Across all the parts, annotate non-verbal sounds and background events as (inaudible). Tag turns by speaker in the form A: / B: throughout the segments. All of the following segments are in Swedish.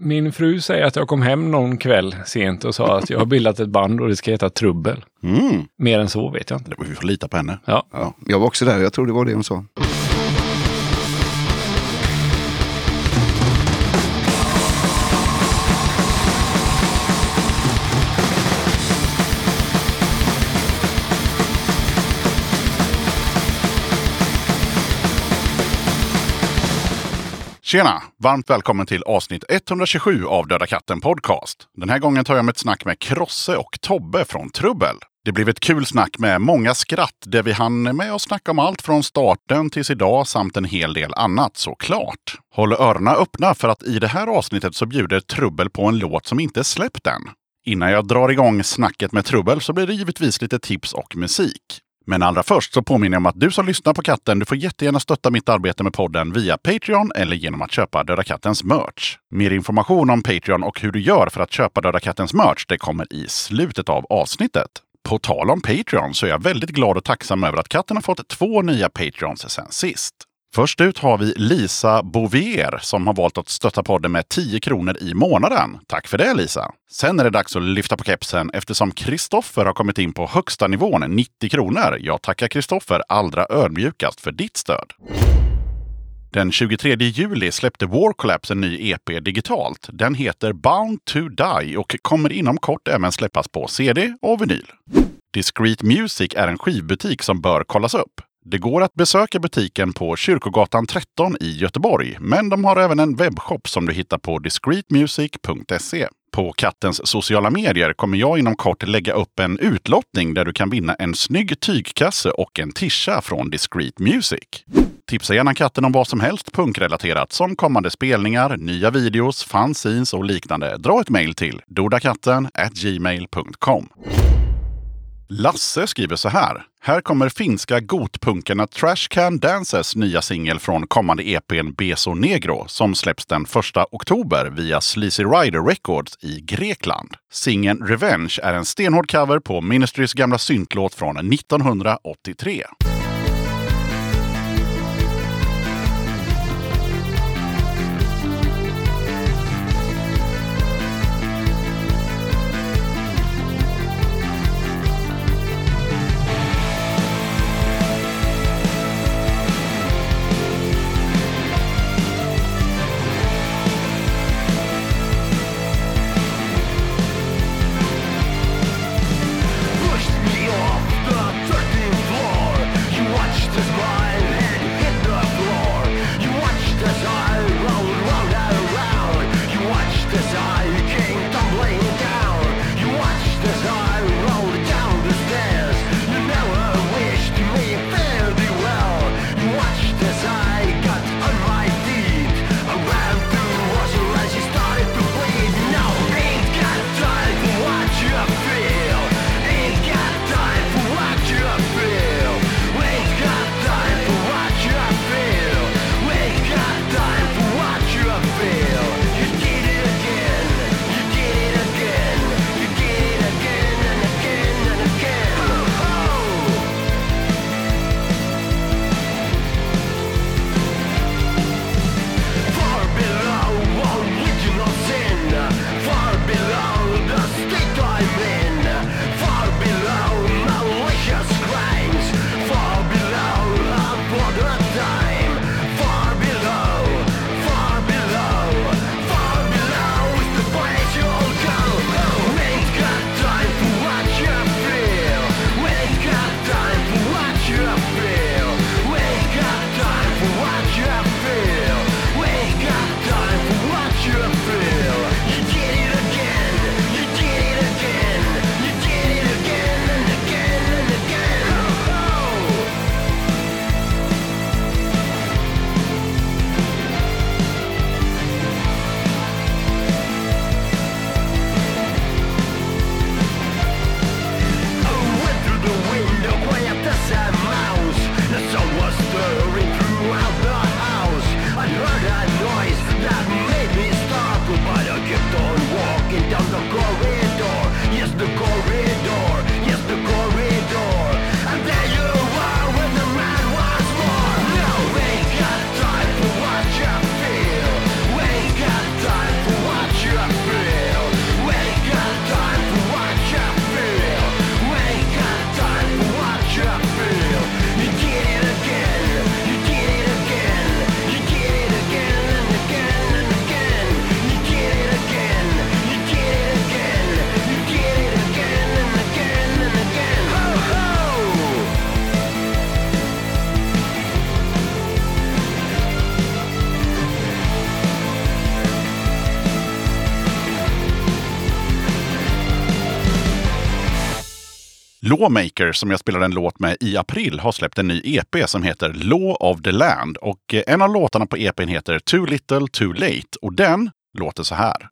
A: Min fru säger att jag kom hem någon kväll sent och sa att jag har bildat ett band och det ska heta Trubbel.
B: Mm.
A: Mer än så vet jag inte.
B: Det- Vi får lita på henne.
A: Ja.
B: Ja, jag var också där, jag tror det var det hon sa. Tjena! Varmt välkommen till avsnitt 127 av Döda katten podcast. Den här gången tar jag med ett snack med Krosse och Tobbe från Trubbel. Det blev ett kul snack med många skratt där vi hann med att snacka om allt från starten tills idag samt en hel del annat såklart. Håll öronen öppna för att i det här avsnittet så bjuder Trubbel på en låt som inte är släppt än. Innan jag drar igång snacket med Trubbel så blir det givetvis lite tips och musik. Men allra först så påminner jag om att du som lyssnar på katten, du får jättegärna stötta mitt arbete med podden via Patreon eller genom att köpa Döda Kattens merch. Mer information om Patreon och hur du gör för att köpa Döda Kattens merch, det kommer i slutet av avsnittet. På tal om Patreon så är jag väldigt glad och tacksam över att katten har fått två nya Patreons sen sist. Först ut har vi Lisa Bovier som har valt att stötta podden med 10 kronor i månaden. Tack för det Lisa! Sen är det dags att lyfta på kepsen eftersom Kristoffer har kommit in på högsta nivån, 90 kronor. Jag tackar Kristoffer allra ödmjukast för ditt stöd. Den 23 juli släppte War Collapse en ny EP digitalt. Den heter Bound to Die och kommer inom kort även släppas på CD och vinyl. Discreet Music är en skivbutik som bör kollas upp. Det går att besöka butiken på Kyrkogatan 13 i Göteborg, men de har även en webbshop som du hittar på discreetmusic.se. På kattens sociala medier kommer jag inom kort lägga upp en utlottning där du kan vinna en snygg tygkasse och en tischa från Discreet Music. Tipsa gärna katten om vad som helst punkrelaterat som kommande spelningar, nya videos, fanzines och liknande. Dra ett mejl till dodakatten gmail.com. Lasse skriver så här. Här kommer finska gotpunkarna Trash Can Dances nya singel från kommande EPn Beso Negro som släpps den 1 oktober via Sleazy Rider Records i Grekland. Singeln Revenge är en stenhård cover på Ministrys gamla syntlåt från 1983.
C: pushed me off the 13th floor. Oh,
B: Lawmaker, som jag spelade en låt med i april, har släppt en ny EP som heter Law of the Land. Och eh, en av låtarna på EPn heter Too Little Too Late. Och den låter så här.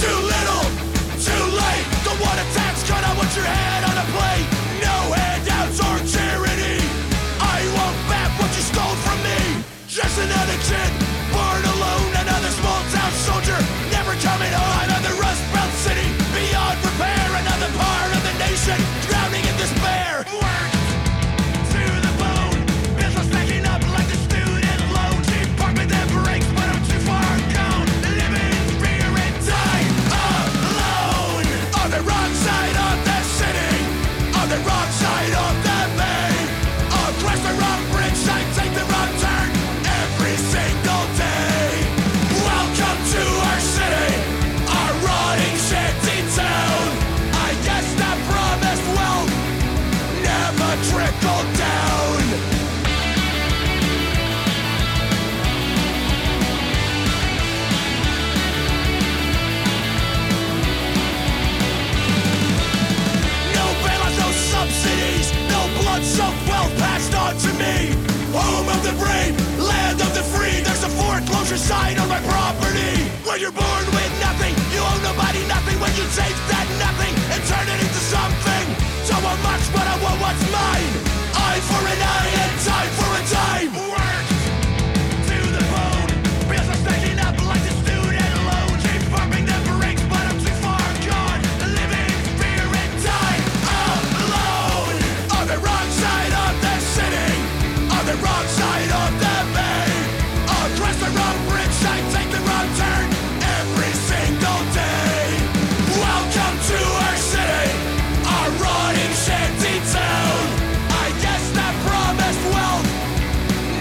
D: Too little, too late. The one attack's gonna want your head on a plate. No handouts or charity. I want back what you stole from me. Just another kid, born alone, another small town soldier, never coming home. Another rust belt city, beyond repair. Another part of the nation, drowning in despair. Worked to the bone, bills are stacking up like the student loans. Department that breaks, but I'm too far gone. Living rear and die alone on the wrong side of the city, on the wrong side of the bay. Across the wrong bridge, I take the wrong turn every single day. Welcome to our city, our rotting shanty town. I guess that promised wealth never trickled down. No bailouts, no subsidies, no blood soaked wealth passed on to me. Home of the brave, land of the free. There's a foreclosure sign on my property. When you're born with nothing, you owe nobody nothing. When you take that nothing and turn it into something, so I much, but I want what's mine. Eye for an eye and time for a time. Work to the bone. Bills are stacking up like the student loan. Keep bumping the brakes, but I'm too far gone. Living in fear and die alone. On the wrong side of the city, on the wrong side of the bay. Across the wrong bridge, I take the wrong turn every single day. Welcome to our city, our rotting shanty town. I guess that promised wealth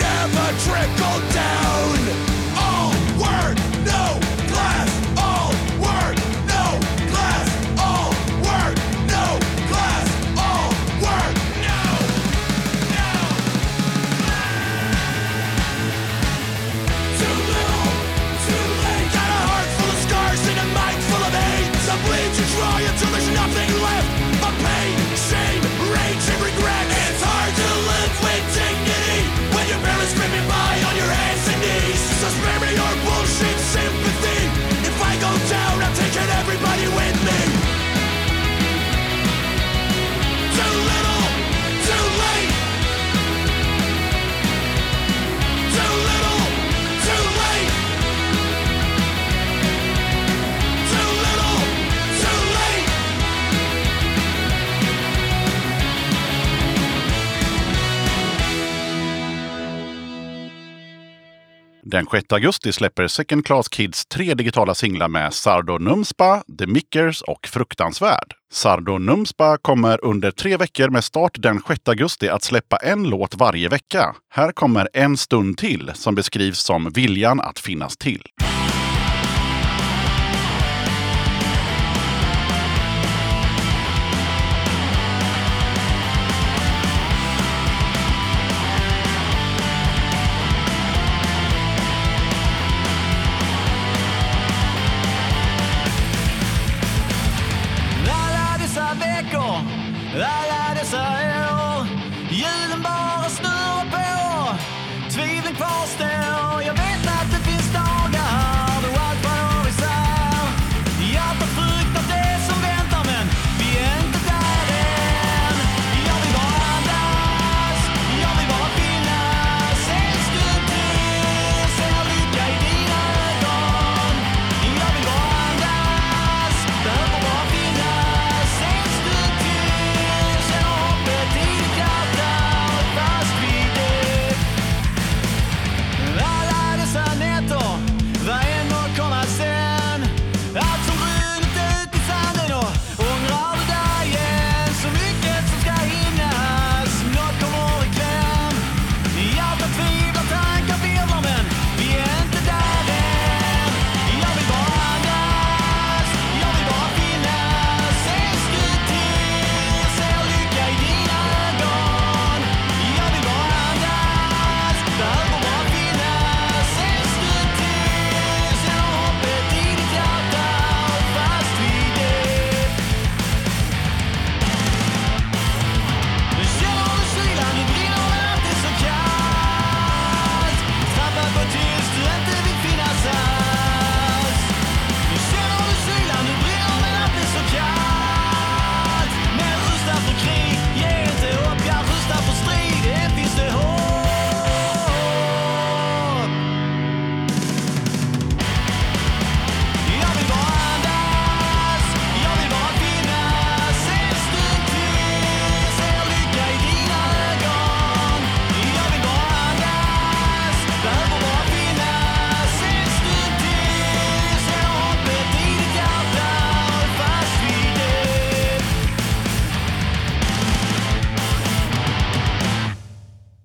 D: never trickle down. All work, no class. All work, no class. All work, no class. All work, no, no. Too little, too late. Got a heart full of scars and a mind full of hate. So bleed to dry until there's nothing left but pain, shame, rage, and regret. It's hard to live with dignity when your parents screaming by on your hands and knees. So spare me your bullshit sympathy. If I go down, I'm taking everybody with me. Too little, too late. Too little, too late. Too little, too late.
B: Den 6 augusti släpper Second Class Kids tre digitala singlar med Sardo Numspa, The Mickers och Fruktansvärd. Sardo Numspa kommer under tre veckor med start den 6 augusti att släppa en låt varje vecka. Här kommer En stund till som beskrivs som viljan att finnas till.
E: Alla dessa veckor, alla dessa år Hjulen bara snurrar på, tvivlen kvarstår Jag vet att det finns dagar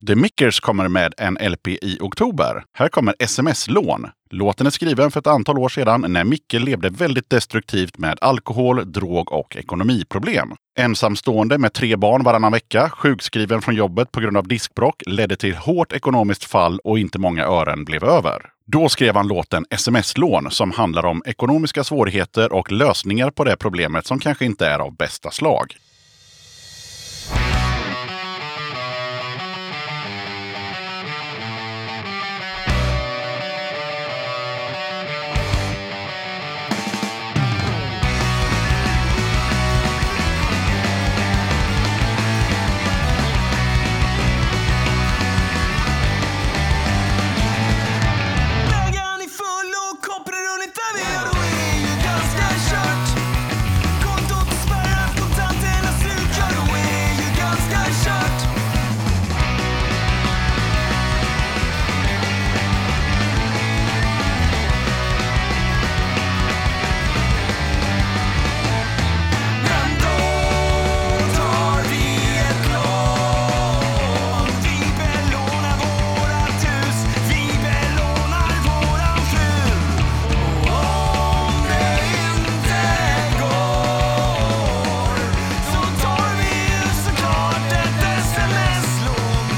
B: The Mickers kommer med en LP i oktober. Här kommer SMS-lån. Låten är skriven för ett antal år sedan när Micke levde väldigt destruktivt med alkohol, drog och ekonomiproblem. Ensamstående med tre barn varannan vecka, sjukskriven från jobbet på grund av diskbråck ledde till hårt ekonomiskt fall och inte många ören blev över. Då skrev han låten SMS-lån som handlar om ekonomiska svårigheter och lösningar på det problemet som kanske inte är av bästa slag.
D: Vägen är full och kopplar runnit över och det är ju ganska kört. Kontot är spärrat, kontanterna slut, ja då är ju ganska kört. Men då tar vi ett lån. Vi belånar vårat hus, vi belånar våran fru. Och om det inte går så tar vi ju såklart ett sms-lån.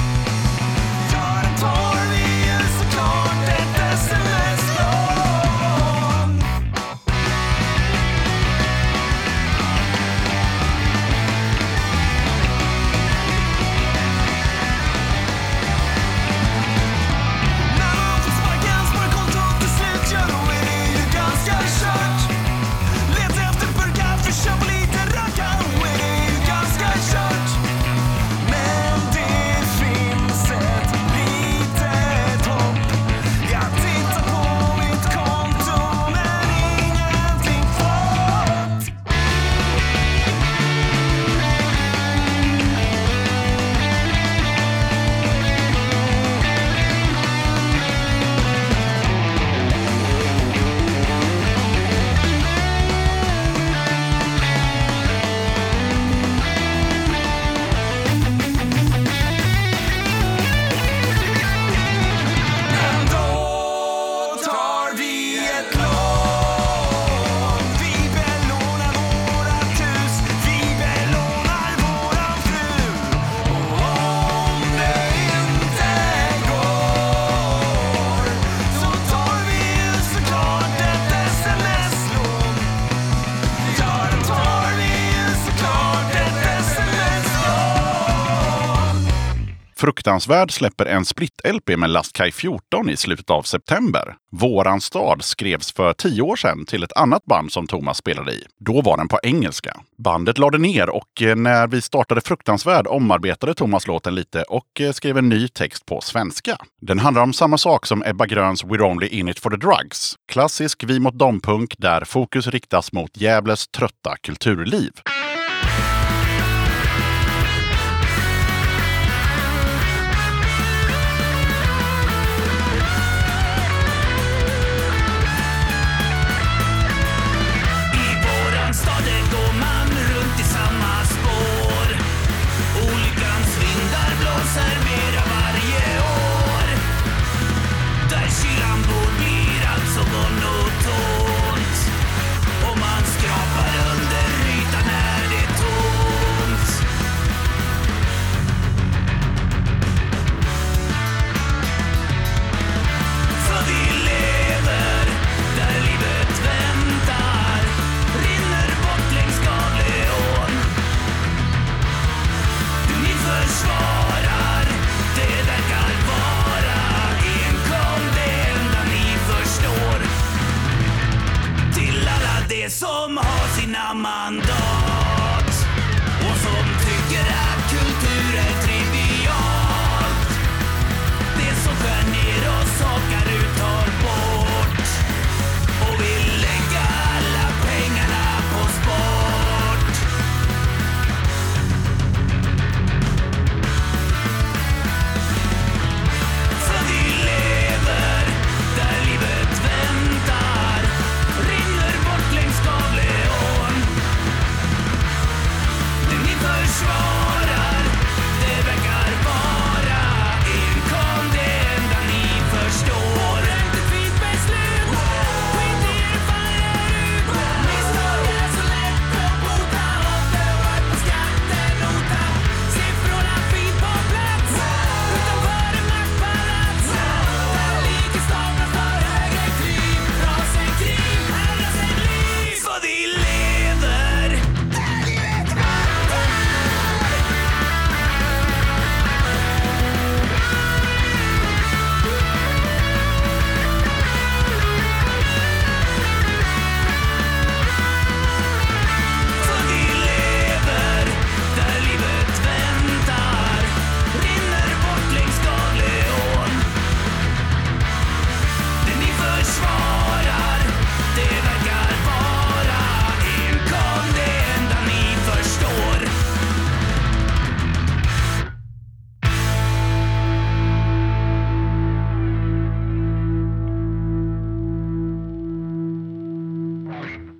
D: Ja, då tar vi ju såklart ett sms-lån. När man får sparken, sparkontot är slut, ja då är det ju ganska kört. Leta efter burkar, för köpa lite rökar, då är det ju ganska kört. Men det finns ett litet hopp. Jag tittar på mitt konto, men ingenting fått. Men då tar vi ett lån. Vi belånar vårat hus, vi belånar våran fru. Och om det inte går så tar vi ju såklart ett sms-lån. Ja, då tar vi ju såklart ett sms-lån.
B: Fruktansvärd släpper en split-LP med Lastkaj 14 i slutet av september. Våran stad skrevs för tio år sedan till ett annat band som Thomas spelade i. Då var den på engelska. Bandet lade ner och eh, när vi startade Fruktansvärd omarbetade Thomas låten lite och eh, skrev en ny text på svenska. Den handlar om samma sak som Ebba Gröns We're Only In It For The Drugs. Klassisk vi mot dem-punk där fokus riktas mot Gävles trötta kulturliv.
D: I våran stad där går man runt i samma spår Olyckans vindar blåser mera varje år Där kylan bor blir alltså allt så monotont Och man skrapar under ytan när det är tomt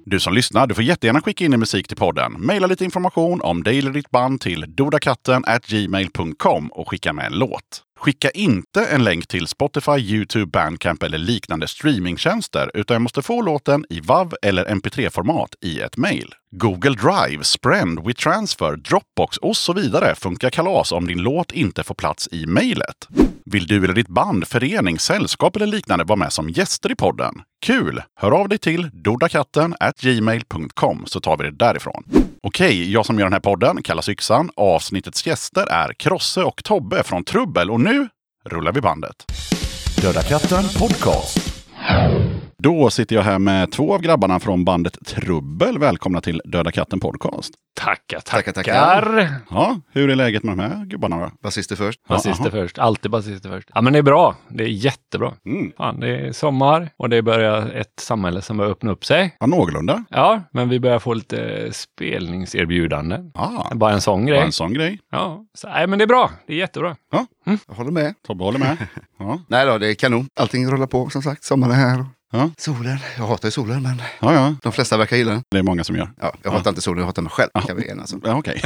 B: Du som lyssnar, du får jättegärna skicka in din musik till podden. Maila lite information om dig eller ditt band till dodakatten.gmail.com och skicka med en låt. Skicka inte en länk till Spotify, YouTube, Bandcamp eller liknande streamingtjänster, utan jag måste få låten i WAV eller MP3-format i ett mejl. Google Drive, Sprend, WeTransfer, Dropbox och så vidare funkar kalas om din låt inte får plats i mejlet. Vill du eller ditt band, förening, sällskap eller liknande vara med som gäster i podden? Kul! Hör av dig till dodakatten gmail.com så tar vi det därifrån. Okej, jag som gör den här podden kallas Yxan. Avsnittets gäster är Krosse och Tobbe från Trubbel och nu rullar vi bandet. Döda katten podcast. Då sitter jag här med två av grabbarna från bandet Trubbel. Välkomna till Döda katten podcast.
A: Tackar, tackar.
F: Tackar, tackar.
B: Ja, hur är läget med de här gubbarna? då?
F: Basister först.
A: Basister
B: aha.
A: först. Alltid basister först. Ja, men det är bra. Det är jättebra.
B: Mm.
A: Fan, det är sommar och det börjar ett samhälle som börjar öppna upp sig.
B: Ja, någorlunda.
A: Ja, men vi börjar få lite spelningserbjudanden.
B: Ah,
A: Bara en sån
B: bara
A: grej.
B: en sån grej.
A: Ja, så, nej, men det är bra. Det är jättebra.
F: Jag håller med.
B: Tobbe håller med. Ja,
F: Nej då, det är kanon. Allting rullar på som sagt. Sommaren är här. och-
B: Ja.
F: Solen. Jag hatar ju solen, men
B: ja, ja.
F: de flesta verkar gilla den.
B: Det är många som gör.
F: Ja, jag hatar inte solen, jag hatar mig själv. Kan vi enas om.
B: Ja, okej.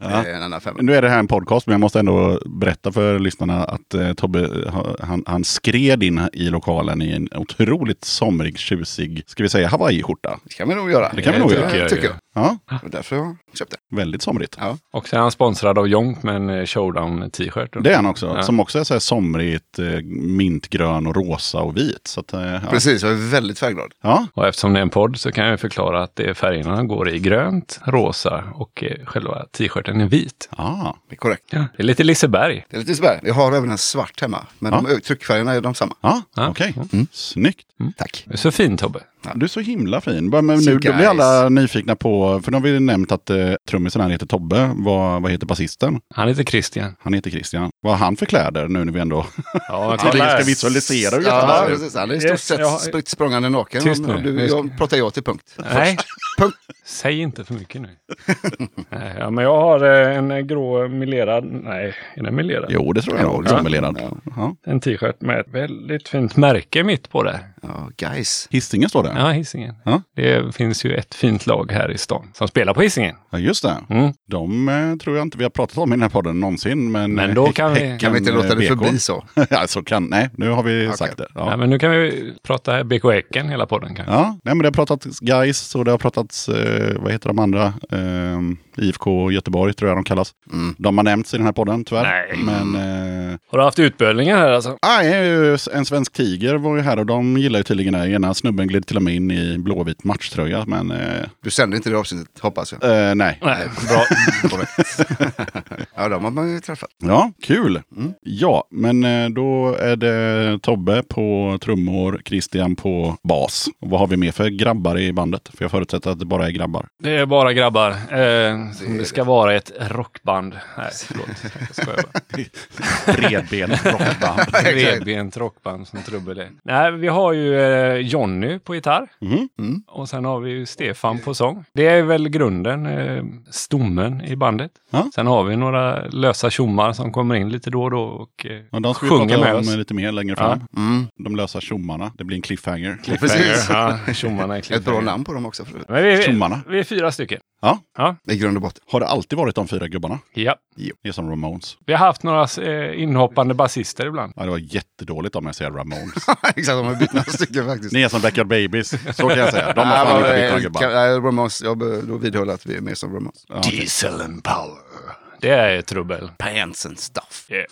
F: Det är en annan femma.
B: Nu är det här en podcast, men jag måste ändå berätta för lyssnarna att eh, Tobbe, ha- han, han skred in i lokalen i en otroligt somrig, tjusig, ska vi säga hawaiiskjorta.
F: Det kan vi nog göra.
B: Det kan vi nog
A: tycker
B: göra.
A: jag
F: tycker
A: ju.
F: jag.
B: Ja,
F: Det var därför jag köpte.
B: väldigt somrigt.
F: Ja.
A: Och sen är han sponsrad av Jonk med en eh, showdown-t-shirt.
B: Det är han också,
A: Ja.
B: som också är så här somrigt, eh, mintgrön och rosa och vit. Så att, eh, ja.
F: Precis, jag är väldigt färgglad.
B: ja,
A: Och eftersom det är en podd så kan jag förklara att det är färgerna går i grönt, rosa och eh, själva t-shirten är vit.
B: ja.
F: Det är korrekt.
A: Ja. Det är lite Liseberg.
F: Det är lite sådär. Jag har även en svart hemma. Men
B: Ja.
F: de, tryckfärgerna är de samma.
B: Ja,
A: Ja.
B: okej. Mm, Snyggt.
F: Tack.
A: Det är så fint Tobbe.
B: Du är så himla fin. Bara, Men
F: Så
B: nu, då blir
F: guys.
B: alla nyfikna på, för nu har vi nämnt att eh, trummisen här heter Tobbe. Vad, vad heter basisten?
A: Han heter Christian.
B: Han heter Christian. Vad har han för kläder nu när vi ändå
A: Ja, jag
B: tydligen ska visualisera hur jättebra han
F: Ja,
B: ser ut?
F: precis. Han är i
A: Yes,
F: stort sett
A: jag har-
F: spritt språngande naken.
A: Tyst
F: Om- om
A: nu.
F: du, jag pratar ja till punkt.
A: Nej,
F: Punkt.
A: säg inte för mycket nu. Nej, ja, men jag har eh, en grå melerad, nej, är den melerad?
B: Jo, det tror jag nog.
A: Ja.
B: Sommerledaren. Ja.
A: En t-shirt med ett väldigt fint märke mitt på det.
F: Ja, guys.
B: Hisingen står det. Ja.
A: Ja, Hisingen.
B: Ja.
A: Det finns ju ett fint lag här i stan som spelar på Hisingen.
B: just det.
A: Mm.
B: De eh, tror jag inte vi har pratat om i den här podden någonsin. Men,
A: Men då
B: eh,
A: kan vi-
B: Häcken,
F: Kan vi inte låta
B: eh,
F: det
B: BK?
F: förbi så?
B: (laughs) ja, så kan, nej, nu har vi sagt det.
A: Ja.
B: Ja.
A: men nu kan vi prata här BK Häcken hela podden kanske.
B: Ja, nej, men det har pratats guys och det har pratats, eh, vad heter de andra? Eh, IFK Göteborg tror jag de kallas. De har nämnts i den här podden tyvärr.
A: Nej.
B: Men eh, ah,
A: Har du haft utbölingar här alltså?
B: nej, en svensk tiger var ju här och de gillar ju tydligen det. Ena snubben gled till och med in i blåvit matchtröja. Men eh,
F: Du sänder inte det avsnittet, hoppas
B: (laughs)
F: jag.
B: eh, nej,
A: Nej.
F: Bra. (laughs) ja, de har man ju träffat. (laughs)
B: Ja, kul! Ja, men eh, då är det Tobbe på trummor, Christian på bas. Och vad har vi mer för grabbar i bandet? För jag förutsätter att det bara är grabbar.
A: Det är bara grabbar. Eh, som det ska vara ett rockband. Nej, förlåt. Jag skojar
B: (laughs)
A: bara.
B: Bredbent rockband.
A: Bredbent rockband som trubbel är. Nej, vi har ju eh, Jonny på gitarr.
B: (laughs) Mm.
A: Och sen har vi ju Stefan på sång. Det är väl grunden, eh, stommen i bandet.
B: Ja.
A: Sen har vi några lösa tjommar som kommer in lite då och då och eh,
B: Och de ska vi
A: sjunger med
B: prata
A: oss.
B: om lite mer längre fram.
F: Mm.
B: De lösa tjommarna. Det blir en cliffhanger.
F: Precis.
A: Ja, tjommarna är
F: Ett bra
A: klippta.
F: namn på dem också. För
A: Men vi, vi,
B: Tjommarna.
A: vi är fyra stycken.
B: Ja.
A: Ja.
F: I grund och botten.
B: Har det alltid varit de fyra gubbarna?
A: ja.
B: Det är som Ramones.
A: Vi har haft några eh, inhoppande basister ibland.
B: Ja, det var jättedåligt om jag säger Ramones.
F: Exakt, de har bytt några stycken faktiskt.
B: Ni är som Backyard Babies. Så kan jag säga. De har
F: Nej,
B: fan
F: men,
B: inte bytt några
F: eh, kan-
B: gubbar.
F: nej, Ramones, jag be- då vidhåller jag att vi är mer som Ramones. Diesel and power.
A: Det är trubbel. (laughs)
F: Pants and stuff.
A: Yeah.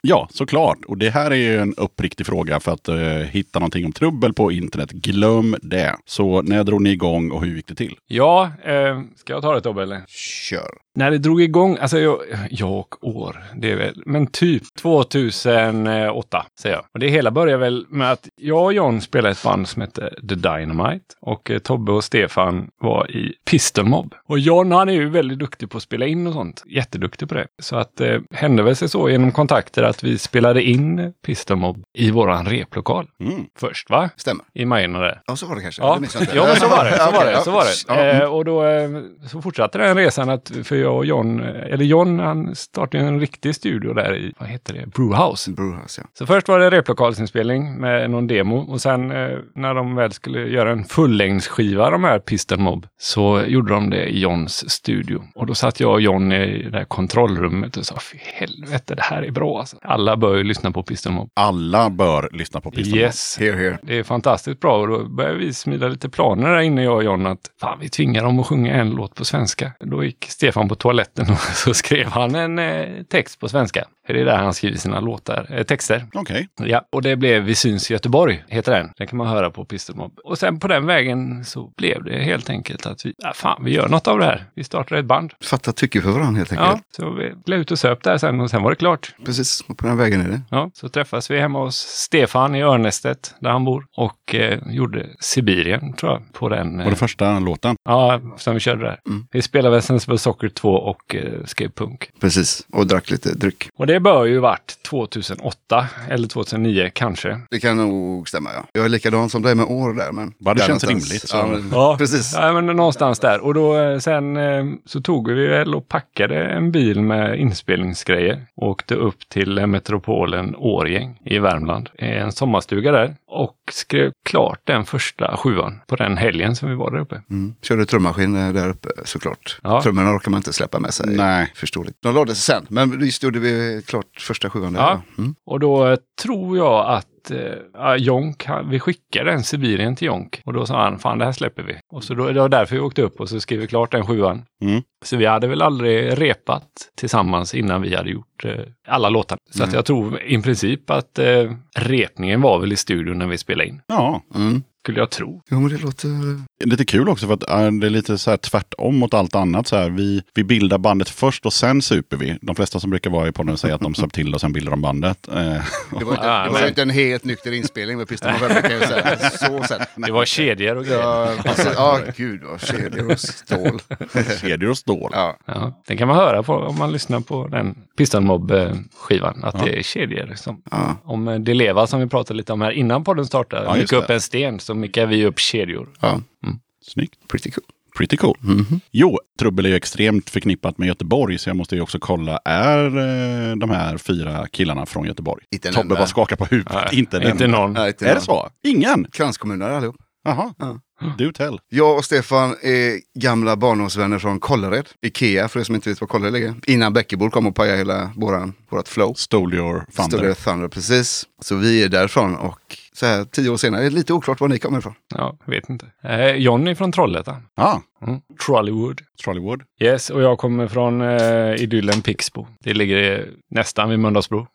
B: Ja, såklart. Och det här är ju en uppriktig fråga för att eh, hitta någonting om trubbel på internet. Glöm det. Så när drog ni igång och hur gick det till?
A: Ja, eh, ska jag ta det Tobbe eller?
F: Kör.
A: När det drog igång, alltså jag, jag och år, det är väl, men typ 2008 säger jag. Och det hela börjar väl med att jag och John spelade ett band som hette The Dynamite och eh, Tobbe och Stefan var i Pistol Mob. Och John han är ju väldigt duktig på att spela in och sånt, jätteduktig på det. Så att eh, hände väl sig så genom kontakter att vi spelade in Pistol Mob i våran replokal
B: Mm.
A: först va?
F: Stämmer.
A: I Majorna
F: Ja, så var det kanske.
A: Ja,
F: Det minns jag inte.
A: ja men så var det. Så var det,
F: Ja, Mm.
A: eh, så var det.
F: okej, ja.
A: Eh, och då eh, så fortsatte den resan, att, för jag och John, eller John han startade en riktig studio där i, vad heter det, Brewhouse.
C: Brewhouse,
F: alltså.
C: ja.
A: Så först var det replokalsinspelning med någon demo och sen eh, när de väl skulle göra en fullängdsskiva, de här Pistol Mob, så gjorde de det i Johns studio. Och då satt jag och John i det här kontrollrummet och sa, fy helvete, det här är bra alltså. Alla bör ju lyssna på Pistol Mob.
B: Alla bör lyssna på Pistol Mob.
A: Yes.
C: Here, here.
A: Det är fantastiskt bra och då började vi smida lite planer där inne, jag och John, att fan, vi tvingar dem att sjunga en låt på svenska. Då gick Stefan på toaletten (laughs) och så skrev han en eh, text på svenska. Det är där han skriver sina låtar, eh, texter.
B: Okej.
A: Ja, och det blev Vi syns i Göteborg, heter den. Den kan man höra på Pistolmob. Och sen på den vägen så blev det helt enkelt att vi, ja, fan, vi gör något av det här. Vi startar ett band.
C: Fatta tycke för varandra helt
A: Ja,
C: enkelt.
A: så vi blev ut och söp där sen och sen var det klart.
C: Precis, och på den vägen är det.
A: Ja, så träffas vi hemma hos Stefan i Örnestedt, där han bor, och eh, gjorde Sibirien, tror jag, på den.
B: Var
A: Eh,
B: det första låten?
A: ja, som vi körde där.
C: Mm.
A: Vi spelade Sensible Soccer 2 och eh, skrev punk.
C: Precis, och drack lite dryck.
A: Och det bör ju varit 2008 eller 2009 kanske.
C: Det kan nog stämma, ja. Jag är likadan som dig med år där, men...
B: Bara det
C: där
B: känns
C: någonstans.
B: rimligt, så-
C: Ja, men,
A: Ja.
C: precis.
A: Ja, men någonstans där. Och då eh, sen eh, så tog vi väl och packade en bil med inspelningsgrejer och åkte upp till eh, metropolen Årjäng i Värmland. Eh, En sommarstuga där och skrev klart den första sjuan på den helgen som vi var där uppe.
C: Mm. Körde trummaskin eh, där uppe såklart.
A: Ja.
C: Trummorna orkar man inte släppa med
F: Eh.
C: sig.
B: Nej.
C: Förståeligt. De lades sen, men just gjorde vi klart första sjuan där.
A: Ja.
C: ja. Mm.
A: Och då eh, tror jag att eh, ja, Jonk, han- vi skickade en Sibirien till Jonk och då sa han fan det här släpper vi. Och så då, det var därför vi åkte upp och så skrev vi klart den sjuan.
B: Mm.
A: Så vi hade väl aldrig repat tillsammans innan vi hade gjort eh, alla låtar. Så att jag tror i princip att eh, repningen var väl i studion när vi spelade in.
B: Ja.
C: Mm.
A: Skulle jag tro.
C: Jo, men det låter...
B: Lite kul också för att äh, det är lite så här tvärtom mot allt annat. Så här, vi, vi bildar bandet först och sen super vi. De flesta som brukar vara i podden säger att de söp till och sen bildar de bandet. Eh, (laughs)
C: Det var inte,
A: Ja,
C: det var
A: men-
C: inte en helt nykter inspelning med Piston November kan jag
A: (laughs)
C: ju säga. Så sett.
A: Det var kedjor och grejer. Ja.
C: Ja, precis. Ja, gud vad kedjor och stål.
B: Kedjor och stål.
C: Ja,
A: Den kan man höra på om man lyssnar på den Pistonmob-skivan. Att det är kedjor. Som,
C: Ja.
A: Om eh, det leva som vi pratade lite om här innan podden startade.
B: Ja, just
A: Mycket upp
B: det.
A: en sten så mycket vi upp kedjor.
C: ja.
B: Snyggt.
C: Pretty cool.
B: Pretty cool. Jo, trubbel är ju extremt förknippat med Göteborg så jag måste ju också kolla, är eh, de här fyra killarna från Göteborg?
C: Inte en
B: Tobbe
C: enda.
B: bara skakar på huvudet.
A: Nej,
B: inte en
A: inte
B: enda.
A: någon.
C: Nej, inte
B: Är det
C: någon.
B: så? Ingen?
C: Kranskommunare allihop.
B: Jaha.
C: Ja.
B: Du tell.
C: Jag och Stefan är gamla barndomsvänner från Kållered. Ikea, för er som inte vet var Kållered ligger. Innan Bäckebol kom och pajade hela våran, vårat flow.
B: Stole your thunder.
C: Stod det Thunder, precis. Så vi är därifrån och så här tio år senare, det är lite oklart var ni kommer ifrån.
A: Ja, jag vet inte. Eh, Johnny från Trollhättan.
B: Ja,
A: Mm. Trollywood.
B: Trollywood.
A: Yes, och jag kommer från eh, idyllen Pixbo. Det ligger eh, nästan vid Mölndalsbro.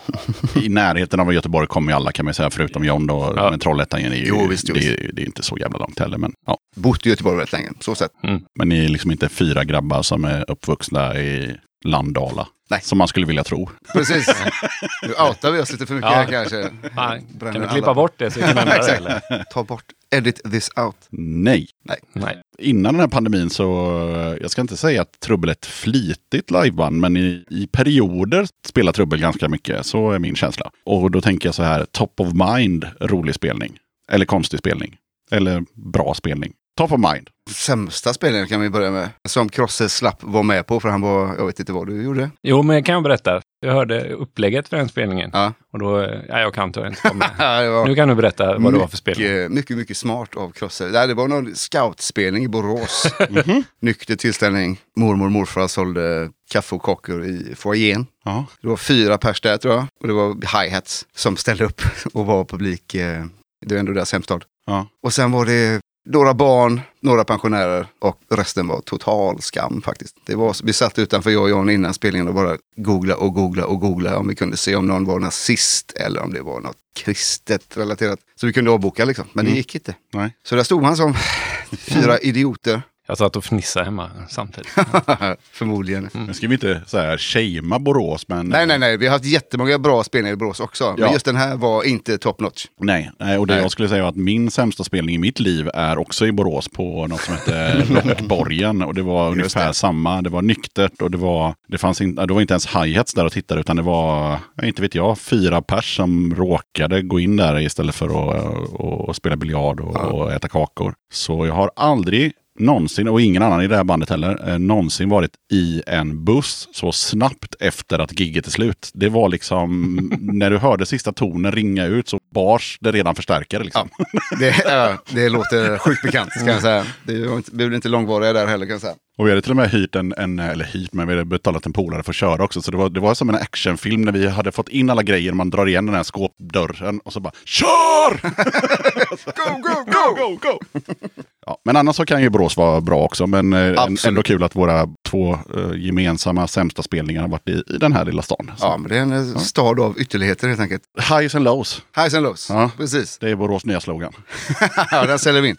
B: I närheten av Göteborg kommer ju alla kan man säga, förutom John då.
A: Ja.
B: Men Trollhättan är ju,
C: Jo, visst,
B: det,
C: jo,
B: är ju- det är ju inte så jävla långt heller. Men, ja.
C: Bott i Göteborg väldigt länge, så sett.
B: men ni är liksom inte fyra grabbar som är uppvuxna i Landala.
C: Nej.
B: Som man skulle vilja
C: (laughs)
B: tro.
C: Precis. Nu outar vi oss lite för mycket
A: Ja.
C: här kanske.
A: Fan,
C: Bränner
A: kan du
C: alla
A: klippa bort det
C: (laughs)
A: så vi kan ändra det?
C: Exakt.
A: Eller?
C: Ta bort, edit this out.
B: Nej.
A: Nej.
B: innan den här pandemin så, eh, jag ska inte säga att Trubbel är ett flitigt liveband, men i, i perioder spelar Trubbel ganska mycket. Så är min känsla. Och då tänker jag så här, top of mind, rolig spelning. Eller konstig spelning. Eller bra spelning. Top of mind.
C: Sämsta spelningen kan vi börja med. Som Krosse slapp var med på för han var, jag vet inte vad du gjorde.
A: Jo, men jag kan berätta. Jag hörde upplägget för den spelningen.
C: Ja.
A: Och då, eh, ja, jag kan tyvärr inte vara med.
C: (laughs) Ja, det var-
A: Nu kan du berätta vad det var för spelning.
C: Mycket, mycket, mycket smart av Krosse. Nej, Det var någon scoutspelning i Borås.
A: Mhm.
C: Nykter tillställning. Mormor och morfar sålde kaffe och kakor i foajén.
B: Ja.
C: Det var fyra pers där tror jag. Och det var hi-hats som ställde upp och var publik. eh, Det är ändå deras hemstad.
B: Ja.
C: Och sen var det några barn, några pensionärer och resten var total skam faktiskt. Det var, vi satt utanför jag och John innan spelningen och bara googla och googla och googla om vi kunde se om någon var nazist eller om det var något kristet relaterat. Så vi kunde avboka liksom, men det gick inte.
B: Mm. Nej.
C: Så där stod han som
B: (laughs)
C: fyra idioter, (laughs)
A: Jag satt och fnissade hemma samtidigt.
C: förmodligen.
B: Nu ska vi inte så här shamea Borås, men...
C: Nej, nej, nej, vi har haft jättemånga bra spelningar i Borås också, men
B: Ja.
C: just den här var inte top notch.
B: Nej, nej, och det
C: Nej.
B: jag skulle säga var att min sämsta spelning i mitt liv är också i Borås på något som
C: (laughs)
B: heter Rockborgen. Och det var ungefär samma. Det var nyktert och det var, det fanns in, det var inte ens hi-hats där och tittade utan det var, ja, inte vet jag, fyra pers som råkade gå in där istället för att, att, att spela biljard och, och äta kakor. Så jag har aldrig någonsin, och ingen annan i det här bandet heller, eh, någonsin varit i en buss så snabbt efter att gigget är slut. Det var liksom, när du hörde sista tonen ringa ut så bars det redan förstärkare. Liksom.
C: Det, ja, det låter sjukt bekant kan jag säga. Det var inte- vi blev inte långvariga där heller kan jag säga.
B: Och vi hade till och med hyrt en, en eller hyrt, men vi hade betalat en polare för att köra också. Så det var, det var som en actionfilm när vi hade fått in alla grejer, man drar igen den här skåpdörren och så bara KÖR!
C: (laughs) Go, go, go!
B: go, go! ja, men annars så kan ju Brås vara bra också, men eh, en-
C: Absolut.
B: ändå kul att våra två eh, gemensamma sämsta spelningar har varit i, i den här lilla stan. Så,
C: Ja, men det är en eh, stad av ytterligheter helt enkelt.
B: Highs and lows,
C: Highs and lows,
B: Ja.
C: precis.
B: det är Borås nya slogan.
C: ja, den säljer
B: (laughs)
C: vi in.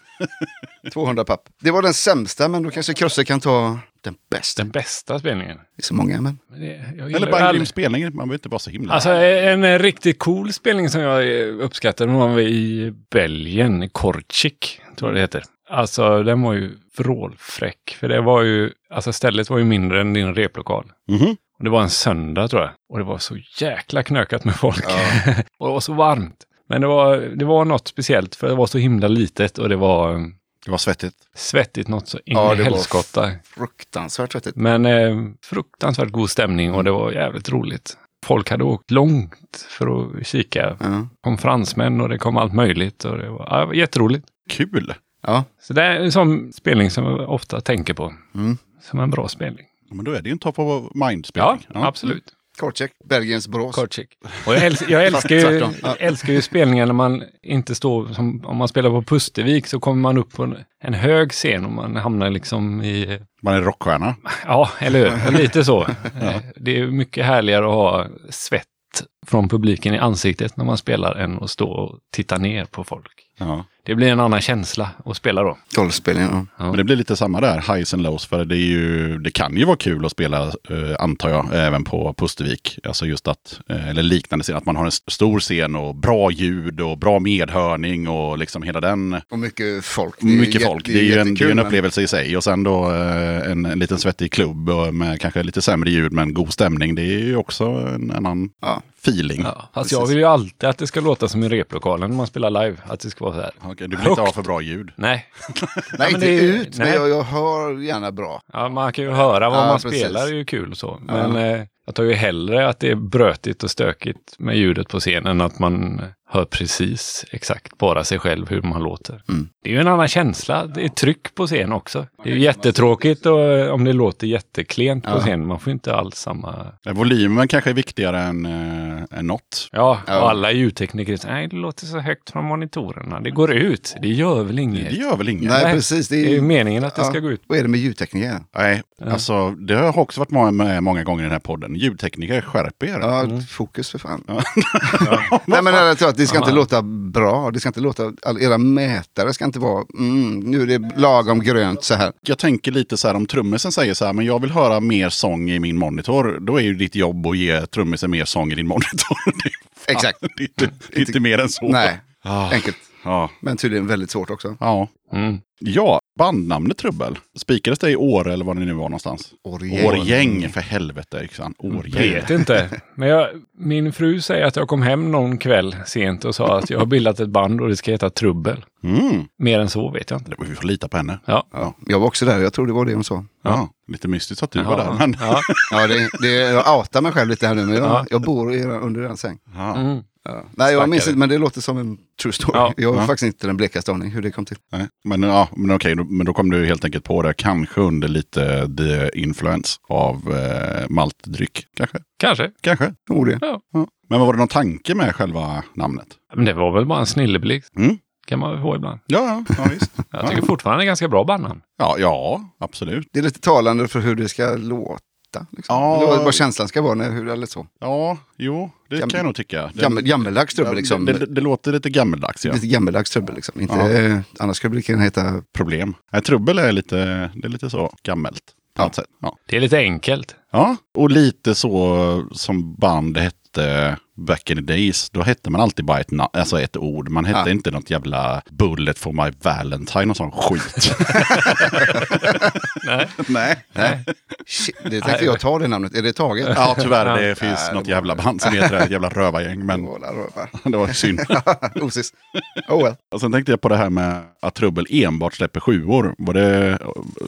C: 200 papp. Det var den sämsta, men då kanske Krosse kan ta den bästa.
A: Den bästa spelningen.
C: Det är så många, men...
A: Men det- jag
B: Eller
A: gillar
B: bara en
A: all-
B: grym spelning, man behöver inte vara så himla...
A: Alltså en eh, riktigt cool spelning som jag eh, uppskattade var vi i Belgien, i Korčik, tror jag det heter. Alltså den var ju vrålfräck, för det var ju, alltså stället var ju mindre än din replokal.
B: Mhm.
A: Och det var en söndag tror jag. Och det var så jäkla knökat med folk. (laughs) och det var så varmt. Men det var, det var något speciellt, för det var så himla litet och det var eh,
B: Det var svettigt.
A: svettigt något så in
C: Ja,
A: i
C: det var-
A: helskotta.
C: Fruktansvärt svettigt.
A: Men eh, fruktansvärt god stämning och det var jävligt roligt. Folk hade åkt långt för att kika.
C: Ja.
A: kom fransmän och det kom allt möjligt. Och det var, ja, det var jätteroligt.
B: Kul!
C: ja.
A: Så det är en sån spelning som jag ofta tänker på.
C: Mm.
A: Som en bra spelning.
B: Ja, Men då är det ju en top of
A: Ja,
B: mind-spelning.
A: absolut.
C: Kortcheck, Belgiens Borås.
A: Kortcheck. Och jag, älskar, jag älskar, ju,
C: Tvärtom. Ja.
A: älskar ju spelningar när man inte står, som, om man spelar på Pustervik så kommer man upp på en, en hög scen och man hamnar liksom i,
B: Man är rockstjärna.
A: ja, eller
C: (laughs)
A: hur? Lite så. Eh, Det är mycket härligare att ha svett från publiken i ansiktet när man spelar än att stå och titta ner på folk.
B: Ja.
A: Det blir en annan känsla att spela då.
C: Tolvspelningen, ja.
A: Ja.
B: Men det blir lite samma där, highs and lows. För det, är ju, det kan ju vara kul att spela, eh, antar jag, även på Pustervik. Alltså just att, eh, eller liknande scen, att man har en s- stor scen och bra ljud och bra medhörning och liksom hela den.
C: Och mycket folk. Det är
B: Mycket
C: jätte-
B: folk, det är ju en, det är ju en
C: jättekul, men-
B: upplevelse i sig. Och sen då eh, en, en liten svettig klubb och med kanske lite sämre ljud men god stämning. Det är ju också en annan
C: Ja.
B: feeling.
A: Ja, fast jag vill ju alltid att det ska låta som i replokalen när man spelar live. Att det ska vara så här.
B: Okej, du vill inte ha för bra ljud.
A: Nej.
C: (laughs) Nej,
A: Ja, men
C: inte
A: det är ju-
C: ut, men
A: nej.
C: jag, jag hör gärna bra.
A: Ja, man kan ju höra vad
C: Ja,
A: man
C: precis.
A: spelar, det är ju kul och så. Men eh, jag tar ju hellre att det är brötigt och stökigt med ljudet på scenen än att man hör precis exakt bara sig själv hur man låter.
C: Mm.
A: Det är ju en annan känsla. Det är tryck på scen också. Det är ju jättetråkigt och, eh, om det låter jätteklent på scen. Man får inte alls samma...
B: Eh, Volymen kanske är viktigare än, eh, än något.
A: Ja,
C: Ja.
A: och alla ljudtekniker säger nej, det låter så högt från monitorerna. Det går ut. Det gör väl inget?
B: Det gör väl inget?
C: Nej,
A: Nej,
C: precis. Det
A: Det är ju
C: är,
A: meningen att det
C: Ja.
A: ska gå ut.
C: Vad är det med ljudtekniker?
B: Nej, alltså det har jag också varit många- med många gånger i den här podden. Ljudtekniker, skärp er.
C: Ja, fokus för fan. (laughs) Nej, men jag tror att det ska inte låta bra. Det ska inte låta, all, era mätare ska inte vara, mm, nu är det lagom grönt så här.
B: Jag tänker lite så här om trummisen säger så här, men jag vill höra mer sång i min monitor. Då är ju ditt jobb att ge trummisen mer sång i din monitor. (laughs) Det är-
C: Exakt.
B: det är inte, det är inte mer än så.
C: Nej,
B: Ah,
C: enkelt.
B: ja.
C: Men tydligen väldigt svårt också.
B: ja.
A: Mm.
B: Ja, bandnamnet Trubbel. Spikades det i Åre eller var ni nu var någonstans?
C: Orgel.
B: Årgäng, för helvete. Yxan. Årgäng.
A: Vet inte. Mm. (laughs) Men jag, min fru säger att jag kom hem någon kväll sent och sa att jag har bildat ett band och det ska heta Trubbel.
B: Mm.
A: Mer än så vet jag inte.
B: Vi får lita på henne.
A: Ja.
C: Ja, jag var också där, jag tror det var det hon sa.
B: Ja. Lite mystiskt att du var där. Men...
A: Ja.
C: Ja, det, det, jag outar mig själv lite här nu, men jag,
A: Ja.
C: jag bor i- under den säng.
B: Ja.
A: Mm.
C: Ja. Nej, jag minns inte, men det låter som en true story.
A: Ja.
C: Jag har
B: Ja.
C: faktiskt inte den blekaste aning hur det kom till.
B: Nej, men, ja, men okej, då, men då kom du helt enkelt på det. Kanske under lite the influence av eh, maltdryck. Kanske.
A: Kanske.
B: Kanske.
C: Oh, det.
B: Ja. Men var det någon tanke med själva namnet?
A: Men det var väl bara en snilleblixt.
B: Mm.
A: Kan man väl få ibland.
B: Ja, ja, ja visst.
A: Jag tycker fortfarande det är ganska bra bandnamn.
B: (laughs) ja, ja, absolut.
C: det är lite talande för hur det ska låta. Liksom.
B: Ja.
C: Eller vad känslan ska vara, när, hur, eller så.
B: Ja, jo, det
C: Gamm-
B: kan jag nog tycka. Det,
C: Gammel, gammeldags trubbel liksom.
B: det, det, det låter lite gammeldags, ja.
C: Lite gammeldags trubbel liksom. Inte,
B: Ja.
C: eh, annars skulle det lika
B: (laughs)
C: gärna heta...
B: Problem. Nej, trubbel är lite, det är lite så gammelt. På
C: Ja.
B: något sätt. Ja.
A: Det är lite enkelt.
B: ja, och lite så som band hette back in the days, då hette man alltid bara ett, na- alltså ett ord. Man hette
C: Ja.
B: inte något jävla bullet for my valentine och sån skit.
C: Nej. Nej. Shit, det tänkte jag ta det namnet. Är det taget?
B: (laughs)
C: (laughs)
B: ja, tyvärr. Det
C: Ja,
B: finns
C: det
B: något
C: var-
B: jävla band som heter det. Ett jävla rövargäng. Men
C: Våla
B: (laughs)
C: rövar.
B: det var synd.
C: (laughs) Osis. Oh well.
B: Och sen tänkte jag på det här med att Trubbel enbart släpper sjuor. Var det,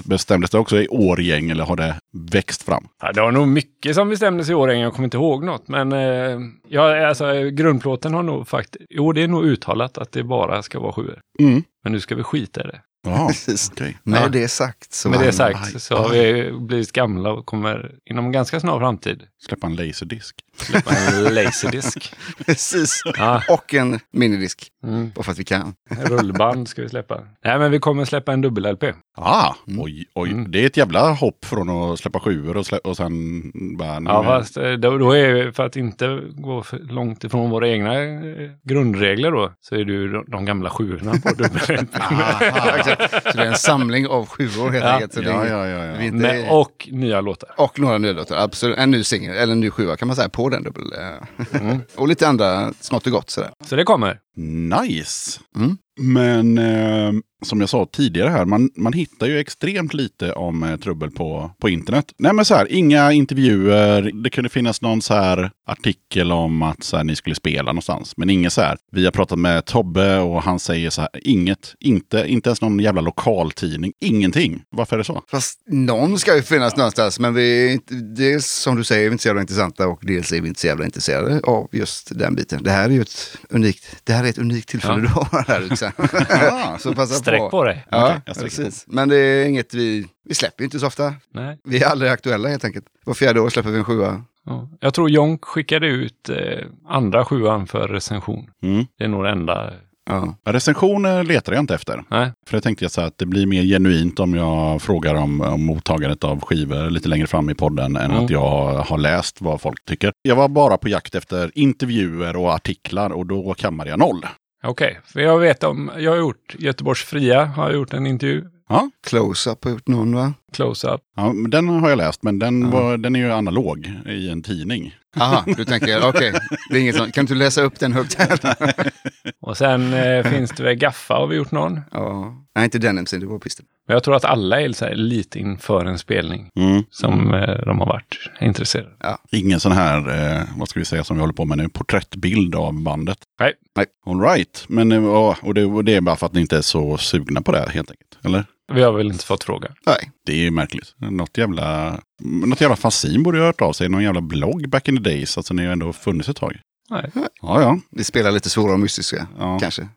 B: bestämdes det också i årgäng eller har det växt fram?
A: Ja, det var nog mycket som bestämdes i Årängen. Jag kommer inte ihåg något. Men eh, ja, alltså, grundplåten har nog faktiskt... Jo, det är nog uttalat att det bara ska vara sjuor.
B: Mm.
A: Men nu ska vi skita i det.
B: Ja,
C: Precis.
B: okej.
C: Med
A: Ja.
C: det sagt så...
A: Med
C: vann-
A: det
B: aj,
A: sagt så har vi blivit gamla och kommer inom en ganska snar framtid
B: Släppa en laserdisk.
A: släppa en laserdisk.
C: (laughs) Precis.
A: Ja,
C: Och en minidisk.
A: mm.
C: Bara för att vi kan.
A: Rullband ska vi släppa. Nej, men vi kommer släppa en dubbel-LP.
B: Ah, oj, oj.
A: Mm.
B: Det är ett jävla hopp från att släppa sjuor och, slä- och sen bara... nej,
A: Ja,
B: men-
A: fast eh, då, då är ju- för att inte gå för långt ifrån våra egna eh, grundregler då, så är det ju de, de gamla sjuorna på dubbel-LP. (laughs)
C: Ja, exakt. Så det är en samling av sjuor helt
A: Ja.
C: enkelt. Så det är
B: Ja,
C: inget-
B: ja, ja, ja.
C: det är inte-
A: Men- Och nya låtar.
C: Och några nya låtar, absolut. En ny singel, eller en ny sjua kan man säga, på den dubbel. eh. (laughs) och lite andra smått och gott sådär.
A: Så det kommer.
B: Nice!
C: Mm.
B: Men eh, som jag sa tidigare här, man, man hittar ju extremt lite om eh, trubbel på, på internet. Nej men så här, inga intervjuer. Det kunde finnas någon så här artikel om att så här, ni skulle spela någonstans. Men inget så här, vi har pratat med Tobbe och han säger så här, inget, inte, inte ens någon jävla lokaltidning, ingenting. Varför är det så?
C: Fast någon ska ju finnas någonstans, men vi är inte, dels som du säger är vi inte så jävla intressanta och dels är vi inte så jävla intresserade av just den biten. Det här är ju ett unikt, det här är ett unikt tillfälle du har här (laughs) Yxan. Så passa
A: Sträck på dig.
C: Ja,
B: Okej, jag sträcker
C: precis. Men det är inget vi, vi släpper ju inte så ofta.
A: Nej.
C: Vi är aldrig aktuella helt enkelt. Var fjärde år släpper vi en sjua.
A: Ja. Jag tror Jonk skickade ut eh, andra sjuan för recension.
B: Mm.
A: Det är nog det enda.
C: Ja.
B: Recensioner letar jag inte efter.
A: Nej.
B: För jag tänkte jag så här att det blir mer genuint om jag frågar om, om mottagandet av skivor lite längre fram i podden än
A: Mm.
B: att jag har- har läst vad folk tycker. Jag var bara på jakt efter intervjuer och artiklar och då kammade jag noll.
A: Okej, för jag vet om, jag har gjort Göteborgs Fria, har jag gjort en intervju,
C: Close-up har gjort någon va?
A: close-up.
B: Ja, men den har jag läst, men den,
C: Ja.
B: var, den är ju analog i en tidning.
C: Aha, du tänker, okej,
A: (laughs)
C: det är inget sånt. Kan du läsa upp den högt här?
A: Och sen eh, finns det väl Gaffa har vi gjort någon.
C: Ja. Nej, inte Denim Sin, det var pisten.
A: Men jag tror att alla är så här lite inför en spelning som eh, de har varit intresserade.
B: Ingen sån här, eh, vad ska vi säga som vi håller på med nu, porträttbild av bandet.
A: Nej.
C: Nej.
B: All right. Men, eh, ja, och, det, och det är bara för att ni inte är så sugna på det här, helt enkelt. Eller?
A: Vi har väl inte fått frågan.
C: Nej,
B: Det är ju märkligt. Något jävla, något jävla fanzine borde ju ha hört av sig. Någon jävla blogg back in the days. Alltså ni har ju ändå funnits ett tag.
A: Nej.
B: Ja, ja.
C: vi spelar lite svåra och mystiska,
B: ja.
A: (laughs)
C: kanske.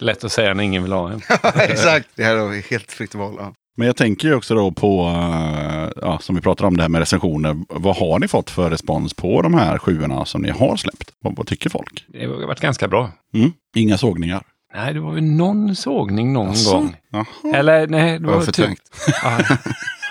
A: Lätt att säga när ingen vill ha en.
C: Exakt, det här har vi helt fritt val av.
B: Men jag tänker ju också då på, eh, ja, som vi pratar om det här med recensioner. Vad har ni fått för respons på de här sjuorna som ni har släppt? Vad, vad tycker folk?
A: Det har varit ganska bra.
B: Mm. Inga sågningar.
A: Nej, det var väl någon sågning någon gång.
B: Jaha.
A: Eller nej, det
C: Det var
A: var typ...
C: förträngt.
A: Ah,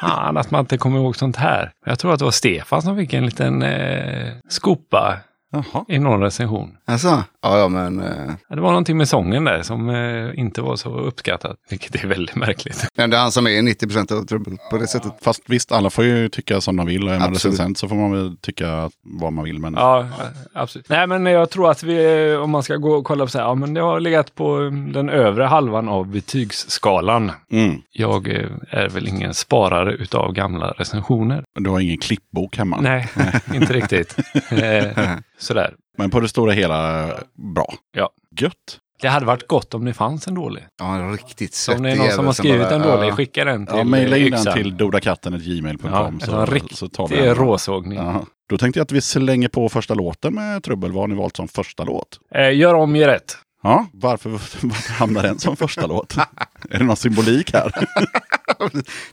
A: fan att man inte kommer ihåg sånt här. Jag tror att det var Stefan som fick en liten eh, skopa
B: Jaha.
A: i någon recension.
C: Alltså, ja, ja, men eh,
A: Ja, Det var någonting med sången där som eh, inte var så uppskattat, (laughs) vilket är väldigt märkligt.
C: men det är han som är 90 procent av trubbel på det sättet.
B: Fast visst, alla får ju tycka som de vill. Och är man
C: Absolut.
B: recensent så får man väl tycka vad man vill. Men
A: Ja, absolut. Nej, men jag tror att vi, eh, om man ska gå och kolla på så här, ja men det har legat på eh, den övre halvan av betygsskalan.
B: mm.
A: Jag eh, är väl ingen sparare utav gamla recensioner.
B: du har ingen klippbok hemma. (laughs)
A: Nej, inte riktigt. Eh, sådär.
B: Men på det stora hela, eh, bra.
A: Ja.
B: Gött.
A: Det hade varit gott om det fanns en dålig.
C: Ja, en riktigt
A: Så
C: svettig
A: om det är någon som har
C: jävel som
A: skrivit
C: bara,
A: en dålig,
C: ja.
A: skicka den till eh,
B: Ja, mejla in den
A: yxan.
B: till dodakatten.gmail.com.
A: Ja, det var riktigt
B: så tar
A: Det är
B: den.
A: råsågning.
B: Ja. Då tänkte jag att vi slänger på första låten med Trubbel. Vad har ni valt som första låt?
A: Eh, gör om, gör rätt.
B: Ja, varför, (laughs) varför hamnar den som första låt? (laughs) Är det någon symbolik här? (laughs)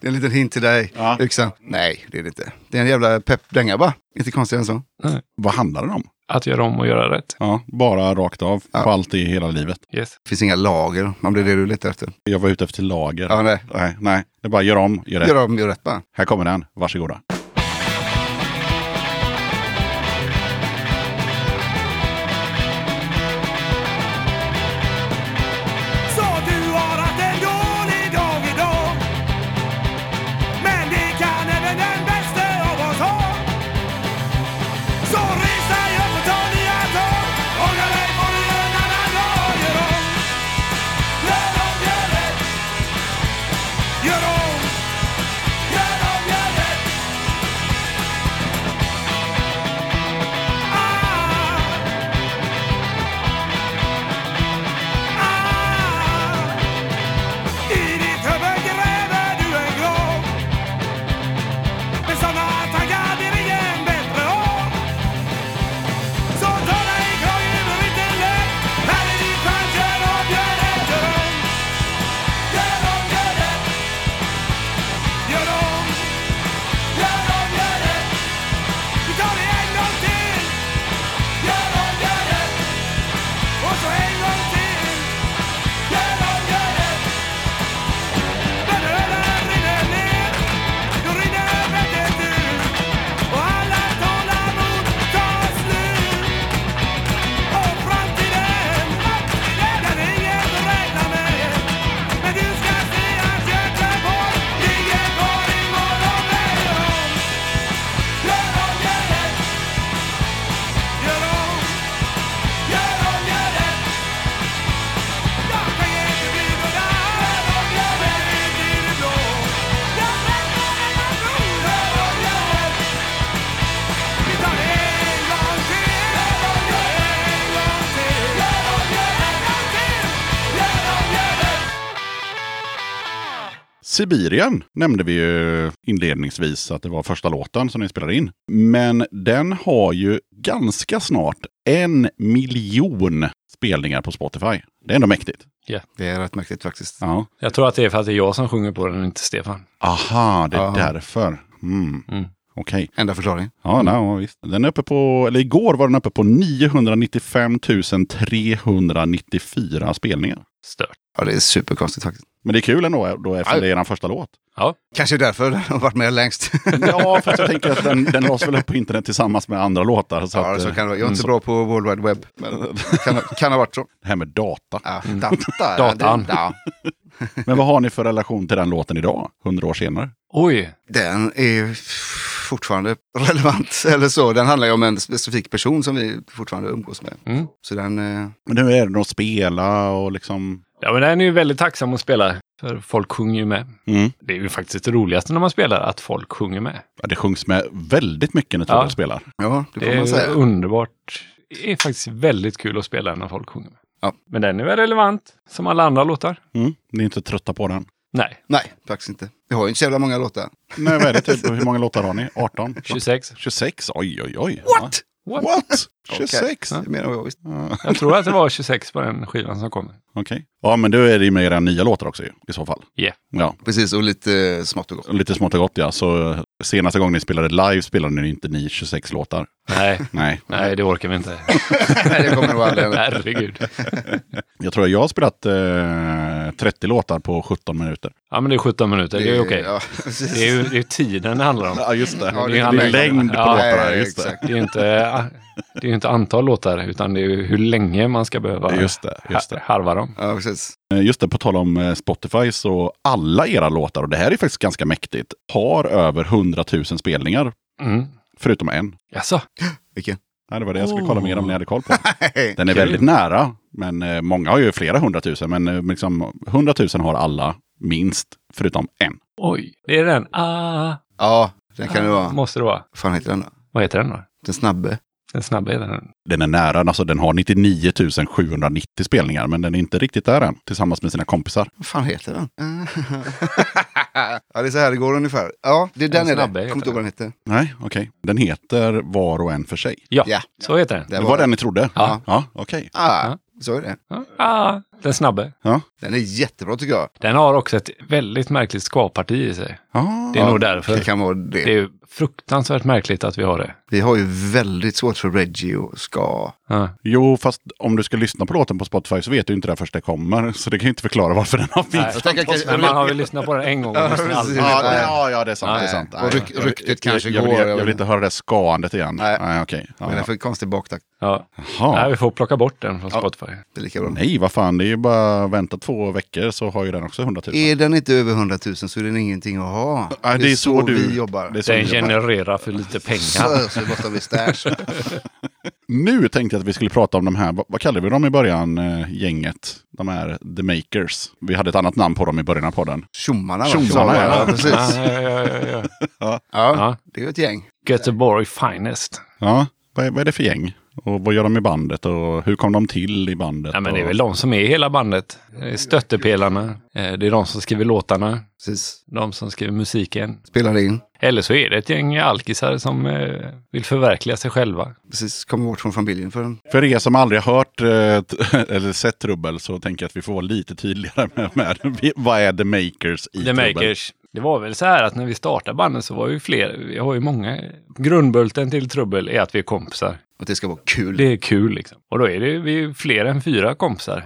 C: Det är en liten hint till dig,
B: Ja.
C: yxan. Nej, det är det inte. Det är en jävla peppdänga bara. Inte konstigt än så.
B: Vad handlar den om?
A: Att göra om och göra rätt.
B: Ja, bara rakt av, på allt i hela livet.
A: Yes.
C: Det finns inga lager, om det är det du letar efter.
B: Jag var ute efter lager.
C: Ja, nej.
B: Nej, nej, det är bara gör om, gör rätt.
C: Gör om, gör rätt bara.
B: Här kommer den, varsågoda.
D: Så du har haft en dålig dag idag Men det kan även den bäste av oss ha Så res dig upp och Ah.
B: Sibirien nämnde vi ju inledningsvis att det var första låten som ni spelade in. Men den har ju ganska snart en miljon spelningar på Spotify. Det är ändå mäktigt.
F: Det är rätt mäktigt faktiskt.
B: Ja.
A: Jag tror att det är för att det är jag som sjunger på den, och inte Stefan.
B: Aha, det är
F: Ja.
B: därför. Mm.
A: Mm.
B: Okej.
F: Enda förklaringen.
B: Ja, nej, ja, visst. Den är uppe på, eller igår var den uppe på 995 394 spelningar.
A: Stört.
F: Ja, det är superkonstigt faktiskt.
B: Men det är kul ändå eh, då eftersom
F: Ja.
B: det är den första låt.
F: Kanske därför den har varit med längst.
B: Ja, för jag tänker att den, den lades väl upp på internet tillsammans med andra låtar. Så
F: ja,
B: att,
F: så
B: eh,
F: kan det vara. Jag är
B: mm,
F: inte
B: så-
F: så bra på World Wide Web. Men kan, kan ha varit så.
B: Det här med data.
F: Ja, data,
A: Mm. (laughs) Datan.
F: Ja.
B: Men vad har ni för relation till den låten idag, hundra år senare?
A: Oj,
F: Den är fortfarande relevant. (laughs) Eller så. Den handlar ju om en specifik person som vi fortfarande umgås med.
A: Mm.
F: Så den... eh,
B: Men hur är det att spela och liksom...
A: Ja, men den är ju väldigt tacksam att spela. För folk sjunger ju med.
B: Mm.
A: Det är ju faktiskt det roligaste när man spelar, att folk sjunger med.
B: Ja, det sjungs med väldigt mycket när Torell
A: Ja.
B: spelar.
F: Ja, det får
A: Det är
F: man säga.
A: underbart. Det är faktiskt väldigt kul att spela när folk sjunger med.
F: Ja.
A: Men den är väl relevant, som alla andra låtar?
B: Mm. Ni är inte trötta på den?
A: Nej,
F: Nej, faktiskt inte. Vi har ju inte så jävla många låtar.
B: Nej, vad är det typ? Hur många låtar har ni? (laughs) 18?
A: 26.
B: 26? Oj, oj, oj.
F: What?
B: Ja.
A: What? (laughs)
B: What? 26?
F: Det menar jag visst.
B: Ja,
A: Jag tror att det var 26 på den skivan som kom.
B: Okej. Ja, men då är det ju med era nya låtar också ju, i så fall.
A: Yeah.
B: Ja,
F: Precis, och lite eh, smått och gott.
B: och lite smått och gott ja. Så eh, senaste gången ni spelade live spelade ni inte ni 26 låtar.
A: Nej,
B: Nej.
A: nej, det orkar vi inte.
F: (laughs) Nej, det kommer nog aldrig hända.
A: Herregud.
B: Jag tror jag har spelat eh, 30 låtar på 17 minuter.
A: Ja, men det är 17 minuter. Det är okej.
F: (laughs) Ja, precis.
A: Det är ju det är tiden det handlar om.
B: Ja, just det.
F: Ja,
B: det är
A: handlar-
B: längd på
A: Ja,
B: låtarna.
F: nej,
B: Just det.
F: exakt.
A: Det är ju inte, det är ju inte antal låtar, utan det är ju hur länge man ska behöva
B: Just det, just det.
A: har- harva dem.
F: Ja, precis. (laughs)
B: Eh, Just det, på tal om eh, Spotify så alla era låtar, och det här är faktiskt ganska mäktigt, har över 100 000 spelningar.
A: Mm.
B: Förutom en.
A: Jaså?
F: Vilken?
B: Nej, det var det jag skulle kolla mer om ni hade koll på.
F: Hej.
B: Den är
A: Kul.
B: väldigt nära, men eh, många har ju flera hundratusen. Men eh, liksom, hundratusen har alla minst, förutom en.
A: Oj, det är den. Ah,
F: Ja, den kan det vara. Vad
A: måste det vara.
F: fan heter den då?
A: Vad heter den då?
F: Den snabbe.
A: Den snabba heter den.
B: Den är nära, alltså den har 99 790 spelningar, men den är inte riktigt där än, tillsammans med sina kompisar.
F: Vad fan
B: (laughs)
F: heter den? ja, det är så här det går ungefär. Ja, det är den,
A: Den
F: är det.
A: snabbe
F: Kommer
A: heter
F: inte ihåg vad den heter.
B: Nej, okej. Den heter Var och en för sig.
A: Ja,
F: Ja.
A: så heter den.
B: Det var den ni trodde?
A: Ja.
B: Ja, okej.
F: Ah, så är det.
A: Ja, Ah, den snabbe.
B: Ja.
F: Den är jättebra tycker jag.
A: Den har också ett väldigt märkligt ska-parti i sig.
B: Ah,
A: Det är nog därför.
F: Det kan vara det.
A: Det är ju fruktansvärt märkligt att vi har det.
F: Vi har ju väldigt svårt för Reggie och ska.
A: Ja.
B: Jo, fast om du ska lyssna på låten på Spotify så vet du inte det först det kommer. Så det kan ju inte förklara varför den har finns.
A: Men man har väl lyssnat på den en gång. Och
F: Ja,
A: lyssnar
F: precis.
A: aldrig.
B: Ja,
F: Nej.
B: ja, ja, det är sant.
F: Nej.
B: Det är sant.
F: Och
B: Nej.
F: ryk-
B: Jag-
F: ryktet
B: jag-
F: kanske
B: jag,
F: går,
B: Jag,
F: jag
B: jag vill
F: vet
B: inte höra det skaandet igen. Nej,
F: Nej.
B: okej. Ja,
F: Vad är
B: ja.
F: det för konstig baktakt?
A: Ja.
B: Jaha.
A: Nej, vi får plocka bort den från Spotify.
F: Det är lika bra.
B: Nej, vad fan. Det är ju bara att vänta två veckor så har ju den också 100 000.
F: Är den inte över 100 000 så är den ingenting att ha.
B: Nej, det är så du-
F: vi jobbar.
B: Det är så
A: Den
B: vi jobbar.
A: genererar för lite pengar.
F: Så, så det måste
B: (laughs)
F: vi stash.
B: Nu tänkte jag att vi skulle prata om de här, vad, vad kallade vi dem i början, eh, gänget? De här The Makers. Vi hade ett annat namn på dem i början av podden.
F: Tjommarna va?
B: Tjommarna, ja.
F: ja. Precis.
A: Ja, ja, ja, ja, ja.
F: Ja,
A: Ja.
F: det är ju ett gäng.
A: Göteborg Finest.
B: Ja, vad är, vad är det för gäng? Och vad gör de i bandet? Och hur kom de till i bandet?
A: Ja, men det är
B: Och-
A: väl de som är i hela bandet. Det är Stöttepelarna. Eh, Det är de som skriver låtarna.
F: Precis.
A: De som skriver musiken.
F: Spelar in.
A: Eller så är det ett gäng alkisar som eh, vill förverkliga sig själva.
F: Precis. Kommer bort från familjen för en.
B: För er som aldrig har hört eh, (laughs) t- eller sett Trubbel så tänker jag att vi får vara lite tydligare (laughs) med, med vi- vad är The Makers i
A: The
B: Trubbel.
A: Makers. Det var väl så här att när vi startade bandet så var ju fler, vi har ju många. Grundbulten till Trubbel är att vi är kompisar.
F: Att det ska vara kul.
A: Det är kul liksom. Och då är det ju vi är ju fler än fyra kompisar.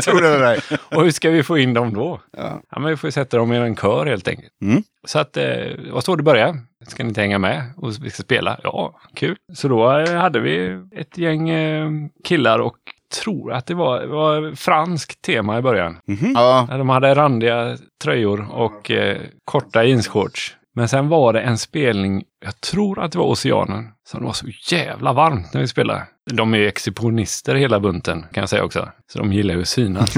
F: Tror du det (laughs) där?
A: (laughs) Och hur ska vi få in dem då?
F: Ja.
A: Ja, men vi får ju sätta dem i en kör helt enkelt.
B: Mm.
A: Så att, eh, det var så det började. Ska ni inte hänga med? Och vi ska spela? Ja, kul. Så då eh, hade vi ett gäng eh, killar och tror att det var, det var franskt tema i början.
F: Ja,
A: Ja, De hade randiga tröjor och eh, korta jeansshorts. Men sen var det en spelning, jag tror att det var Oceanen, som det var så jävla varmt när vi spelade. De är ju exhibitionister hela bunten, kan jag säga också. Så de gillar ju att synas.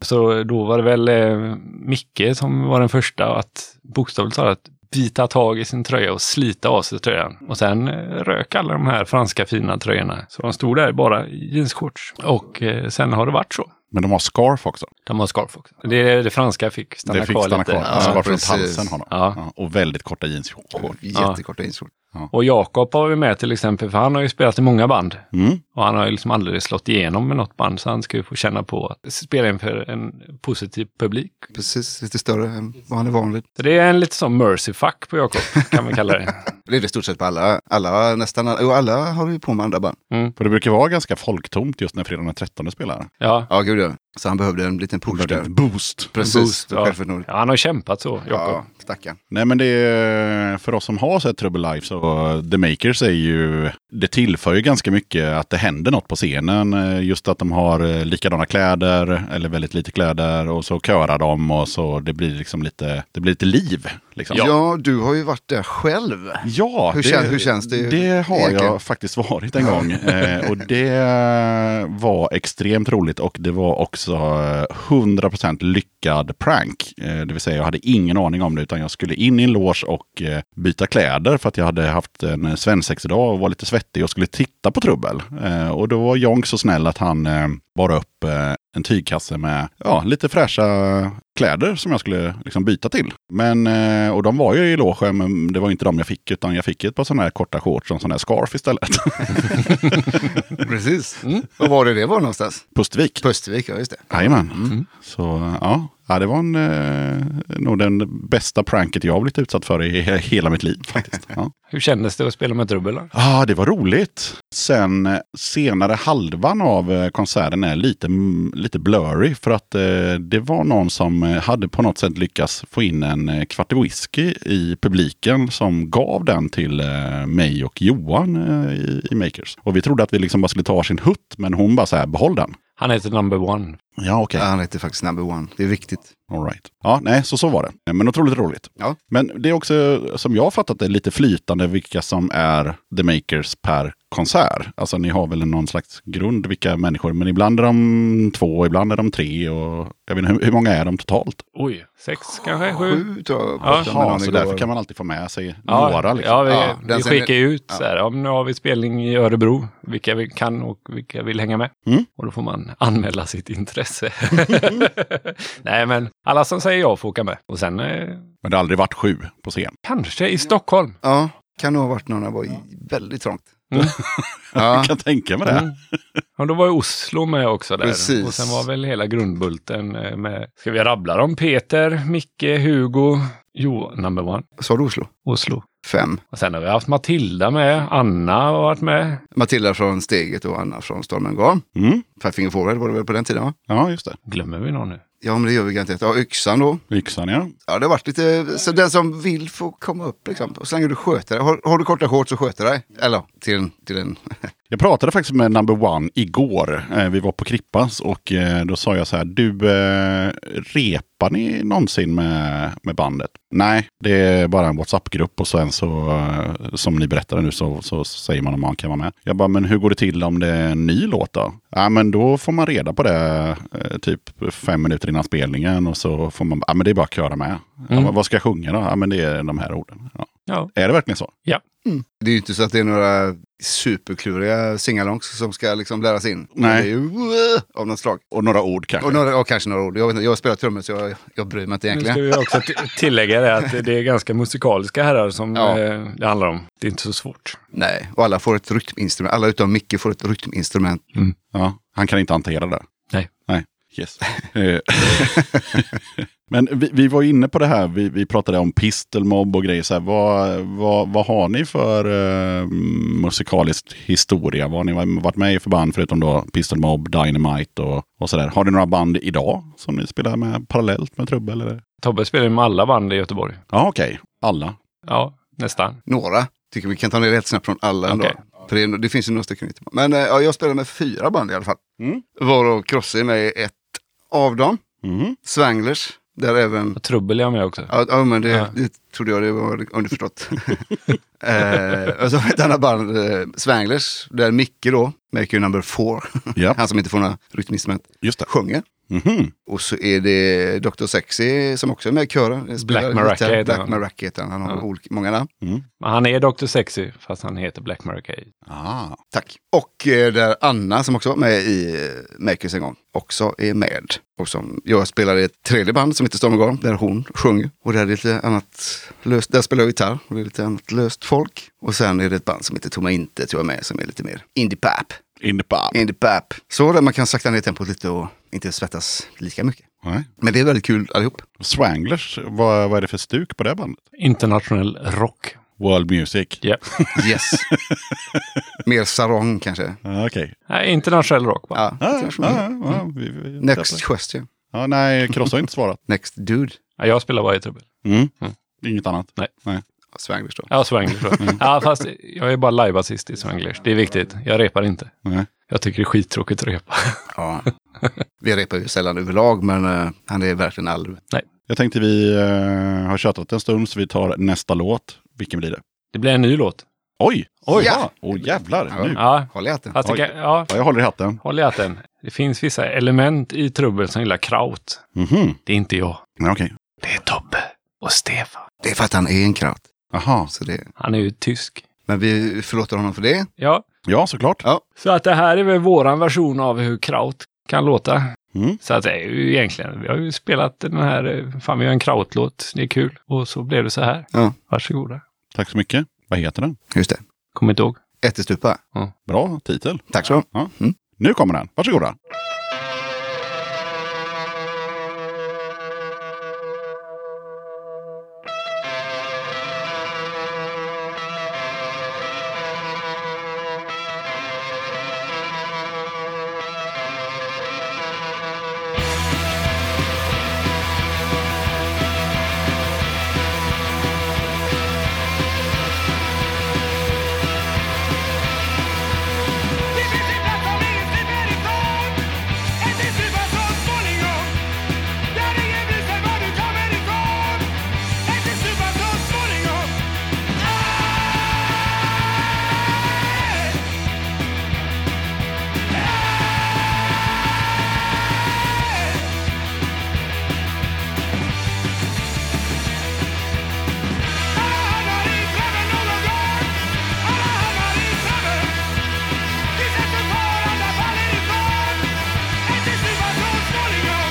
A: så då var det väl eh, Micke som var den första att bokstavligt talat bita tag i sin tröja och slita av sig tröjan. Och sen eh, rök alla de här franska fina tröjorna. Så de stod där bara i jeansshorts. Och eh, sen har det varit så.
B: Men de har scarf också.
A: De har scarf också. Det, det franska fick stanna
B: det fick
A: kvar
B: stanna
A: lite.
B: kvar.
A: Ja.
B: alltså, varför runt
F: precis.
B: halsen har de.
A: Ja.
B: Ja, och väldigt korta jeansshorts.
F: Jättekorta insolor.
A: Och Jakob har vi med till exempel, för han har ju spelat i många band.
B: Mm.
A: Och han har ju liksom aldrig slått igenom med något band, så han ska ju få känna på att spela inför en positiv publik.
F: Precis, lite större än vad han är van vid.
A: Så det är en lite sån mercy fuck på Jakob, kan vi kalla
B: (laughs)
A: det.
F: Det är det i stort sett på alla, alla nästan alla, jo, alla har ju på med andra band.
B: För det brukar vara ganska folktomt just när fredagen den 13 spelar.
A: Ja.
F: Ja, gud ja. Så han behövde en liten push
B: Lördag.
F: där.
B: Boost.
F: Precis,
A: boost,
F: för
A: ja.
F: självförtroendet.
A: ja, han har kämpat så, Jakob.
F: Ja, stackarn.
B: Nej men det är, för oss som har sett Trouble Life så The Makers är ju, det tillför ju ganska mycket att det händer något på scenen. Eh, Just att de har eh, likadana kläder eller väldigt lite kläder och så körar de och så det blir liksom lite, det blir lite liv. Liksom.
F: Ja. du har ju varit där själv.
B: Ja,
F: Hur kän- hur känns det
B: Det har
F: egentligen?
B: jag faktiskt varit en gång. Eh, och det var extremt roligt och det var också eh, 100% lyckad prank. Eh, det vill säga jag hade ingen aning om det utan jag skulle in i en loge och eh, byta kläder för att jag hade haft en eh, svensexa-dag och var lite svettig och skulle titta på Trubbel. Eh, och då var Jonk så snäll att han eh, bar upp eh, en tygkasse med ja, lite fräscha kläder som jag skulle liksom byta till. Men, eh, och de var ju i logen, men det var inte de jag fick, utan jag fick ett par sådana här korta shorts och en sån här scarf istället. (laughs)
F: Precis. Och var det det var någonstans?
B: Pustervik.
F: På Östervik, ja just det.
B: Jajamän. Mm. Så ja. ja, det var en, eh, nog den bästa pranket jag har blivit utsatt för i he- hela mitt liv. faktiskt. (laughs) Ja.
A: Hur kändes det att spela med trubbel? då?
B: Ah, det var roligt. Sen eh, senare halvan av eh, konserten är lite, mm, lite blurry för att eh, det var någon som eh, hade på något sätt lyckats få in en eh, kvart whisky i publiken som gav den till eh, mig och Johan eh, i, i Makers. Och vi trodde att vi liksom bara skulle ta sin hutt men hon bara så här behåll den. Ah,
A: Han heter number one.
B: Ja okej.
F: Ja, han heter faktiskt Number One. Det är viktigt.
B: All right. Ja, nej, så så var det. Eh, Men otroligt roligt.
F: Ja.
B: Men det är också, eh, som jag har fattat det, lite flytande vilka som är the makers per konsert. Alltså ni har väl någon slags grund vilka människor, men ibland är de två, ibland är de tre och jag vet inte, hur, hur många är de totalt?
A: Oj, sex kanske? Sju?
F: Sju tror jag.
A: Ja.
F: pratade med
B: Jaha,
F: någon
B: så
F: igår.
B: därför kan man alltid få med sig
A: Ja,
B: några. Liksom.
A: ja, vi,
F: Ja, den
A: vi
F: ser ni-
A: skickar ju ut så här, ja, men nu har vi spelning i Örebro, vilka vi kan och vilka vill hänga med.
B: Mm.
A: Och då får man anmäla sitt intresse. (laughs) Nej, men alla som säger ja får åka med. Och sen eh,
B: Men det har aldrig varit sju på scen.
A: kanske i Stockholm.
F: Ja, Mm. kan nog ha varit någon. Det var i- väldigt trångt. Ja, (laughs)
B: Jag kan tänka mig det.
A: Mm. Och då var ju Oslo med också där.
F: Precis.
A: Och sen var väl hela grundbulten eh, med, ska vi rabbla dem? Peter, Micke, Hugo, jo, number one,
F: sa du Oslo?
A: Oslo.
F: Fem.
A: Och sen har vi haft Matilda med, Anna har varit med.
F: Matilda från Steget och Anna från Stormen Garn.
B: Mm.
F: Five Finger Forward var det väl på den tiden? Va?
B: Ja, just det.
A: Glömmer vi någon nu?
F: Ja, men det gör vi garanterat. Ja, Yxan då.
B: Yxan ja.
F: Ja, det har varit lite, så den som vill får komma upp liksom. Och så länge du sköter dig. Har, har du korta shorts så sköter dig. Eller till en, till en. (laughs)
B: Jag pratade faktiskt med number one igår. Eh, Vi var på Krippans och eh, då sa jag så här, du eh, repar ni någonsin med, med bandet? Nej, det är bara en WhatsApp-grupp och sen så, eh, som ni berättade nu, så, så säger man om man kan vara med. Jag bara, men hur går det till om det är en ny låt då? Ja, men då får man reda på det eh, typ fem minuter innan spelningen och så får man, ja men det är bara att köra med. Ja,
A: Mm.
B: men vad ska jag sjunga då? Ja, men det är de här orden. Ja.
A: Ja.
B: Är det verkligen så?
F: Det är ju inte så att det är några superkluriga singalongs som ska liksom läras in.
B: Nej.
F: Det är ju uh, av något slag.
B: Och några ord kanske?
F: Och några, och kanske några ord. Jag, vet inte, jag spelar trummor så jag, jag bryr mig inte
A: Nu ska
F: egentligen.
A: vi också t- tillägga det att det är ganska musikaliska herrar som
F: Ja.
A: eh, det handlar om. Det är inte så svårt.
F: Nej, och alla får ett rytminstrument. Alla utom Micke får ett rytminstrument.
B: Ja, han kan inte hantera det.
A: Nej.
B: Nej. Yes. Eh, (laughs) Men vi, vi var inne på det här, vi, vi pratade om pistolmobb och grejer. Så här, vad, vad, vad har ni för eh, musikalisk historia? Vad har ni varit med i för band förutom då pistolmobb, dynamite och, och sådär? Har ni några band idag som ni spelar med parallellt med trubbel? Eller?
A: Tobbe spelar ju med alla band i Göteborg.
B: Ja, okej. Alla.
A: Ja, nästan.
F: Några. Tycker vi kan ta ner rätt snabbt från alla ändå.
A: Okej.
F: För det, är- det finns ju några stycken inte. Men eh, ja, jag spelar med fyra band i alla fall.
B: Mm.
F: Varav Crossy är med i ett av dem.
B: Mhm.
F: Swanglers, där även...
A: Och Trubbel är jag med också.
F: Ja, ja men det,
A: Ja.
F: det trodde jag det var underförstått. (laughs) eh, och så har vi ett annat band, eh, Swanglers, där Micke då, Mercury Number Four,
B: Ja,
F: han som inte får några rytminstrument,
B: just det.
F: sjunger.
B: Mhm.
F: Och så är det Dr. Sexy som också är med i kören. Spelar
A: Black Maraca
F: gitarr.
A: heter
F: Black
A: han.
F: Maraca heter han. Han har
A: Ja.
F: olika, många namn.
A: Men han är Dr. Sexy, fast han heter Black Maraca.
B: Ah.
F: Tack. Och eh, där Anna som också var med i eh, Makers en gång också är med. Och som jag spelar i ett tredje band som heter Stormgården där hon sjunger. Och där är det lite annat löst, där spelar jag gitarr och det är lite annat löst folk. Och sen är det ett band som heter Tomma Intet jag är med som är lite mer indie pop.
B: In the pub.
F: Indie pop. Så där man kan sakta ner tempot lite och inte svettas lika mycket.
B: Nej.
F: Men det är väldigt kul allihop.
B: Swanglers, vad, vad är det för stuk på det bandet?
A: Internationell rock.
B: World Music.
A: Yep.
F: Yes. (laughs) mer sarong kanske.
B: Ah, Okej.
A: (laughs) Nej, internationell rock bara.
F: Ja,
B: Ah,
F: kanske.
B: ah, ah, vi- vi-
F: Mm. Next question.
B: Ja, nej, Kross har inte svarat.
F: Next dude.
A: Ja, jag spelar bara i trubbel.
B: (laughs) Mm.
A: Mm.
B: Inget annat.
A: Nej.
F: Swanglish då.
A: Ja, Swanglish. då.
F: Mm.
A: ja, fast jag är bara livebasist i Swanglish. Det är viktigt. Jag repar inte.
B: Nej.
A: Jag tycker det är skittråkigt att repa.
F: Ja. Vi repar ju sällan överlag, men eh, han är verkligen all...
B: Jag tänkte vi eh, har tjatat en stund så vi tar nästa låt. Vilken blir det?
A: Det blir en ny låt.
B: Oj!
F: Oj.
B: Ja. Åh jävlar!
F: Ja.
B: Nu.
A: Ja,
F: Håll i hatten.
A: fast det
B: Oj.
A: kan, ja,
B: Ja, jag håller i hatten.
A: håll i hatten. Det finns vissa element i trubbel som gillar kraut.
B: Mhm.
A: Det är inte jag.
B: Nej, okej.
A: Det är Tobbe och Stefan.
F: Det är för att han är en kraut.
B: Jaha.
F: Så det...
A: Han är ju tysk.
F: Men vi förlåter honom för det.
A: Ja,
B: Ja, såklart.
F: Ja.
A: så att det här är väl våran version av hur kraut kan låta.
B: Mm.
A: Så att det är ju egentligen, vi har ju spelat den här, eh, fan vi gör en krautlåt, det är kul. Och så blev det så här.
F: Ja.
A: Varsågoda.
B: Tack så mycket. Vad heter den?
F: Just det.
A: Kommer inte ihåg.
F: Ättestupa.
B: Bra titel.
F: Tack så mycket.
B: Ja.
F: Mm.
B: Nu kommer den. Varsågoda.
D: Det finns en plats som ingen slipper ifrån En tillstupa så småningom Där ingen bryr sig var du kommer ifrån En tillstupa så småningom Aj! Aj! Alla hamnar i traven någon gång Alla hamnar i traven vi sätter på alla faller ifrån En till slut var så småningom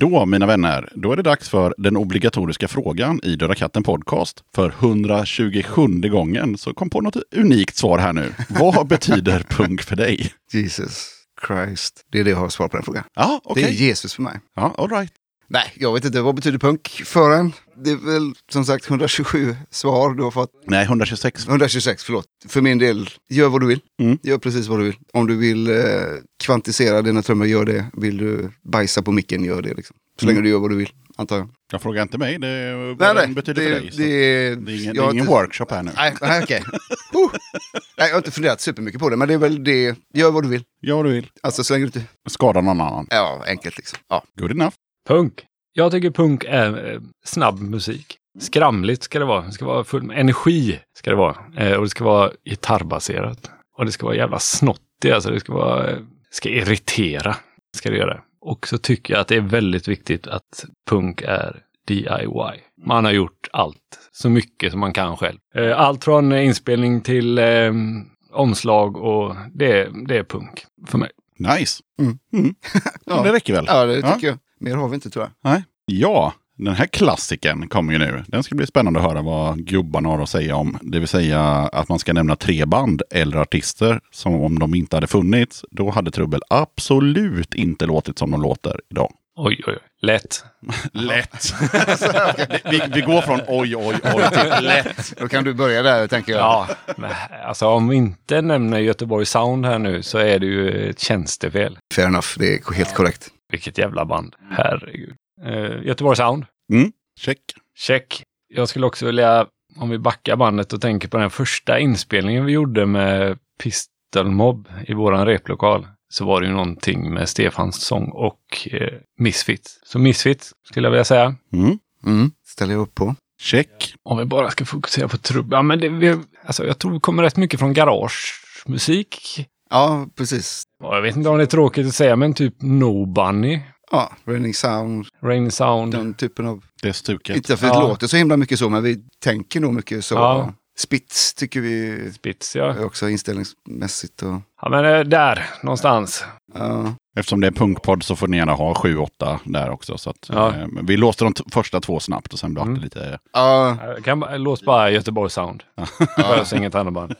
B: Då, mina vänner, då är det dags för den obligatoriska frågan i Döda katten podcast. För 127 gången så kom på något unikt svar här nu. Vad betyder (laughs) punk för dig?
F: Jesus Christ. Det är det jag har svar på den frågan.
B: Ja, okej.
F: Det är Jesus för mig.
B: Ja, all right.
F: Nej, jag vet inte. Vad betyder punk för en? Det är väl som sagt 127 svar du har fått.
B: Nej, 126.
F: 126, förlåt. För min del, gör vad du vill.
B: Mm.
F: Gör precis vad du vill. Om du vill eh, kvantisera dina trummor, gör det. Vill du bajsa på micken, gör det. Liksom. Så
B: Mm.
F: länge du gör vad du vill, antar jag.
B: Jag frågar inte mig, det är vad den betyder
F: det,
B: för dig. så
F: Det, är-
B: det är ingen, det
F: jag-
B: är ingen workshop här nu.
F: Nej, nej, okej. Huh. Nej, jag har inte funderat supermycket på det, men det är väl det. Gör vad du vill.
B: Gör vad du vill.
F: Alltså så länge du inte...
B: Skada någon annan.
F: Ja, enkelt liksom. Ja.
B: Good enough.
A: Punk. Jag tycker punk är eh, snabb musik. Skramligt ska det vara. Det ska vara full med energi. Ska det vara. Eh, och det ska vara gitarrbaserat. Och det ska vara jävla snottigt. Alltså det ska vara... eh, ska irritera. Ska det göra. Och så tycker jag att det är väldigt viktigt att punk är DIY. Man har gjort allt. Så mycket som man kan själv. Eh, allt från eh, inspelning till eh, omslag och det, det är punk för mig.
B: Nice.
F: Mm.
B: Mm. (laughs)
F: Ja.
B: Det räcker väl?
F: ja, det tycker jag. Mer har vi inte tror jag.
B: Ja, Den här klassiken kommer ju nu. Den ska bli spännande att höra vad gubbarna har att säga om. Det vill säga att man ska nämna tre band eller artister som om de inte hade funnits. Då hade Trubbel absolut inte låtit som de låter idag.
A: Oj, oj, oj. Lätt.
B: Lätt! (laughs) vi, vi går från oj, oj, oj till lätt.
F: Då kan du börja där, tänker jag.
A: Ja, men, alltså om vi inte nämner Göteborg Sound här nu så är det ju ett tjänstefel.
F: Fair enough, det är helt korrekt.
A: Vilket jävla band. Herregud. Eh, Göteborg Sound.
B: Check.
A: Check. Jag skulle också vilja, om vi backar bandet och tänker på den första inspelningen vi gjorde med Pistol Mob i våran replokal. Så var det ju någonting med Stefans sång och eh, Misfits. Så Misfits skulle jag vilja säga.
B: Mm.
F: Mm, ställer jag upp på.
B: Check.
A: Om vi bara ska fokusera på trubbel. Ja, men det, vi, alltså, jag tror det kommer rätt mycket från garagemusik.
F: Ja, precis.
A: Och Jag vet inte om det är tråkigt att säga, men typ No Bunny,
F: Ja, Running Sound,
A: Rain Sound.
F: den typen av...
B: Det är stuket.
F: Inte för att
A: Ja.
F: det låter så himla mycket så, men vi tänker nog mycket så.
A: Ja.
F: Spits tycker vi
A: Spits, ja.
F: är också inställningsmässigt. Och,
A: ja men eh, där, någonstans.
F: ja.
B: Eftersom det är punkpodd så får ni gärna ha 7-8 där också. Så att,
A: Ja.
B: eh, vi låste de t- första två snabbt och sen blev det lite...
F: ja,
A: Jag Kan, ba- låt bara Göteborg Sound. Det behövs inget annat band.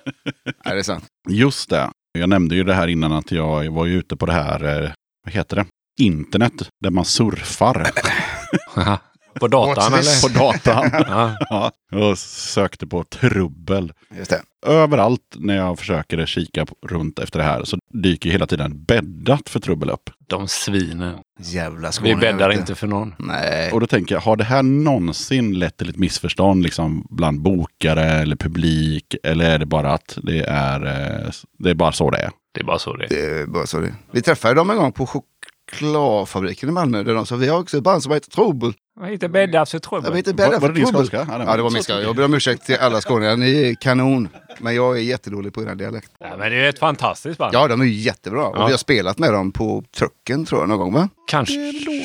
F: ja, det är sant.
B: Just det. Jag nämnde ju det här innan att jag var ju ute på det här, eh, vad heter det? Internet, där man surfar
A: på datan
F: What's this?
A: eller?
B: på datan.
A: Ja.
B: ja, och sökte på trubbel.
F: Just det.
B: Överallt när jag försöker kika på- runt efter det här så dyker ju hela tiden bäddat för trubbel upp.
A: De svinen.
F: Jävla Skåne.
A: Vi bäddar
F: vet
A: inte för någon.
F: Nej.
B: Och då tänker jag, har det här någonsin lett till ett missförstånd liksom, bland bokare eller publik? Eller är det bara att det är, eh, det är bara så det är?
A: Det är bara så det är.
F: Det är bara så det är. Vi träffade dem en gång på chokladfabriken i Malmö. Där de sa vi har också ett band som heter Trubbel.
A: Jag hittar bäddar för
F: Jag
A: trubbel.
F: vet inte bädda
B: Var- var
F: för
B: det din
F: Trubbel.
B: skånska? Ja, det var-
F: Ja, det var min skånska. Jag ber om ursäkt till alla skåningar. Ni är kanon. Men jag är jättedålig på er dialekt.
A: Ja, men det är ju ett fantastiskt band.
F: Ja, de är ju jättebra.
A: Ja.
F: Och vi har spelat med dem på trucken tror jag någon gång va?
A: Kanske.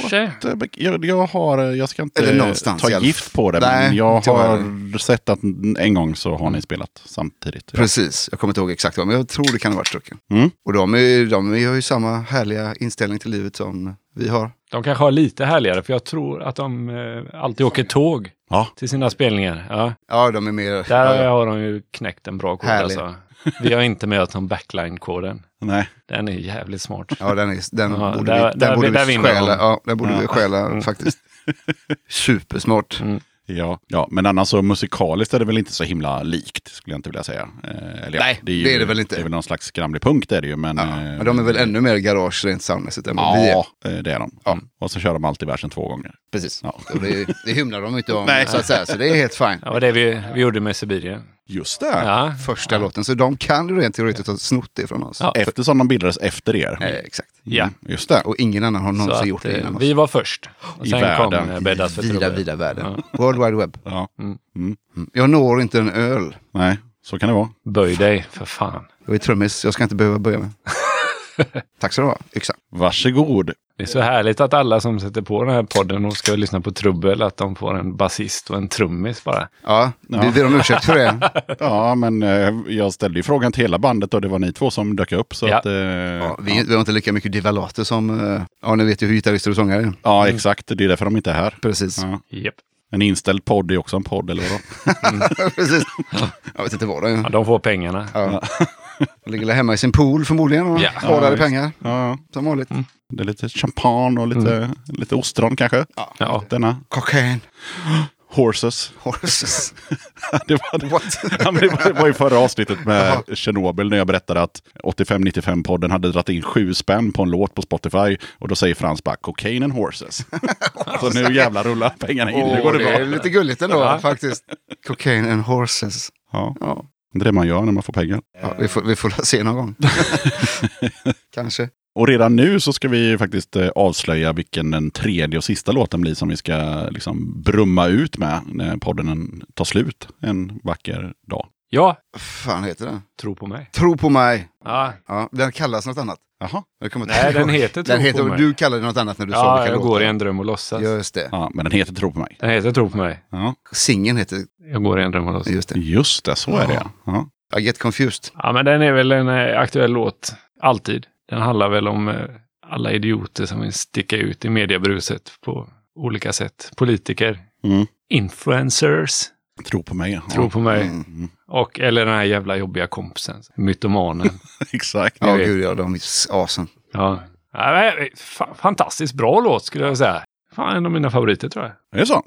B: Det- Jag, jag, har, eh, jag ska inte
F: Eller någonstans i
B: ta
F: alla
B: gift på det,
F: Nej,
B: men jag
F: inte jag
B: har sett att en gång så har ni spelat samtidigt.
F: Precis, jag kommer inte ihåg exakt vad, men jag tror det kan ha varit trucken.
B: Mm.
F: Och de, är, de har ju samma härliga inställning till livet som vi har.
A: De kanske har lite härligare för jag tror att de eh, alltid åker tåg
B: Ja.
A: till sina spelningar. Ja.
F: Ja, de är mer...
A: Där
F: ja,
A: har de ju knäckt en bra kod
F: Härlig.
A: alltså. Vi har inte med oss om backline-koden.
B: Nej.
A: Den är jävligt smart.
F: ja, den, är, den
A: Ja,
F: borde
A: där-
F: vi, den
A: där-
F: borde
A: där
F: vi
A: vinner
F: stjäla.
A: de.
F: Ja, den borde vi
A: (laughs)
F: stjäla faktiskt. Supersmart.
A: Mm.
B: Ja. ja, men annars så musikaliskt är det väl inte så himla likt, skulle jag inte vilja säga. Eh, eller, ja,
F: Nej,
B: ju,
F: det är det väl inte.
B: Det är väl någon slags skramlig punkt är det ju, men...
F: Ja.
B: eh,
F: Men de är väl ännu mer garage rent soundmässigt än vad vi är.
B: Ja, eh, det är de.
F: Ja.
B: Mm. Och så kör de alltid versen två gånger.
F: Precis.
B: Ja.
F: Och Det, det hymlar de (laughs) inte om,
B: Nej.
F: så att säga. Så det är
A: (laughs)
F: helt fint.
A: Det var det vi, vi gjorde med Sibirien.
B: Just det.
A: Ja.
F: Första låten, så de kan ju rent teoretiskt ha snott det från oss.
A: Ja.
B: Eftersom de bildades efter er. Mm.
F: Eh, Mm. exakt.
A: ja.
B: Just det.
F: Och ingen annan har någonsin
A: Så
F: gjort
A: att,
F: det
A: eh,
F: innan oss.
A: Vi var först. Och
B: I
A: sen
B: världen.
A: kom eh, Bäddas för
F: vida,
A: trubbel.
F: vida världen. (laughs) World Wide Web.
B: Ja.
F: Mm. Jag når inte en öl.
B: Nej, så kan det vara.
A: Böj dig, för fan.
F: Jag är trummis, jag ska inte behöva
A: (laughs)
F: börja med. Tack så du ha, yxa.
B: Varsågod.
A: Det är så härligt att alla som sätter på den här podden och ska lyssna på trubbel, att de får en basist och en trummis bara.
F: Ja, vi ber om ursäkt
A: (laughs)
F: för det.
B: Ja, men eh, jag ställde ju frågan till hela bandet och det var ni två som dök upp. Så
A: Ja.
B: att, eh,
F: Ja, vi, vi har inte lika mycket divalater som, eh, ja ni vet ju hur gitarrister och sångare är.
B: ja, exakt. Det är därför de inte är här.
F: Precis.
B: Ja.
A: Japp.
B: En inställd podd är också en podd, eller vadå?
F: (laughs) Precis. Jag vet inte vad det
A: Ja,
F: är.
A: de får pengarna.
F: Ja. De ligger hemma i sin pool förmodligen och
A: Ja. Mm.
F: sparar
B: Ja,
F: pengar.
B: Ja,
F: Som vanligt.
B: det är lite champagne och lite, lite ostron kanske.
A: Ja.
B: Denna.
F: Cocaine. (laughs)
B: Horses. (laughs)
F: Horses.
B: Det var,
F: What?
B: ja, men det, var, det var ju förra avsnittet med Tjernobyl när jag berättade att 85-95-podden hade dragit in sju spänn på en låt på Spotify. Och då säger Frans bara cocaine and horses. så nu jävlar rullar pengarna in. nu går
F: Åh,
B: det
F: det
B: bra.
F: är lite gulligt ändå faktiskt. Cocaine and horses.
B: Ja.
F: Ja.
B: Det är det man gör när man får pengar.
F: Ja, vi, får, vi får se
A: (laughs)
F: någon gång. Kanske.
B: Och redan nu så ska vi faktiskt eh, avslöja vilken den tredje och sista låten blir som vi ska liksom brumma ut med när podden tar slut en vacker dag.
A: Ja,
F: Vad fan heter den?
A: tro på mig.
F: Tro på mig.
A: Ja,
F: Ja, den kallas något annat.
B: Jaha.
F: Jag kommer inte
A: nej,
F: ihåg.
A: den heter tro
F: Den heter,
A: på mig.
F: du kallade det något annat när du sa
A: ja,
F: vilka
A: jag går i
F: låtar.
A: en dröm och låtsas.
F: Just det.
B: Ja, men den heter Tro på mig.
A: Den heter tro på mig.
B: Ja,
F: Singeln heter
A: Jag går i en dröm och låtsas.
F: just det.
B: just det, så är det. Ja.
F: I get confused.
A: Ja, men den är väl en eh, aktuell låt. Alltid. Den handlar väl om eh, alla idioter som vill sticka ut i mediebruset på olika sätt. Politiker,
B: Mm.
A: influencers,
B: Tro på mig.
A: tro på mig.
B: Mm.
A: Och eller den här jävla jobbiga kompisen,
F: (laughs)
A: mytomanen.
B: (laughs) Exakt.
F: Ja,
A: vet.
F: gud ja, de är
B: (laughs)
F: asen.
A: ja. Ja, men, fa- Fantastiskt bra låt skulle jag säga. Fan, en av mina favoriter tror jag.
B: Är det så?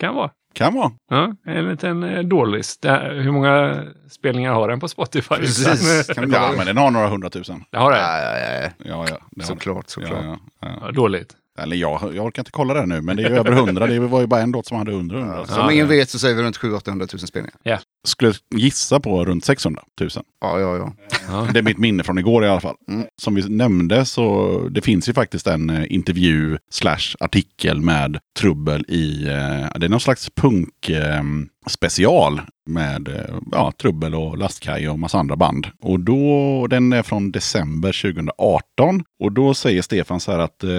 A: Kan vara.
B: Kan vara.
A: Ja, en liten eh, dårlis. Det här- Hur många spelningar har den på Spotify? (laughs)
F: Precis. Kan du
B: Ja,
F: kolla?
B: men den har några hundratusen.
A: Det har den.
F: Ja, ja, ja.
B: Ja, ja. det har den.
F: Såklart, såklart.
B: Ja, ja, ja.
A: Ja, dåligt.
B: Eller jag, jag orkar inte kolla det nu, men det är ju över hundra. Det var ju bara en låt som hade under hundra.
F: Som ingen vet så säger vi runt 700 000 spelningar.
B: Skulle gissa på runt 600 000.
F: Ja, ja, ja.
A: Ja.
B: Det är mitt minne från igår i alla fall. Som vi nämnde så det finns ju faktiskt en eh, intervju slash artikel med Trubbel i, eh, det är någon slags punk eh, special med eh, ja, Trubbel och Lastkaj och massa andra band. Och då, den är från december 2018. Och då säger Stefan så här att, eh,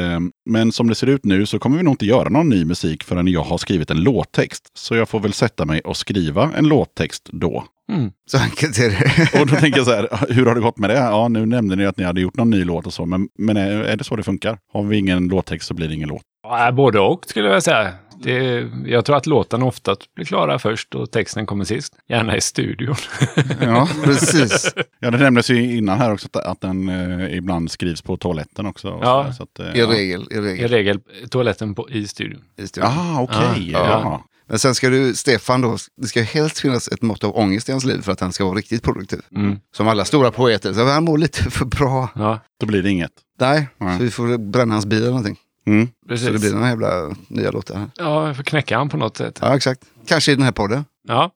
B: men som det ser ut nu så kommer vi nog inte göra någon ny musik förrän jag har skrivit en låttext. Så jag får väl sätta mig och skriva en låttext då.
F: Så enkelt är
B: (laughs)
F: det. (laughs)
B: Och då tänker jag så här, hur har det gått med det? Ja, nu nämnde ni att ni hade gjort någon ny låt och så, men, men är, är det så det funkar? Har vi ingen låttext så blir det ingen låt.
A: Ja, både och skulle jag säga. Det, jag tror att låtarna ofta blir klara först och texten kommer sist. Gärna i studion. (laughs)
B: Ja,
F: Precis.
B: ja det nämndes ju innan här också att, att den eh, ibland skrivs på toaletten också. Och
A: Ja.
B: så där, så att, eh,
F: I regel. I
A: I
F: regel.
A: regel toaletten på, i studion.
F: I studion.
B: Ja, ah, okej.
A: Ja.
B: Ja.
F: Men sen ska du, Stefan då, det ska ju helst finnas ett mått av ångest i hans liv för att han ska vara riktigt produktiv.
A: Mm.
F: Som alla stora poeter, så han mår lite för bra.
A: Ja,
B: Då blir det inget. (laughs)
F: Nej,
B: Nej.
F: så vi får bränna hans bil eller någonting.
B: Mm.
A: precis.
F: Så det blir några jävla nya låtar. här.
A: Ja, jag får knäcka han på något sätt.
F: Ja, exakt. Kanske i den här podden.
A: Ja,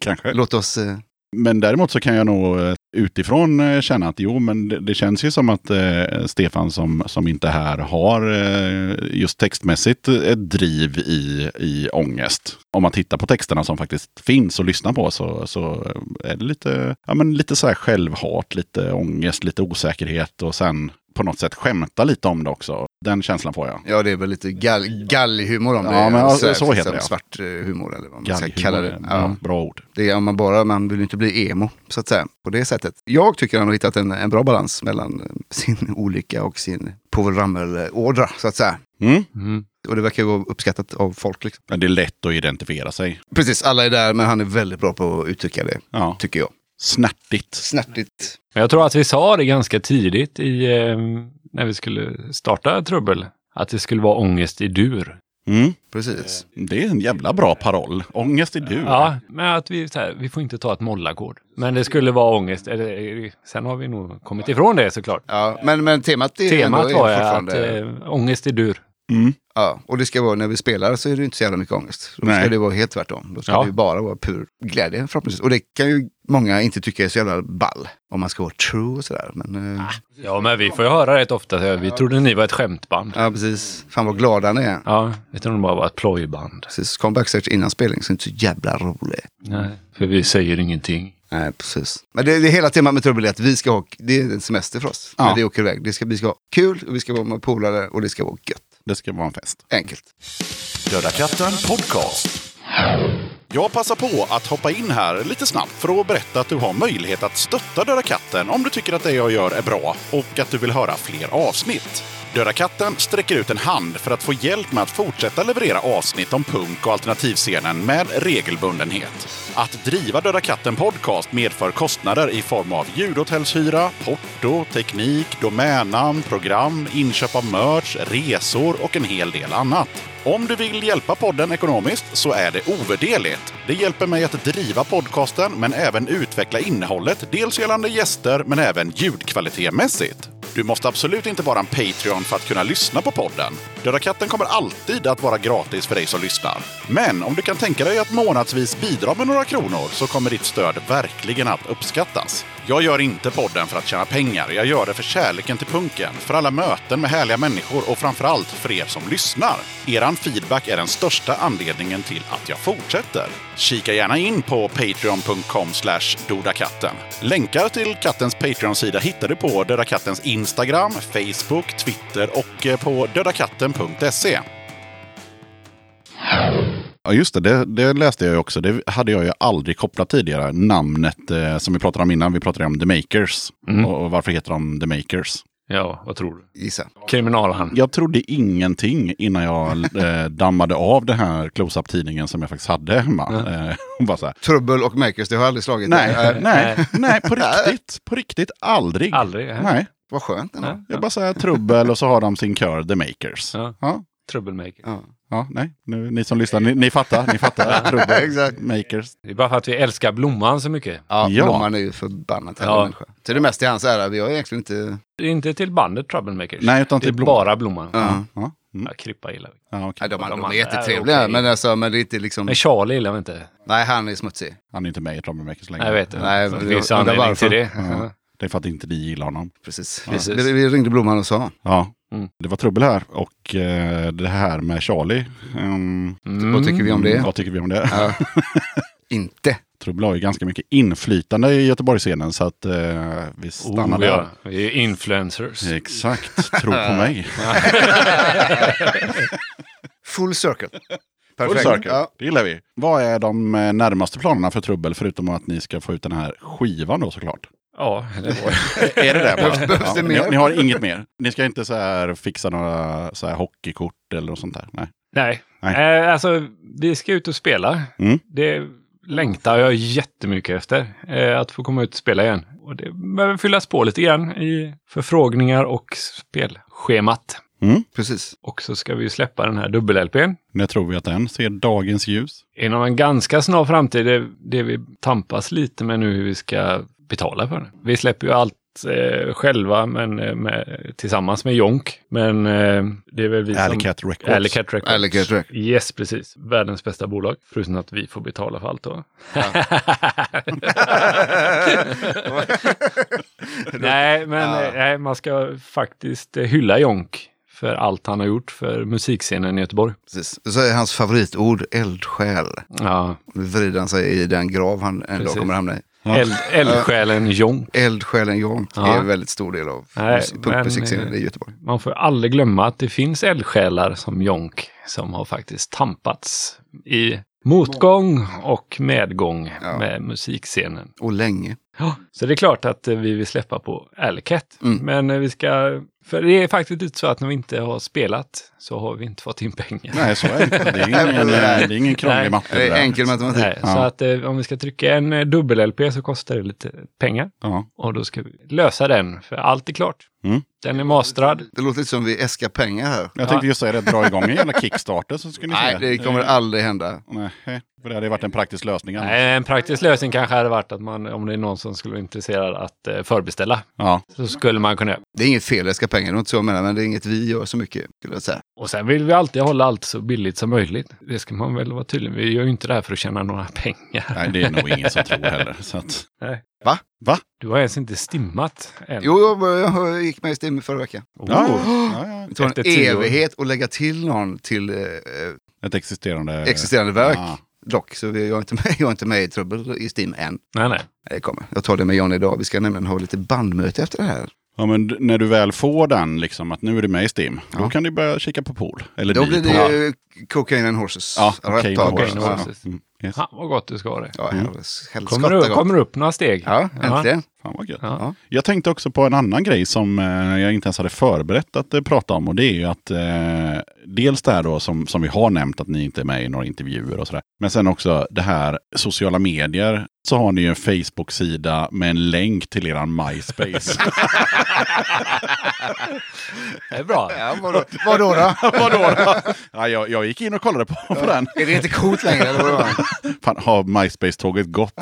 B: Kanske.
F: Låt oss... Eh,
B: Men däremot så kan jag nog eh, utifrån eh, känna att jo, men det, det känns ju som att eh, Stefan som, som inte är här har eh, just textmässigt ett driv i, i ångest. Om man tittar på texterna som faktiskt finns och lyssnar på så, så är det lite, ja, men lite så här självhat, lite ångest, lite osäkerhet och sen på något sätt skämta lite om det också. Den känslan får jag.
F: ja, det är väl lite gall, gallhumor om det
B: Ja, men,
F: är.
B: ja,
F: här,
B: så heter
F: liksom,
B: det, ja.
F: Svart eh, humor eller vad man ska
B: Galghumor
F: kalla
B: är
F: det.
B: en
F: Ja.
B: bra- eh, Bra ord.
F: Det är om man bara, man vill ju inte bli emo, så att säga, på det sättet. Jag tycker han har hittat en, en bra balans mellan eh, sin (laughs) olycka och sin Povel Ramel-ådra, så att säga.
B: Mm.
A: mm.
F: Och det verkar ju vara uppskattat av folk. Liksom.
B: Men Det är lätt att identifiera sig.
F: Precis, alla är där, men han är väldigt bra på att uttrycka det,
B: Ja.
F: tycker jag.
B: Snärtigt.
F: Snärtigt.
A: Men jag tror att vi sa det ganska tidigt i, eh, när vi skulle starta Trubbel. Att det skulle vara ångest i dur.
B: Mm.
F: Precis.
B: Det är en jävla bra paroll. Ångest i dur.
A: Ja, men att vi, så här, vi får inte ta ett mollakord. Men det skulle vara ångest. Eller, eh, sen har vi nog kommit ifrån det såklart.
F: Ja, men, men temat är
A: Temat
F: ändå
A: var
F: är
A: ju att
F: fortfarande...
A: eh, ångest i dur.
B: Mm.
F: Ja, och det ska vara när vi spelar så är det inte så jävla mycket ångest. Då
B: Nej.
F: ska det vara helt tvärtom. Då ska
A: Ja.
F: det ju bara vara pur glädje förhoppningsvis. Och det kan ju många inte tycka är så jävla ball. Om man ska vara true och sådär. Men,
B: Ah.
F: eh,
A: Ja, men vi får ju höra rätt ofta. så här, Vi trodde ni var ett skämtband.
F: ja, precis. Fan vad glada ni är.
A: Ja, vi trodde de bara var ett plojband.
F: Precis, kom backstage innan spelning så är det inte så jävla rolig.
A: Nej, för vi säger ingenting.
F: Nej, precis. Men det, det är hela temat med Trubbel är att vi ska ha, det är en semester för oss.
B: Ja.
F: När vi åker iväg. Det ska, vi ska ha kul, och vi ska vara med polare och det ska vara gött.
B: Det ska vara en fest.
F: Enkelt.
B: Döda katten podcast. Jag passar på att hoppa in här lite snabbt för att berätta att du har möjlighet att stötta Döda katten om du tycker att det jag gör är bra och att du vill höra fler avsnitt. Döda katten sträcker ut en hand för att få hjälp med att fortsätta leverera avsnitt om punk och alternativscenen med regelbundenhet. Att driva Döda katten podcast medför kostnader i form av ljudhotellshyra, porto, teknik, domännamn, program, inköp av merch, resor och en hel del annat. Om du vill hjälpa podden ekonomiskt så är det ovärderligt. Det hjälper mig att driva podcasten men även utveckla innehållet, dels gällande gäster men även ljudkvalitetmässigt. Du måste absolut inte vara en Patreon för att kunna lyssna på podden. Döda katten kommer alltid att vara gratis för dig som lyssnar. Men om du kan tänka dig att månadsvis bidra med några kronor så kommer ditt stöd verkligen att uppskattas. Jag gör inte podden för att tjäna pengar. Jag gör det för kärleken till punken, för alla möten med härliga människor och framförallt för er som lyssnar. Eran feedback är den största anledningen till att jag fortsätter. Kika gärna in på patreon.com dodakatten. Länkar till kattens Patreon-sida hittar du på Döda Kattens Instagram, Facebook, Twitter och eh, på dödakatten.se. Ja, just det, det. Det läste jag ju också. Det hade jag ju aldrig kopplat tidigare. Namnet eh, som vi pratade om innan. Vi pratade om The Makers. Och, och varför heter de The Makers?
A: Ja, vad tror du?
F: gissa.
A: Kriminalhan.
B: Jag trodde ingenting innan jag eh, dammade av den här close-up-tidningen som jag faktiskt hade hemma. Eh, och bara så här,
F: Trubbel och Makers, det har jag aldrig slagit.
B: nej, eh,
F: Äh,
B: nej, nej, på riktigt. På riktigt, aldrig.
A: Aldrig. eh?
B: Nej,
F: vad skönt ändå.
A: Ja,
B: jag bara säger trubbel och så har de sin kör The Makers.
A: Ja.
B: Ja,
A: Troublemaker.
F: Ja.
B: ja nej, nu, ni som lyssnar, ni, ni fattar, ni fattar. Trubbel,
F: Exakt.
B: Makers.
A: Det är bara för att vi älskar Blomman så mycket.
F: Ja,
B: Ja.
F: Blomman är ju förbannat härlig
A: Ja.
F: människa. Så det är mest i hans ära, vi har egentligen inte...
A: Det är inte till bandet Troublemakers.
B: Nej, utan
A: det är
B: till Blom.
A: bara Blomman. Ja.
F: Ja.
B: Ja, mm,
A: Krippa gillar vi.
B: ja, okej.
F: Nej, de,
A: De
F: de är
A: andra
F: jättetrevliga,
A: är okej.
F: men, alltså, men det är inte liksom...
A: Men Charlie gillar vi inte.
F: Nej, han är smutsig.
B: Han är inte med i Trubbel Makers längre.
A: Nej, jag vet
B: det.
A: det.
F: Nej,
A: det
F: men-
A: finns
F: undrar
A: anledning
F: varför.
A: till det.
B: Ja. Det är för att inte ni gillar honom.
F: Precis.
A: Precis.
F: Vi, vi ringde Blomman och sa.
B: Ja,
A: Mm.
B: det var trubbel här och eh, det här med Charlie. ehm,
A: Mm.
F: Vad tycker vi om det?
B: Vad tycker vi om det?
F: Ja. inte.
B: Trubbel har ju ganska mycket inflytande i Göteborgsscenen så att eh, vi stannar
A: Oh,
B: där.
A: ja. Vi är influencers.
B: Exakt, tro på
F: (laughs)
B: mig.
F: (laughs) Full circle.
B: Full
F: Perfekt.
B: circle.
F: Ja.
B: Det gillar vi. Vad är de eh, närmaste planerna för Trubbel förutom att ni ska få ut den här skivan då såklart?
A: Ja, det var
B: är det det?
F: Behövs- behövs det
B: ni,
F: mer?
B: ni har inget mer? Ni ska inte så här fixa några så här hockeykort eller något sånt där? Nej.
A: Nej.
B: Nej.
A: Eh, alltså, vi ska ut och spela.
B: Mm.
A: Det längtar jag jättemycket efter. Eh, att få komma ut och spela igen. Och det behöver fyllas på lite igen i förfrågningar och spelschemat.
F: Precis.
A: Och så ska vi ju släppa den här dubbel-LPn.
B: När tror vi att den ser dagens ljus?
A: Inom en ganska snar framtid, det, det vi tampas lite med nu hur vi ska betala för den. Vi släpper ju allt eh, själva men, eh, med, tillsammans med Jonk. Men eh, det är väl vi som...
B: Alleycat Records.
A: Alley Cat Records.
F: Alley Cat Records.
A: Yes, precis. Världens bästa bolag. Förutom att vi får betala för allt då. (laughs) nej, men
F: Ja.
A: eh, nej, man ska faktiskt eh, hylla Jonk för allt han har gjort för musikscenen i Göteborg.
F: Precis. Så är hans favoritord eldsjäl.
A: Ja.
F: Nu vrider han sig i den grav han en dag
A: Precis.
F: kommer hamna i.
A: Eld, eldsjälen Jonk.
F: Eldsjälen Jonk
A: Ja.
F: är en väldigt stor del av
A: Nej,
F: mus-
A: men,
F: punkmusikscenen
A: eh,
F: i Göteborg.
A: Man får aldrig glömma att det finns eldsjälar som Jonk som har faktiskt tampats i motgång och medgång
F: Ja.
A: med musikscenen.
F: Och länge.
A: Ja, så det är klart att eh, vi vill släppa på Allcat.
F: Mm.
A: Men eh, vi ska... För det är faktiskt inte så att när vi inte har spelat så har vi inte fått in pengar.
B: Nej, så är det inte. Det är ingen, det är ingen krånglig
A: Nej.
B: matte.
F: Det
B: det där.
F: är enkel matematik.
A: Nej, Så
B: Ja.
A: att eh, om vi ska trycka en eh, dubbel-LP så kostar det lite pengar.
B: Ja.
A: Och då ska vi lösa den, för allt är klart.
B: Mm.
A: Den är mastrad.
F: Det låter lite som vi äskar pengar här.
B: Jag tänkte just säga det, dra igång en jävla Kickstarter så ska ni
F: Nej,
B: se. Eh,
F: det kommer aldrig hända.
B: Nej, eh, för det hade ju varit en praktisk lösning annars.
A: Nej, en praktisk lösning kanske hade varit att man, om det är någon som skulle vara intresserad att eh, förbeställa,
B: Ja.
A: så skulle man kunna
F: Det är inget fel att äska pengar, det var inte så jag menar, men det är inget vi gör så mycket. Skulle jag säga.
A: Och sen vill vi alltid hålla allt så billigt som möjligt. Det ska man väl vara tydlig med. Vi gör ju inte det här för att tjäna några (laughs) pengar.
B: Nej, det är nog ingen som tror heller. Så att...
A: Nej.
F: Va?
B: Va?
A: Du har ens inte stimmat än. Oh.
F: Jo, jag, jag gick med i Stim förra veckan.
B: (laughs) Ja, ja, ja.
F: Det tar
A: Efter
F: en
A: tio år.
F: evighet att lägga till någon till eh,
B: Ett existerande...
F: existerande verk.
B: Ja.
F: Dock, så vi- jag är, inte med, jag är inte med i Trubbel i Stim än.
A: Nej, nej.
F: Det kommer. Jag tar det med John idag. Vi ska nämligen ha lite bandmöte efter det här.
B: Ja, men d- när du väl får den, liksom, att nu är du med i STIM, då
F: Ja.
B: kan du börja kika på pool. Eller
F: Då
B: ni
F: blir
B: på- Ja.
F: det ju Cocaine and Horses.
B: Ja,
F: Rätt
B: Cocaine
F: tag.
B: and Horses.
F: Ja.
A: Horses.
B: Mm. Yes.
A: Ha, vad gott du ska ha det.
F: Ja,
B: Mm.
F: helvete, helskotta
A: Kommer du,
F: gott.
A: kommer du upp några steg?
F: Ja, äntligen.
B: Fan vad gött.
A: Ja.
B: Jag tänkte också på en annan grej som eh, jag inte ens hade förberett att eh, prata om. Och det är ju att eh, dels det här då som, som vi har nämnt att ni inte är med i några intervjuer och sådär. Men sen också det här sociala medier. Så har ni ju en Facebook-sida med en länk till eran
A: (laughs)
B: MySpace.
A: Det är bra.
F: Ja, vadå, vadå då?
B: Vadå då? (laughs) Ja, jag, jag gick in och kollade på, på den.
F: Är det inte coolt längre? Eller vadå?
B: Fan, har MySpace-tåget gått?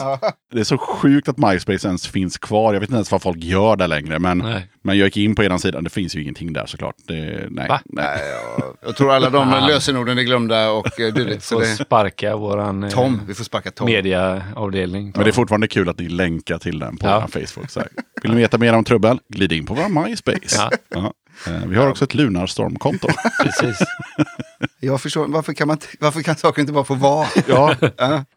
B: Det är så sjukt att MySpace ens finns kvar. Jag vet inte ens vad folk gör där längre. Men,
A: Nej.
B: men jag gick in på eran sida. Det finns ju ingenting där såklart. Det, nej.
A: Va?
B: nej.
F: Ja, jag tror alla de lösenorden är glömda och eh,
A: Vi
F: dylikt.
A: (laughs)
F: Så
A: får
F: det...
A: sparka våran eh,
F: Tom, vi får sparka Tom.
A: mediaavdelning.
B: Men det är fortfarande kul att ni länkar till den på
A: Ja.
B: eran Facebook. Så här. Vill ni veta mer om Trubbel? Glid in på vår MySpace.
A: Ja.
B: Ja. Eh, Vi har också
A: (laughs)
B: ett Lunarstorm-konto.
A: Precis.
F: Jag förstår, varför kan, man, t- varför kan saker inte bara få (laughs) vara?
B: ja,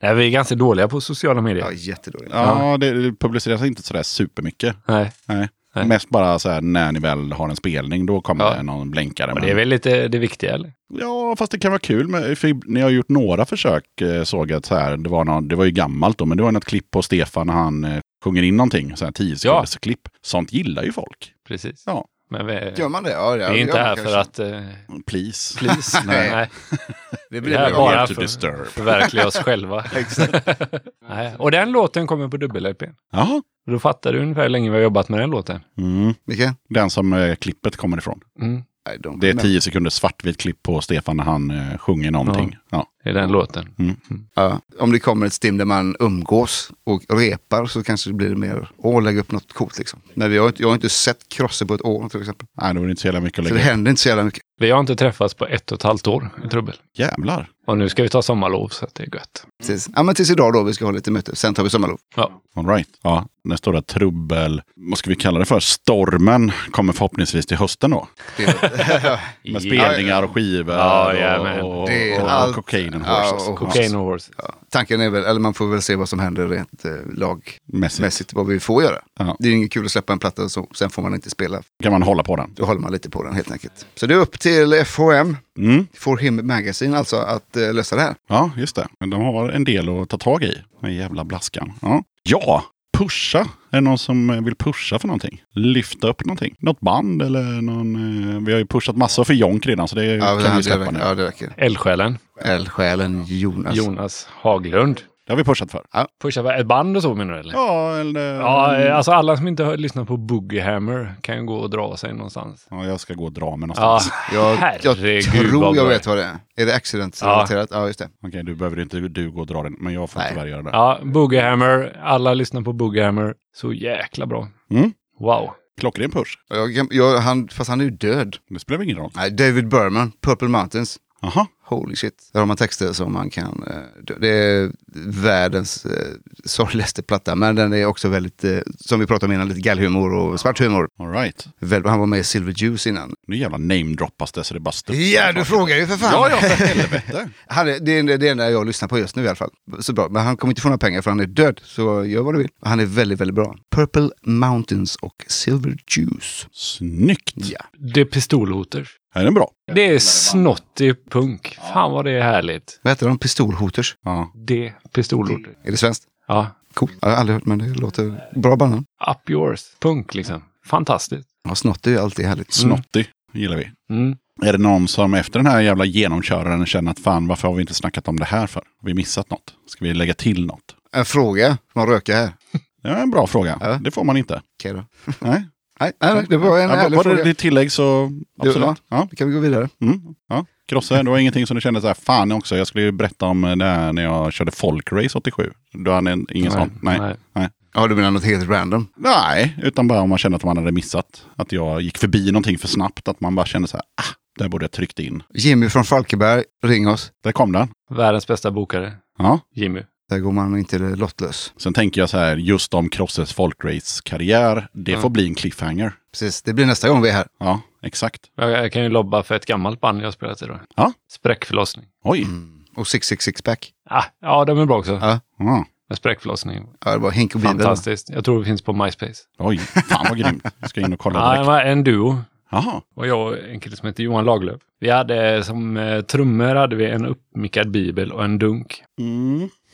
A: Nej, vi är ganska dåliga på sociala medier.
F: Ja, jättedåligt.
B: ja, det det publiceras inte sådär supermycket.
A: Nej.
B: Nej.
A: Nej.
B: Mest bara så här, när ni väl har en spelning, då kommer
A: Ja.
B: det någon blänkare.
A: Och
B: men-
A: det är väl lite det viktiga, eller?
B: Ja, fast det kan vara kul. Med, för ni har gjort några försök, eh, såg jag. att Så här, det, var någon, det var ju gammalt då, men det var något klipp på Stefan när han eh, sjunger in någonting. Så här 10 sekunders klipp. Sånt gillar ju folk.
A: Precis.
B: Ja.
A: Men vi, vi
F: Gör man det? Ja, det
A: är inte
F: gör man
A: här
F: kanske.
A: för att... Eh,
B: Please.
F: (laughs)
A: please.
F: Nej.
A: nej.
F: Det
A: Vi är
F: blir
A: här
F: väl
A: bara
B: to
A: för
B: disturb.
A: att förverkliga oss själva.
F: (laughs) Exakt.
A: (laughs) nej. Och den låten kommer på dubbel-LP.
B: Ja.
A: Då fattar du ungefär hur länge vi har jobbat med den låten.
B: Mm.
F: Micke?
B: Den som eh, klippet kommer ifrån.
A: Mm.
F: I don't
B: Det är
F: know.
B: tio sekunder svartvitt klipp på Stefan när han eh, sjunger någonting. Ja.
A: Det är den låten.
F: Ja, om det kommer ett stim där man umgås och repar så kanske det blir mer, åh lägg upp något coolt liksom. Men vi har, inte- jag har inte sett Krosse på ett år till exempel.
B: Nej, då är det inte så jävla mycket att
F: Så det
B: lägga.
F: händer inte så jävla mycket.
A: Vi har inte träffats på ett och ett halvt år i trubbel.
B: Jävlar.
A: Och nu ska vi ta sommarlov så att det är gött.
F: Tills, ja, men tills idag då, vi ska ha lite möte. Sen tar vi sommarlov.
A: Ja.
B: All right. Ja, den stora trubbel, vad ska vi kalla det för? Stormen kommer förhoppningsvis till hösten då.
F: Det (laughs) är,
B: Med spelningar och skivor
A: Ja, jajamän.
B: och, och,
F: Det är
B: och,
F: allt-
B: cocaine and
F: Ja,
B: horses.
F: och
A: Cocaine Horse.
F: ja, tanken är väl, eller man får väl se vad som händer rent eh, lagmässigt,
B: Mässigt.
F: vad vi får göra.
B: Ja.
F: Det är ju inget kul att släppa en platta så sen får man inte spela.
B: Kan man hålla på den?
F: Då håller man lite på den helt enkelt. Så det är upp till FHM,
B: Mm.
F: For Him Magazine alltså, att eh, lösa det här.
B: Ja, just det. Men De har en del att ta tag i. Den jävla blaskan. Ja. ja, pusha. Är det någon som vill pusha för någonting? Lyfta upp någonting? Något band eller någon... eh, Vi har ju pushat massor för Jonk redan så det kan vi
F: det,
B: släppa nu.
F: räcker. ja det räcker.
A: Eldsjälen.
F: Eldsjälen Jonas.
A: Jonas Haglund.
B: Det har vi pushat för.
A: Pusha för ett band och så menar du eller?
B: Ja, eller...
A: Ja, eh, alltså alla som inte har lyssnat på Boogie Hammer kan ju gå och dra sig någonstans.
B: Ja, jag ska gå och dra mig
A: Ja,
B: någonstans.
F: Alltså, Jag, jag
A: herregud,
F: tror
A: vad
F: jag
A: bra.
F: vet vad det är. Är det accident-relaterat? Ja. just det.
B: Okej, du behöver inte du gå och dra den, men jag får
F: Nej.
B: tyvärr göra det.
A: Ja, Boogie Hammer. Alla lyssnar på Boogie Hammer. Så jäkla bra.
B: Mm.
A: Wow.
B: Klockren push.
F: Och Jag, jag, han, fast han är ju död.
B: Det spelar väl ingen roll.
F: Nej, David Berman, Purple Mountains.
B: Jaha,
F: Holy shit. Där har man texter som man kan... eh, dö- Det är världens eh, sorgligaste platta, men den är också väldigt, eh, som vi pratade om innan, lite gallhumor och svart humor.
B: all right.
F: Väl- Han var med i Silver Juice innan.
B: Nu jävla namedroppas det så det bara studsar.
F: Ja, du frågar ju för fan!
B: Ja, ja,
F: (laughs)
B: för helvete.
F: Han är, det är det är det enda jag lyssnar på just nu i alla fall. Så bra. Men han kommer inte få några pengar för han är död. Så gör vad du vill. Han är väldigt, väldigt bra. Purple Mountains och Silver Juice.
B: Snyggt.
F: Ja.
A: Det är pistolhoters.
B: Är den bra?
A: Det är snottig punk. Fan vad det är härligt.
F: Vad heter de? Pistolhoters?
B: Ja.
A: Det pistolhoters.
F: Är det svenskt?
A: Ja.
F: Cool. Jag har aldrig hört, men det låter bra banan.
A: Up yours. Punk liksom. Fantastiskt.
F: Ja, snott är ju alltid härligt.
B: Snottig gillar vi.
A: Mm.
B: Är det någon som efter den här jävla genomköraren känner att fan varför har vi inte snackat om det här för? Har vi missat något? Ska vi lägga till något?
F: En fråga. Får man röka här?
B: Det är en bra fråga.
F: Ja.
B: Det får man inte.
F: Okej då. (laughs)
B: Nej.
F: Nej, nej, nej det var en
B: Ja,
F: ärlig
B: var det
F: fråga.
B: ditt tillägg så
F: va?
B: absolut. Ja.
F: Då kan vi gå vidare.
B: Mm. ja. Krosse, det var ingenting som du kände så här, fan också, jag skulle ju berätta om det här när jag körde folkrace 87. Du hade en, ingen sån? Nej. Nej. Nej.
F: Ja, du menar något helt random?
B: utan bara om man kände att man hade missat. Att jag gick förbi någonting för snabbt, att man bara kände så här, ah, där borde jag tryckt in.
F: Jimmy från Falkenberg, ring oss.
B: Där kom den.
A: Världens bästa bokare.
B: Ja.
A: Jimmy.
F: Där går man inte lottlös.
B: Sen tänker jag så här, just om Crosses folkrace-karriär, det får bli en cliffhanger.
F: Precis, det blir nästa gång vi är här.
B: Ja, exakt.
A: Jag, jag kan ju lobba för ett gammalt band jag spelat i då.
B: Ja.
A: Spräckförlossning.
B: Oj.
F: Och 666-pack.
A: Ah, ja, de är bra också.
F: Ja.
B: Ja. Mm.
A: Men spräckförlossning.
F: Ja, det var Henk och Bibel.
A: Fantastiskt. Jag tror det finns på MySpace.
B: Oj, fan vad grymt. Jag ska in och kolla
A: Ja, det
B: direkt.
A: var en duo.
B: Jaha,
A: Och jag och en kille som heter Johan Laglöf. Vi hade som eh, trummor hade vi en uppmickad bibel och en dunk.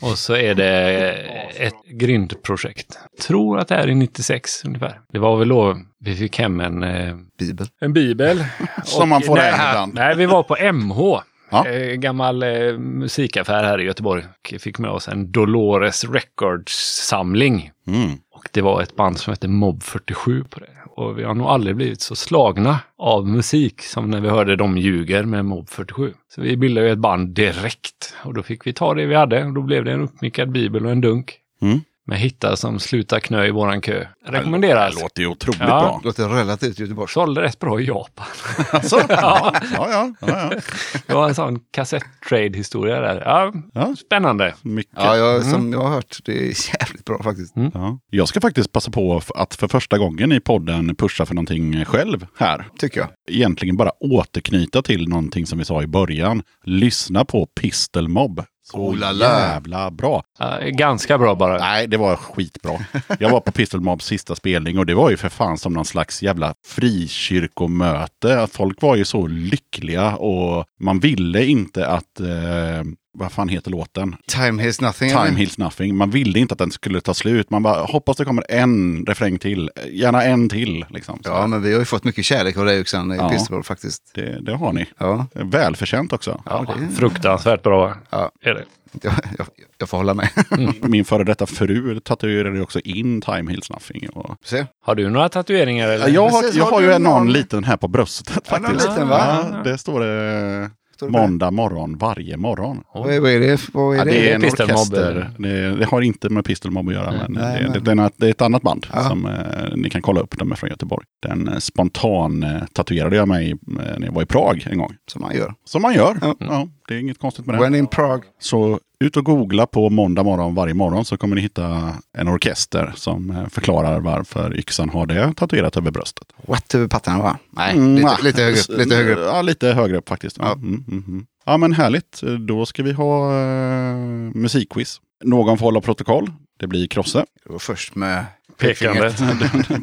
A: Och så är det eh, ett grindprojekt. Tror att det här är 96 ungefär. Det var väl då vi fick hem en, eh,
F: Bibel.
A: en bibel.
B: (laughs) Som man får
A: nej,
B: hem ibland.
A: Nej, vi var på MH.
B: Ja.
A: Eh, gammal eh, musikaffär här i Göteborg. Och fick med oss en Dolores Records-samling.
B: mm.
A: Och det var ett band som hette Mob 47 på det. Och vi har nog aldrig blivit så slagna av musik som när vi hörde De ljuger med Mob 47. Så vi bildade ju ett band direkt. Och då fick vi ta det vi hade och då blev det en uppmickad bibel och en dunk.
B: Mm.
A: Med hittar som slutar knö i våran kö.
B: det
A: Rekommenderas.
B: låter ju otroligt
A: Ja.
B: bra.
F: Låter relativt Göteborgs.
A: Sålde rätt bra i (laughs) Japan.
B: Alltså? Ja, ja, ja. ja, ja.
A: Det var en sån kassett-trade-historia där. Ja,
B: Ja.
A: spännande.
B: Mycket.
F: Ja, jag, som jag har hört, det är jävligt bra faktiskt.
B: Ja. Jag ska faktiskt passa på f- att för första gången i podden pusha för någonting själv här.
F: Tycker jag.
B: Egentligen bara återknyta till någonting som vi sa i början. Lyssna på Pistol Mob. Så
F: Oh la la.
B: jävla bra.
A: Ja, ganska bra bara.
B: Nej, det var skitbra. Jag var på Pistol Mobs sista spelning och det var ju för fan som någon slags jävla frikyrkomöte. Folk var ju så lyckliga och man ville inte att eh, vad fan heter låten?
F: Time heals nothing.
B: Time
F: eller?
B: heals nothing. Man ville inte att den skulle ta slut. Man bara hoppas det kommer en refräng till. Gärna en till. Liksom. Så
F: Ja, men vi har ju fått mycket kärlek av dig Yxan i
B: Ja.
F: Pisterboll faktiskt.
B: det, det har ni.
F: Ja,
B: Välförtjänt också.
A: Fruktansvärt bra
F: Ja.
A: är det.
F: jag, jag, jag får hålla med. (laughs)
B: Min före detta fru tatuerade ju också in Time heals nothing. Och...
F: Se.
A: Har du några tatueringar? Eller?
B: Jag har,
F: Precis,
B: jag
F: har
B: har
F: du
B: ju en någon
F: någon-
B: liten här på bröstet
F: Ja, någon
B: faktiskt.
F: liten, va?
B: Ja, det står det
F: Står det på
B: måndag morgon varje morgon.
F: Vad är, vad är det? Vad är
B: Ja,
F: det?
B: det är en
A: Pistol Mob,
B: orkester.
A: eller?
B: Det, det har inte med Pistol Mob att göra. Men,
F: Nej,
B: det,
F: men-
B: Det, är en- det är ett annat band
F: Ja.
B: som eh, ni kan kolla upp. De är från Göteborg. Den eh, spontan eh, tatuerade jag mig eh, när jag var i Prag en gång.
F: Som man gör.
B: Som man gör.
F: Ja.
B: Ja, det är inget konstigt med det.
F: When in Prague.
B: Så ut och googla på måndag morgon varje morgon så kommer ni hitta en orkester som eh, förklarar varför yxan har det tatuerat över bröstet.
F: What över pattarna va? Nej,
B: Mm,
F: lite,
B: ah.
F: lite högre upp. Lite (laughs) högre upp.
B: Ja, lite högre upp faktiskt. Ja.
F: Ja.
B: Mm, mm, mm. ja, men härligt. Då ska vi ha eh, musikquiz. Någon får hålla protokoll. Det blir Krosse. (laughs)
F: Det var först med
A: Pekande.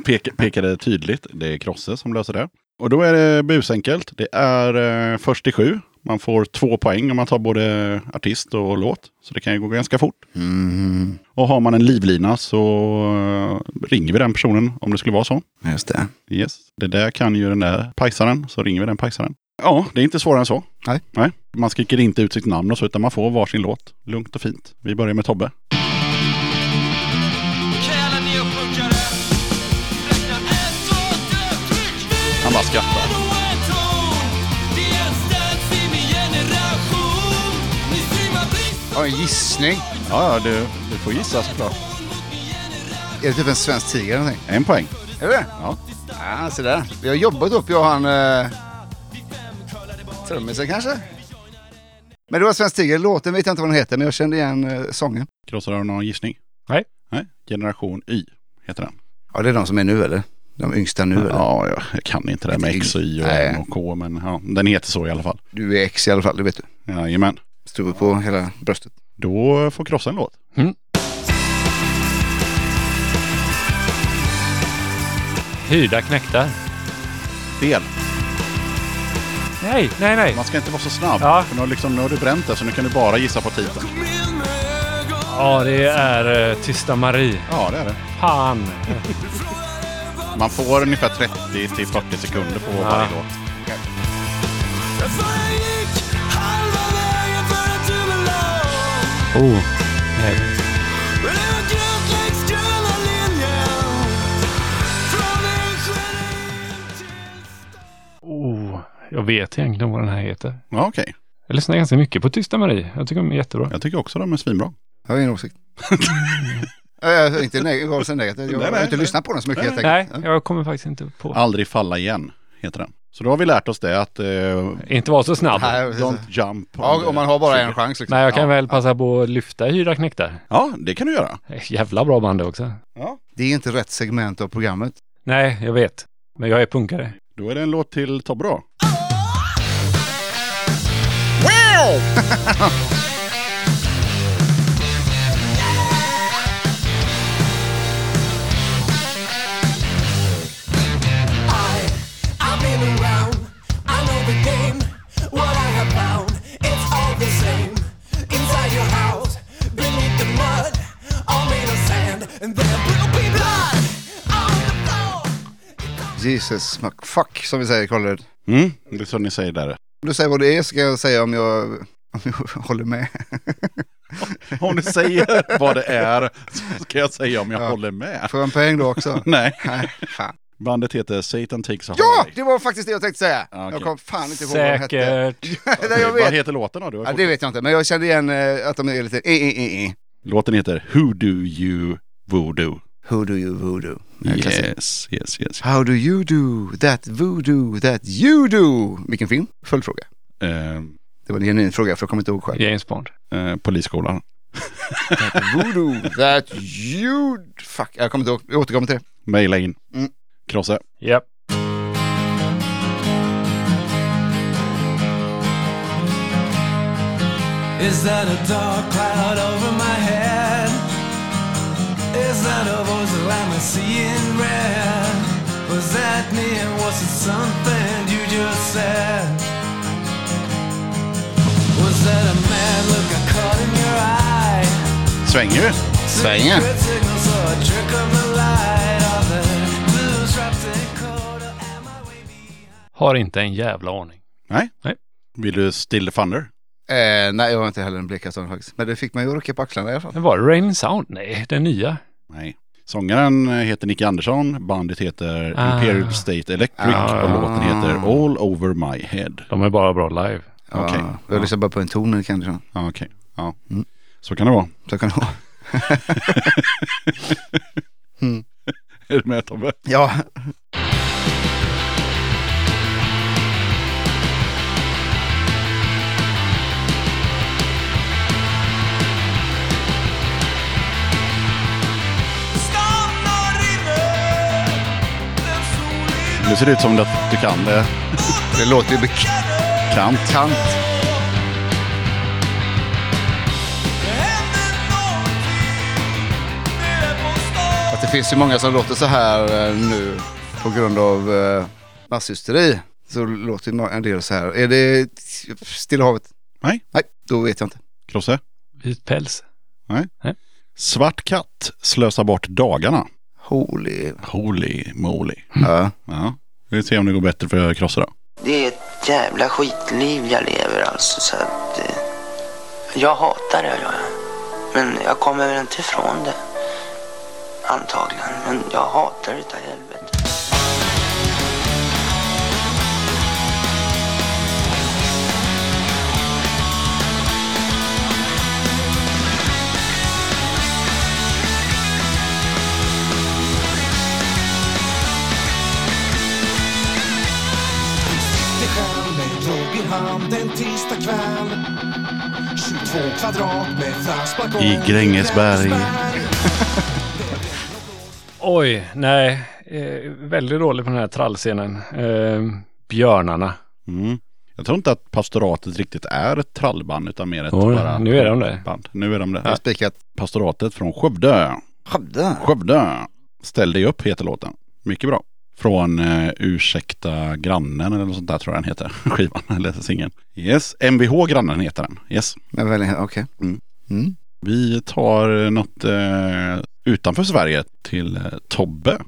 B: Pek, pekade tydligt. Det är Krosse som löser det. Och då är det busenkelt. Det är eh, först till sju. Man får två poäng om man tar både artist och låt. Så det kan ju gå ganska fort.
F: (laughs) Mm,
B: Och har man en livlina så eh, ringer vi den personen om det skulle vara så.
F: just det.
B: Yes, det där kan ju den där pajsaren, så ringer vi den pajsaren. Ja, det är inte svårare än så.
F: Nej.
B: Nej. Man skriker inte ut sitt namn och så, utan man får varsin låt. Lugnt och fint. Vi börjar med Tobbe. Han bara skrattar.
F: Ja, en gissning.
B: Ja, ja, du, du får gissa såklart.
F: Är det typ en svensk tiger eller någonting?
B: En poäng.
F: Är det det?
B: Ja.
F: Ja, se där. Vi har jobbat upp, jag och han... Eh, trummisen kanske? Men det var Svensk Tiger. Låten vet jag inte vad den heter, men jag kände igen eh, sången.
B: Krossar du någon gissning?
A: Nej.
B: Nej. Generation Y heter den.
F: Ja, det är de som är nu eller? De yngsta nu eller?
B: Ja, jag- jag kan inte det här med X och Y och
F: Nej.
B: M och K, men ja, den heter så i alla fall.
F: Du är ex i alla fall, det vet du.
B: Jajamän.
F: Stod på hela bröstet.
B: Då får Krossa en låt.
A: Hyrda knäktar.
B: Fel.
A: Nej, nej, nej.
B: Man ska inte vara så snabb.
A: Ja.
B: För nu, har liksom, nu har du bränt det, så nu kan du bara gissa på titeln.
A: Ja, det är eh, Tysta Marie.
B: Ja, det är det.
A: Fan.
B: Man får ungefär 30 till 40 sekunder på varje låt.
A: Oh. Nej. Oh. Jag vet egentligen vad den här heter.
B: Ja, okej.
A: Jag lyssnar ganska mycket på Tysta Marie. Jag tycker de är jättebra.
B: Jag tycker också de är svinbra.
F: Jag har ingen åsikt. (laughs) Ja, jag är inte neg- gav sig negativt. Jag
B: Nej,
F: har
B: nej,
F: inte
B: nej.
F: lyssnat på den så mycket helt
A: Nej,
F: enkelt. Ja.
A: jag kommer faktiskt inte på.
B: Aldrig falla igen heter den. Så då har vi lärt oss det att eh,
A: Inte vara så snabb.
F: Nej, precis.
B: don't jump.
F: Ja,
B: the
F: om man har bara en
B: trigger.
F: chans liksom.
A: Nej, jag kan väl passa på att lyfta Hyrda knäktar.
B: Ja, det kan du göra.
A: Jävla bra band också.
F: Det är inte rätt segment av programmet.
A: Nej, jag vet. Men jag är punkare.
B: Då är det en låt till Tobbe då.
F: Jesus fuck som vi säger i Kållered.
B: Mm, det är så ni säger där. (laughs)
F: Om du säger vad det är så ska jag säga om jag, om jag (laughs) håller med.
B: Om du säger vad det är så ska jag säga om jag
F: Ja.
B: håller med.
F: Får jag en poäng då
B: (laughs)
F: också?
B: Nej.
F: Nej, fan.
B: Bandet heter Satan Takes a
F: Ja,
B: Holiday.
F: det var faktiskt det jag tänkte säga.
B: Ja, okej.
F: Jag kom fan inte ihåg vad den hette.
A: Säkert.
F: (laughs) Nej, jag
B: Vad
F: vet.
B: heter låten då? Du har
F: Ja, det vet jag inte, men jag kände igen eh, att de är lite eh, eh, eh, eh.
B: Låten heter Who Do You Voodoo.
F: Who do you voodoo? Eh, klassiker.
B: Yes, yes, yes.
F: How do you do that voodoo that you do? Vilken film? Följdfråga.
B: Eh,
F: Det var en genuin fråga för jag kommer inte ihåg själv.
A: James Bond.
B: eh, polisskolan.
F: (laughs) Voodoo that you... Fuck, jag kommer inte ihåg. Jag återkommer till det.
B: Maila in.
F: Mm.
B: Krosse.
A: Japp.
D: Is that a dark cloud over my head? Is that a voice that I'm seeing red? Was that me and was it something you just said? Was that a mad look I
B: Svänger ju.
F: Svänger.
D: signals or a trick of the light of the blues wrapped in cold. Or am I way behind?
A: Har inte en jävla aning.
B: Nej.
A: Nej.
B: Vill du Still the Thunder?
F: Eh, nej, jag har inte heller en blick efter faktiskt. Men det fick mig att rucka på axlarna i alla fall.
A: Men var det Rain Sound? Nej, den nya.
B: Nej. Sångaren heter Nicky Andersson, bandet heter
A: Ah.
B: Imperial State Electric och låten heter All Over My Head.
A: De är bara bra live.
F: Ja,
B: Okej.
F: Jag lyssnar bara på en ton nu kanske.
B: Ja, Ah, okej. Ja. Mm. Så kan det vara.
F: Så kan det vara.
B: (laughs) Är du med Tobbe?
F: (laughs) Ja,
D: Stanna rinner den solen
B: Det ser ut som att du kan det.
F: det låter ju bekant.
B: Kant.
D: Det händer någonting nere på stan.
F: Att det finns ju många som låter så här eh, nu på grund av eh, masshysteri. Så låter ju må- en del så här. Är det Stilla havet?
B: Nej.
F: Nej, då vet jag inte.
B: Krosse?
A: Vit päls.
B: Svart katt slösar bort dagarna.
F: Holy.
B: Holy moly.
F: Ja.
B: Mm. Ja. Vi får se om det går bättre för Krosse då.
G: Det är ett jävla skitliv jag lever alltså. Så att, eh, jag hatar det, gör jag. Men jag kommer väl inte ifrån det. Antagligen. Men jag hatar det utav helvete.
H: Stjärn med grogg i hand en tisdag kväll 22 kvadrat med frans
B: I Grängesberg.
A: Oj, nej. Eh, väldigt dålig på den här trallscenen. Eh, björnarna.
B: Mm. Jag tror inte att pastoratet riktigt är ett trallband utan mer ett
A: Oj,
B: bara...
A: nu är de det.
B: Band. Nu är de det.
F: Jag har spikat.
B: Pastoratet från Skövde.
F: Skövde.
B: Skövde. Ställ dig upp heter låten. Mycket bra. Från eh, Ursäkta grannen eller något sånt där tror jag den heter. (laughs) Skivan eller singeln. Yes, MVH grannen heter den. Yes.
F: Men väl, eh, okej.
B: Mm.
F: Mm.
B: Vi tar något eh, utanför Sverige till eh, Tobbe.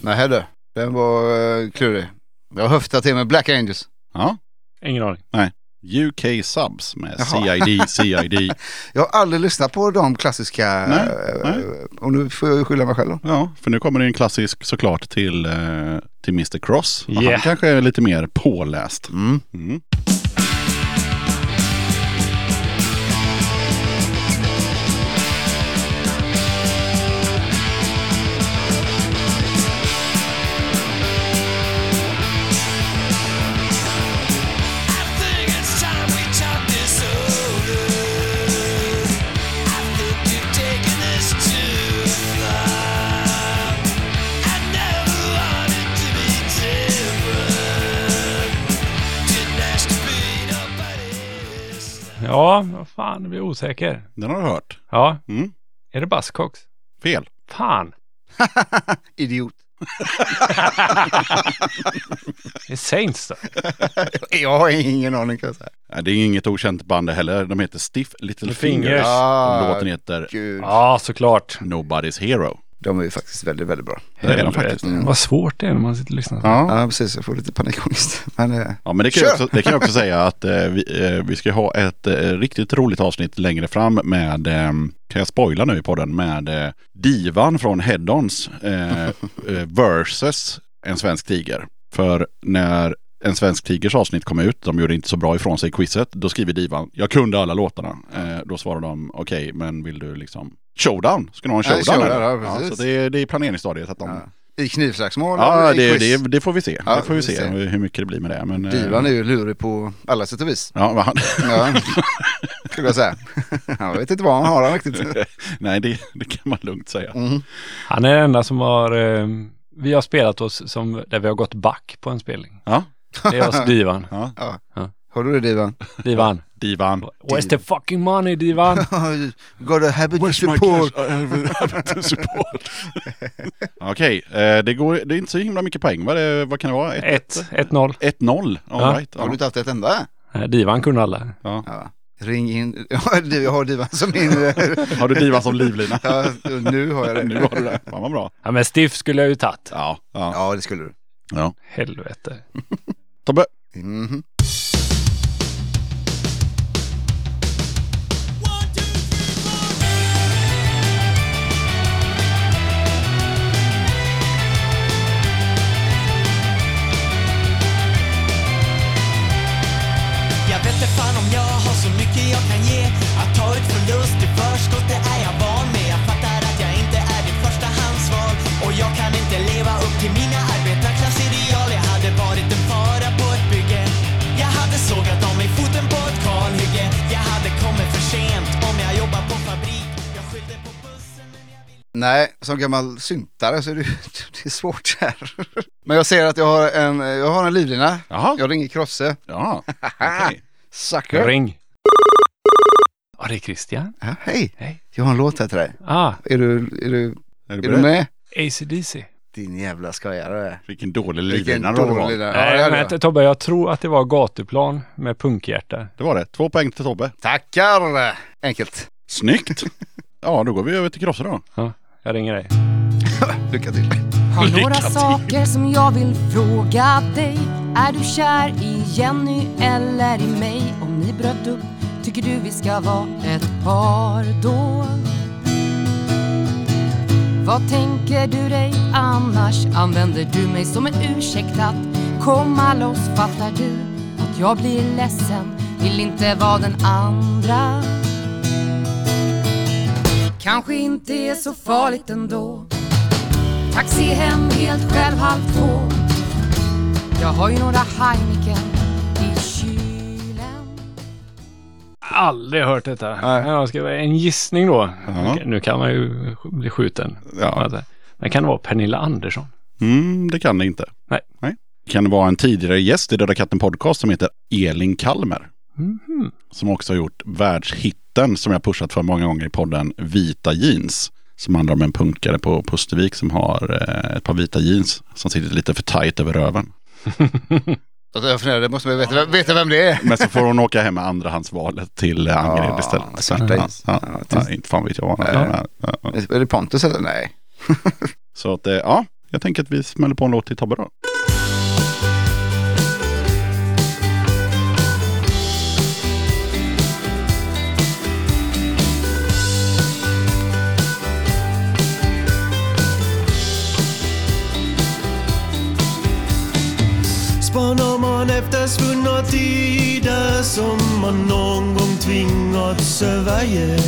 F: Nej du, den var eh, klurig. Jag har höftat till med Black Angels.
B: Ja.
A: Ingen aning.
B: UK Subs med
F: Jaha.
B: CID, CID.
F: Jag har aldrig lyssnat på de klassiska.
B: Nej,
F: eh,
B: nej.
F: Och nu får jag ju skylla mig själv då.
B: Ja, för nu kommer det en klassisk såklart till, eh, till Mr. Cross. Och Han
A: Yeah.
B: kanske är lite mer påläst.
F: Mm.
B: Mm.
D: I think it's time we chop this over. I think you've taken this too far. I never wanted to be different. Didn't ask to be nobody's.
A: Ja, vad fan, jag blir osäker.
B: Den har du hört.
A: Ja.
B: Mm.
A: Är det Buzzcocks?
B: Fel.
A: Fan.
F: Idiot.
A: Det är Saints då.
F: (laughs) Jag har ingen aning kan jag säga.
B: Nej, Det är inget okänt band det heller. De heter Stiff Little
A: Little
B: Fingers.
A: Fingers.
F: Ah,
B: Och låten heter
F: Gud.
A: Ja, såklart.
B: Nobody's Hero.
F: De är ju faktiskt väldigt, väldigt bra. Mm.
B: Det är de faktiskt.
A: Helvete. Vad svårt det är när man sitter och lyssnar.
B: Ja.
F: Ja, precis. Jag får lite panikångest. Men eh,
B: Ja, men det kan, jag
F: Kör!
B: också, det kan jag också säga att eh, vi, eh, vi ska ha ett eh, riktigt roligt avsnitt längre fram med, eh, kan jag spoila nu i podden, med eh, divan från Head-Ons eh, eh, versus en svensk tiger. För när en svensk tigers avsnitt kom ut, de gjorde inte så bra ifrån sig i quizet, då skriver divan, jag kunde alla låtarna. Eh, då svarar de, okej, men vill du liksom Showdown? Ska du ha en
F: Ja,
B: showdown?
F: showdown,
B: eller?
F: ja, precis.
B: så det är, det är planeringsstadiet att de
F: Ja. I knivslagsmål?
B: Ja,
F: eller i
B: det,
F: quiz?
B: det, det får vi se.
F: Ja,
B: det får vi
F: vi
B: se
F: ser.
B: hur mycket det blir med det. Men, eh,
F: Divan är ju lurig på alla sätt och vis.
B: Ja, vad han,
F: Ja, skulle jag säga. (laughs) Jag vet inte vad han har han riktigt.
B: (laughs) nej, det, det kan man lugnt säga.
A: Han är den enda som har... Eh, vi har spelat oss som, där vi har gått back på en spelning.
B: Ja,
A: Det är oss Divan.
F: Har du det Divan?
A: Divan.
B: divan.
A: Where's the fucking money Divan?
F: Got a habit
B: Where's my cash? I have- I have to (laughs) support. Okej, eh, det, går, det är inte så himla mycket poäng. Vad, är det, vad kan det vara? Ett-
A: 1-0.
B: 1-0? All
A: Ja.
B: right.
F: Har du
B: Ja.
F: inte haft ett enda?
A: Eh, Divan kunde alla.
F: Ja. Ring in. (laughs) Ja, du, Jag har Divan som
B: (laughs)
F: min... eh,
B: Har du divan som livlina?
F: (laughs) Ja, nu har jag det.
B: Nu har du det. Fan vad bra.
A: Ja, men Stiff skulle jag ju tagit.
B: Ja, ja.
F: Ja, det skulle du.
B: ja.
A: Helvete.
B: Tobbe,
F: Mhm.
D: Jag vet inte fan om jag har så mycket jag kan ge Att ta ut förlust i förskott det är jag van med Jag fattar att jag inte är ditt förstahandsval Och jag kan inte leva upp till mina arbetarklassideal Jag hade varit en fara på ett bygge Jag hade sågat av mig foten på ett kalhygge Jag hade kommit för sent om jag jobbar på fabrik Jag skyllde på bussen men jag ville
F: Nej, som gammal syntare så är det, (laughs) det är svårt här. Men jag ser att jag har en, jag har en livlina.
B: Jaha.
F: Jag ringer Krosse. (laughs)
B: Ja, okej.
F: Sucker.
A: Ring. Ja, det är Christian.
F: Ja, hej.
A: Hej.
F: Jag har en låt här till dig.
A: Ah,
F: Är du, är du,
B: Är du
F: är du
B: beredd?
F: med?
A: ACDC.
F: Din jävla skojare.
B: Vilken dålig
F: Vilken
B: livlina du hade
F: dålig
B: valt.
F: där. Ja, det
A: Nej,
F: hade
A: men
F: jag.
A: Tobbe, jag tror att det var gatuplan med punkhjärta.
B: Det var det. Två poäng till Tobbe.
F: Tackar! Enkelt.
B: Snyggt! Ja, då går vi över till Krosse då.
A: Ja, jag ringer dig.
F: Lycka till.
I: Har
B: Lycka
I: några
B: till.
I: saker som jag vill fråga dig. Är du kär i Jenny eller i mig? Om ni bröt upp, tycker du vi ska vara ett par då? Vad tänker du dig annars? Använder du mig som en ursäkt att komma loss? Fattar du att jag blir ledsen? Vill inte vara den andra Kanske inte är så farligt ändå Taxi hem helt själv halv två Jag har ju några Heineken i kylen
A: Aldrig hört detta.
F: Nej.
A: Ja, ska jag- en gissning då.
B: Ja.
A: Okej, Nu kan man ju sk- bli skjuten.
B: Ja.
A: Alltså, Men kan det vara Pernilla Andersson?
B: Mm, det kan det inte.
A: Nej.
B: Nej. Det kan vara en tidigare gäst i Döda katten podcast som heter Elin Kalmer. Som också har gjort världshitten som jag pushat för många gånger i podden Vita jeans. Som handlar om en punkare på Pustervik som har eh, ett par vita jeans som sitter lite för tajt över röven.
F: Alltså, jag funderade, måste man ju veta, veta vem det är.
B: Men så får hon åka hem med andrahandsvalet till eh, Angered
F: Ja,
B: istället.
F: svarta
B: ja,
F: jeans.
B: ja,
F: Ja,
B: ja,
F: tyst.
B: inte fan vet jag. vad-
F: Nej.
B: Ja, ja.
F: Är det Pontus eller? Nej.
B: Så att, eh, ja, jag tänker att vi smäller på en låt till Tobbe då.
D: Spanar man efter svunna tider som man någon gång tvingats överge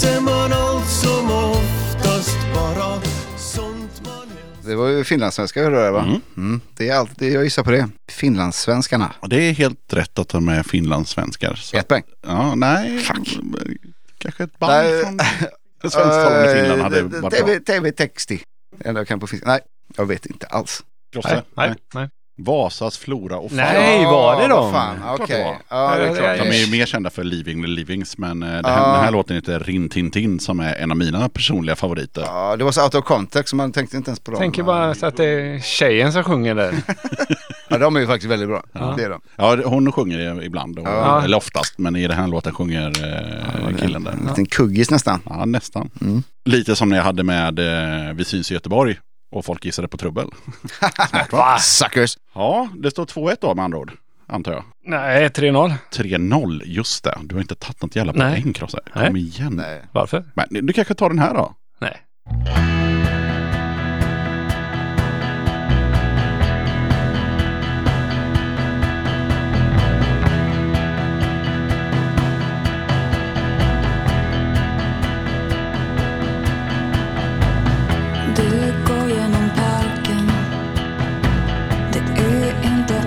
D: Ser man allt som oftast bara sånt man
F: Det var ju finlandssvenska jag hörde där va? Mm. Det är allt, det, jag gissar på det. Finlandssvenskarna.
B: Ja, Det är helt rätt att de är finlandssvenskar. Så
F: Ett poäng.
B: Ja, nej.
F: Fuck.
B: Kanske ett band
F: Nej.
B: från ett svensktalande Finland hade
F: Eh,
B: varit bra.
F: TV, TV texti. Eller jag kan på finska. Nej, jag vet inte alls.
B: Krosse?
A: Nej, nej, nej.
B: Vasas Flora och Fauna.
A: Nej, var det
F: Ja, vad
A: dem?
F: Fan,
B: Klart det
F: okej.
B: var.
F: Ja, det är klart.
B: De är ju mer kända för Leaving the Livings, men eh, det här,
F: Ja.
B: den här låten heter Rin Tin Tin som är en av mina personliga favoriter.
F: Ja, det var så out of context så man tänkte inte ens på dem.
A: Tänker bara så att det är tjejen som sjunger där.
F: Ja, de är ju faktiskt väldigt bra. Det är de.
B: Ja, hon sjunger ibland, och,
F: Ja.
B: eller oftast, men i den här låten sjunger eh, killen där.
F: En liten kuggis nästan.
B: Ja, nästan.
F: Mm.
B: Lite som när jag hade med eh, Vi syns i Göteborg och folk gissade på trubbel. Smart va?
F: Suckers.
B: Ja, det står 2-1 då med andra ord, antar jag.
A: Nej, 3-0.
B: 3-0, just det. Du har inte tagit något jävla
A: Nej.
B: poäng Krosse.
A: Nej.
B: Kom igen.
F: Nej.
A: Varför?
B: Men du kanske tar den här då?
A: Nej.
J: Du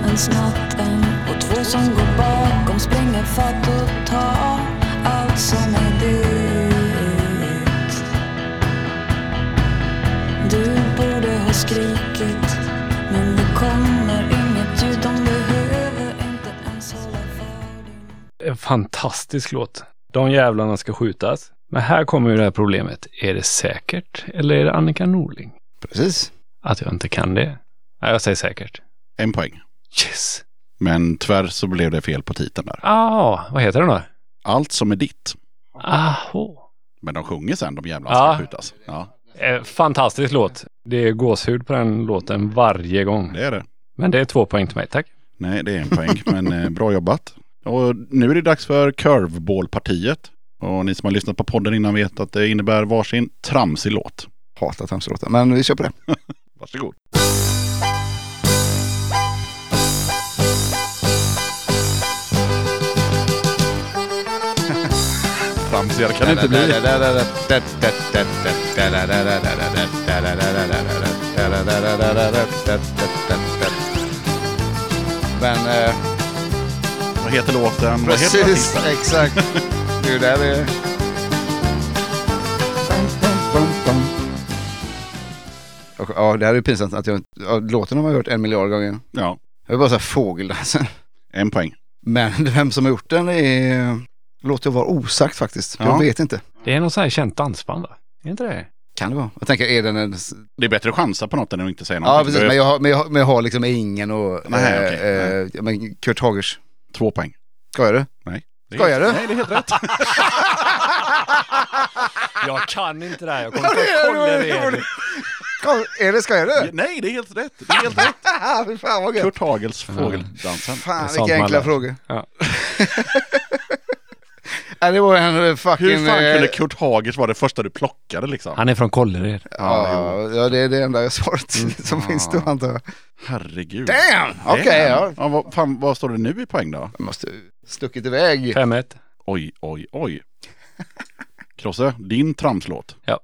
J: längs natten och två som går bakom spränger fatt och tar allt som är ditt. Du borde ha skrikit men det kommer inget ljud. De behöver inte ens hålla för din
A: En fantastisk låt. De jävlarna ska skjutas. Men här kommer ju det här problemet. Är det säkert eller är det Annika Norling?
F: Precis.
A: Att jag inte kan det? Nej, jag säger säkert.
B: En poäng.
A: Yes!
B: Men tyvärr så blev det fel på titeln där.
A: Ah, vad heter den då?
B: Allt som är ditt.
A: Aho.
B: Men de sjunger sen, de jävla
A: Ja.
B: ska skjutas. Ja,
A: Eh, fantastisk låt. Det är gåshud på den låten varje gång.
B: det är det.
A: Men det är två poäng till mig, tack.
B: Nej, det är en poäng, men eh, bra jobbat. Och nu är det dags för Curveball-partiet. Och ni som har lyssnat på podden innan vet att det innebär varsin tramsig låt.
F: Hatar tramslåtar, men vi kör på det. (laughs)
B: Varsågod. Tramsigare kan det inte bli.
F: Men eh,
B: Vad heter låten? Vad heter
F: precis,
B: artisten?
F: exakt. Det är där det är. Och, Ja, det här är ju pinsamt att jag inte- ja, Låten har man hört en miljard gånger.
B: Ja,
F: Jag är bara så här fågeldansen.
B: en poäng.
F: Men vem som har gjort den är... Låter jag vara osagt faktiskt.
B: Ja.
F: Jag vet inte.
A: Det är någon sån här känt dansband, va? Är inte det?
F: Kan det vara? Jag tänker, är den en...
B: Det är bättre att chansa på något än att inte säga någonting.
F: Ja, precis.
B: Det är
F: Men jag har, men jag har, men jag har liksom ingen och...
B: Nej,
F: eh,
B: okej.
F: eh, ja, men Kurt Hagers.
B: Två poäng.
F: Skojar du?
B: Nej. Det är-
F: Skojar du?
B: Nej, det är helt rätt.
A: Jag kan inte det här. Jag
F: Kom, är det skojar du?
B: Nej, det är helt rätt. Det är helt rätt.
F: Ah, fy fan vad gött.
B: Kurt Hagels Fågeldansen.
F: Fan
A: Det är
F: vilka
A: sånt man
F: enkla
A: lär.
F: frågor.
A: Ja.
F: Nej, det var en eh, fucking...
B: Hur fan kunde
F: eh,
B: Kurt Hagers vara det första du plockade liksom?
A: Han är från Kållered.
F: Ja, ja, det är det enda svaret
B: Mm.
F: (laughs) som finns då antar jag.
B: Herregud.
F: Damn! Okej, ja.
B: ja. Vad, fan, vad står det nu i poäng då?
F: Jag måste stuckit iväg.
A: 5-1.
B: Oj, oj, oj. Krosse, din tramslåt.
A: Ja.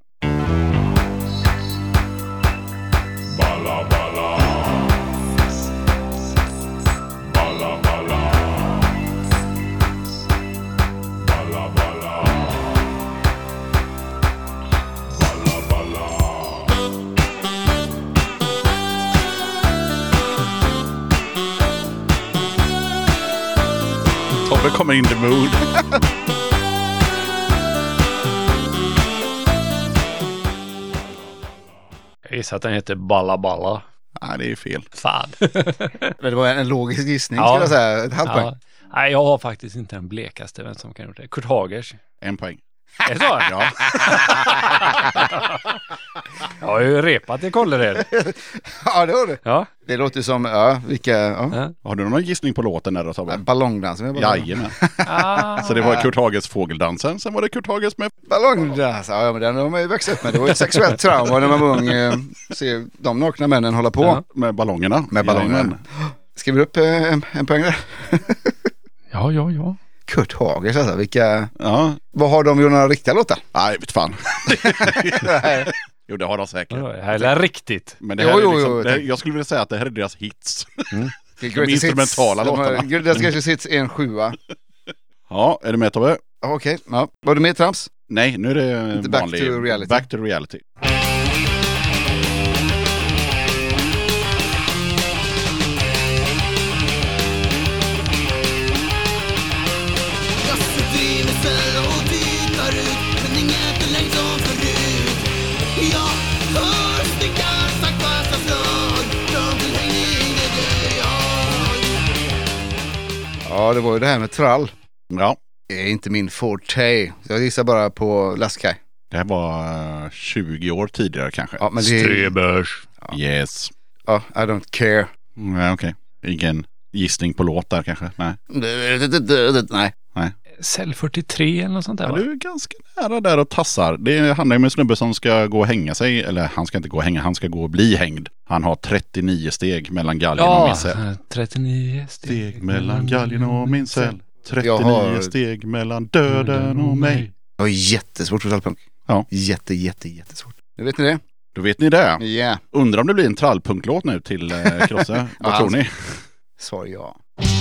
B: Tobbe kommer in the mood.
A: Jag gissar att den heter Balla Balla.
B: Nej, det är ju fel.
A: (laughs) Fan.
F: Men det var en logisk gissning
A: Ja.
F: skulle jag säga. Ett halvt poäng. (laughs)
A: ja. Nej, jag har faktiskt inte den blekaste vem som kan ha gjort det. Kurt Hagers.
B: En poäng.
A: Är (laughs) det så?
B: Ja.
A: Jag har ju repat i Kållered.
F: Ja, det var det.
A: Ja.
F: Det låter som, ja, vilka, ja.
B: Har du någon gissning på låten där då Tobbe?
F: Ballongdansen. jag bara-
B: Jajamän.
A: Ah.
B: Så det var Kurt Hagers Fågeldansen, sen var det Kurt Hagers med...
F: Ballongdans, ja men den har man ju växt upp med. Det var ju ett sexuellt trauma när man var ung. eh, Se de nakna männen hålla på
A: Ja.
B: Med ballongerna.
F: med ballongen.
B: Jajamän.
F: Skriver upp eh, en, en poäng där.
A: Ja, ja, ja.
F: Kurt Hagers alltså, vilka...
B: Ja.
F: Vad har de gjort några riktiga låtar?
B: Nej, vet
F: (laughs)
B: fan. jo, det har de säkert.
A: Det här är riktigt.
B: Men det
F: Jo,
B: här
F: jo,
B: är liksom,
F: jo,
B: det här,
F: tänk-
B: jag skulle vilja säga att det här är deras hits.
F: De
B: instrumentala låtarna.
F: Greatest Greatest Hits är en sjua.
B: Ja, är du med Tobbe?
F: Ja, Okej, ja. var du med Trams?
B: Nej, nu är det
F: Inte
B: vanlig...
F: back to reality.
B: Back to reality.
D: Lasse driver snö och tittar ut Men inget är längst som förut Jag hör snickaren saktfasta slag Någonting hängde i det där jag
F: Ja, det var ju det här med trall.
B: Ja,
F: Det är inte min forte. Så Jag gissar bara på Lastkaj.
B: det här var eh, 20 år tidigare kanske.
F: Ja, men det...
A: Strebörs.
B: Yes.
F: Ja, I don't care.
B: Mm, ja, Okej. Ingen gissning på låt där kanske? Nej.
F: Nej.
A: Cell 43 eller något sånt där
B: Ja,
A: va?
B: du är ganska nära där och tassar. Det handlar ju om en snubbe som ska gå och hänga sig. Eller han ska inte gå och hänga, han ska gå och bli hängd. Han har 39 steg mellan galgen och min cell.
A: 39
B: Steg mellan galgen och min cell. 39
F: Jag har-
B: steg mellan döden och mig.
F: Det var jättesvårt för trallpunk.
B: Ja.
F: Jätte, jätte, jättesvårt. Nu vet ni det.
B: Då vet ni det.
F: Ja. (laughs)
B: Undrar om det blir en trallpunklåt nu till eh, Krosse. Vad
F: Ja,
B: tror ni?
F: Svar ja. (laughs)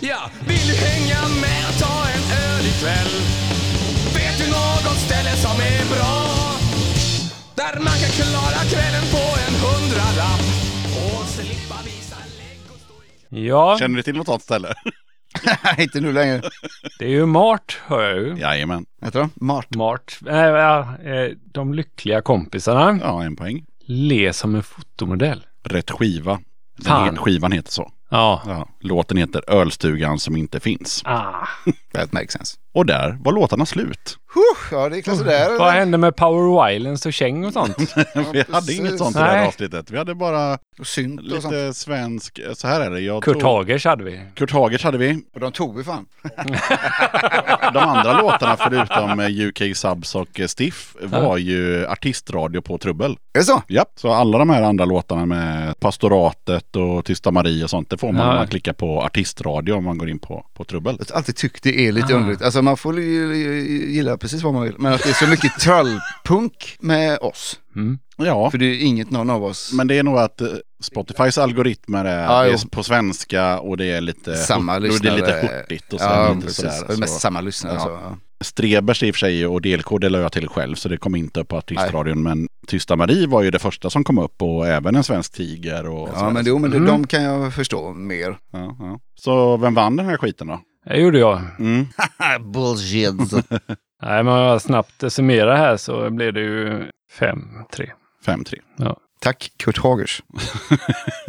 D: Ja, vill du hänga med och ta en öl ikväll? Vet du något ställe som är bra? Där man kan klara kvällen på en hundralapp och slippa visa lägg och stå i
A: Ja,
B: Känner du till något sånt
F: (laughs)
B: ställe?
F: Nej, inte nu längre.
A: det är ju Mart, hör jag ju.
B: Jajamän.
F: Heter de? Mart.
A: Mart. Äh, ja, eh, de lyckliga kompisarna.
B: Ja, en poäng.
A: Le som en fotomodell.
B: Rätt skiva.
A: Fan.
B: Den he- skivan heter så.
A: Ja.
B: Ja. Låten heter Ölstugan som inte finns.
A: Ah.
F: That makes sense.
B: Och där var låtarna slut.
F: Huh, ja, det är klart sådär.
A: Vad
F: eller?
A: hände med Power Islands och Käng och sånt?
B: (laughs) Vi hade
F: precis.
B: inget sånt i det här
A: Nej.
B: avsnittet. Vi hade bara
F: Och synt och sånt.
B: lite svensk, så här är det. Jag
A: Kurt
B: tror-
A: Hagers hade vi.
B: Kurt Hagers hade vi.
F: Och de tog vi fan.
B: De andra låtarna förutom eh, UK Subs och eh, Stiff var ju artistradio på trubbel.
F: Är det så?
B: Ja, så alla de här andra låtarna med Pastoratet och Tysta Marie och sånt, det får man
A: Ja.
B: om man klickar på artistradio om man går in på, på trubbel.
F: Jag har alltid tyckt det är lite
B: Ah.
F: underligt. Alltså man får ju, ju- gilla precis vad man vill. Men att det är så mycket trallpunk med oss.
B: Ja,
F: För det är inget någon av oss.
B: men det är nog att eh, Spotifys algoritmer är,
F: Ja,
B: det
F: jo.
B: är på svenska och det är lite,
F: samma
B: och det är
F: lyssnare.
B: lite hurtigt och så
F: ja,
B: lite
F: precis.
B: sådär.
F: Det är mest
B: Så.
F: samma lyssnare.
B: Ja.
F: Så, ja.
B: Strebers i och för sig och DLK det la jag till själv så det kom inte upp på artistradion. Men Tysta Marie var ju det första som kom upp och även en svensk tiger. Och
F: ja,
B: sådär.
F: men, det, jo, men det, de kan jag förstå mer.
B: Ja, ja. Så vem vann den här skiten då?
A: Det gjorde jag.
B: Mm.
F: Bullshit.
A: Nej, men jag snabbt summerar här så blev det ju 5-3.
B: 5-3.
F: Tack Kurt
B: (laughs)
F: Hagers.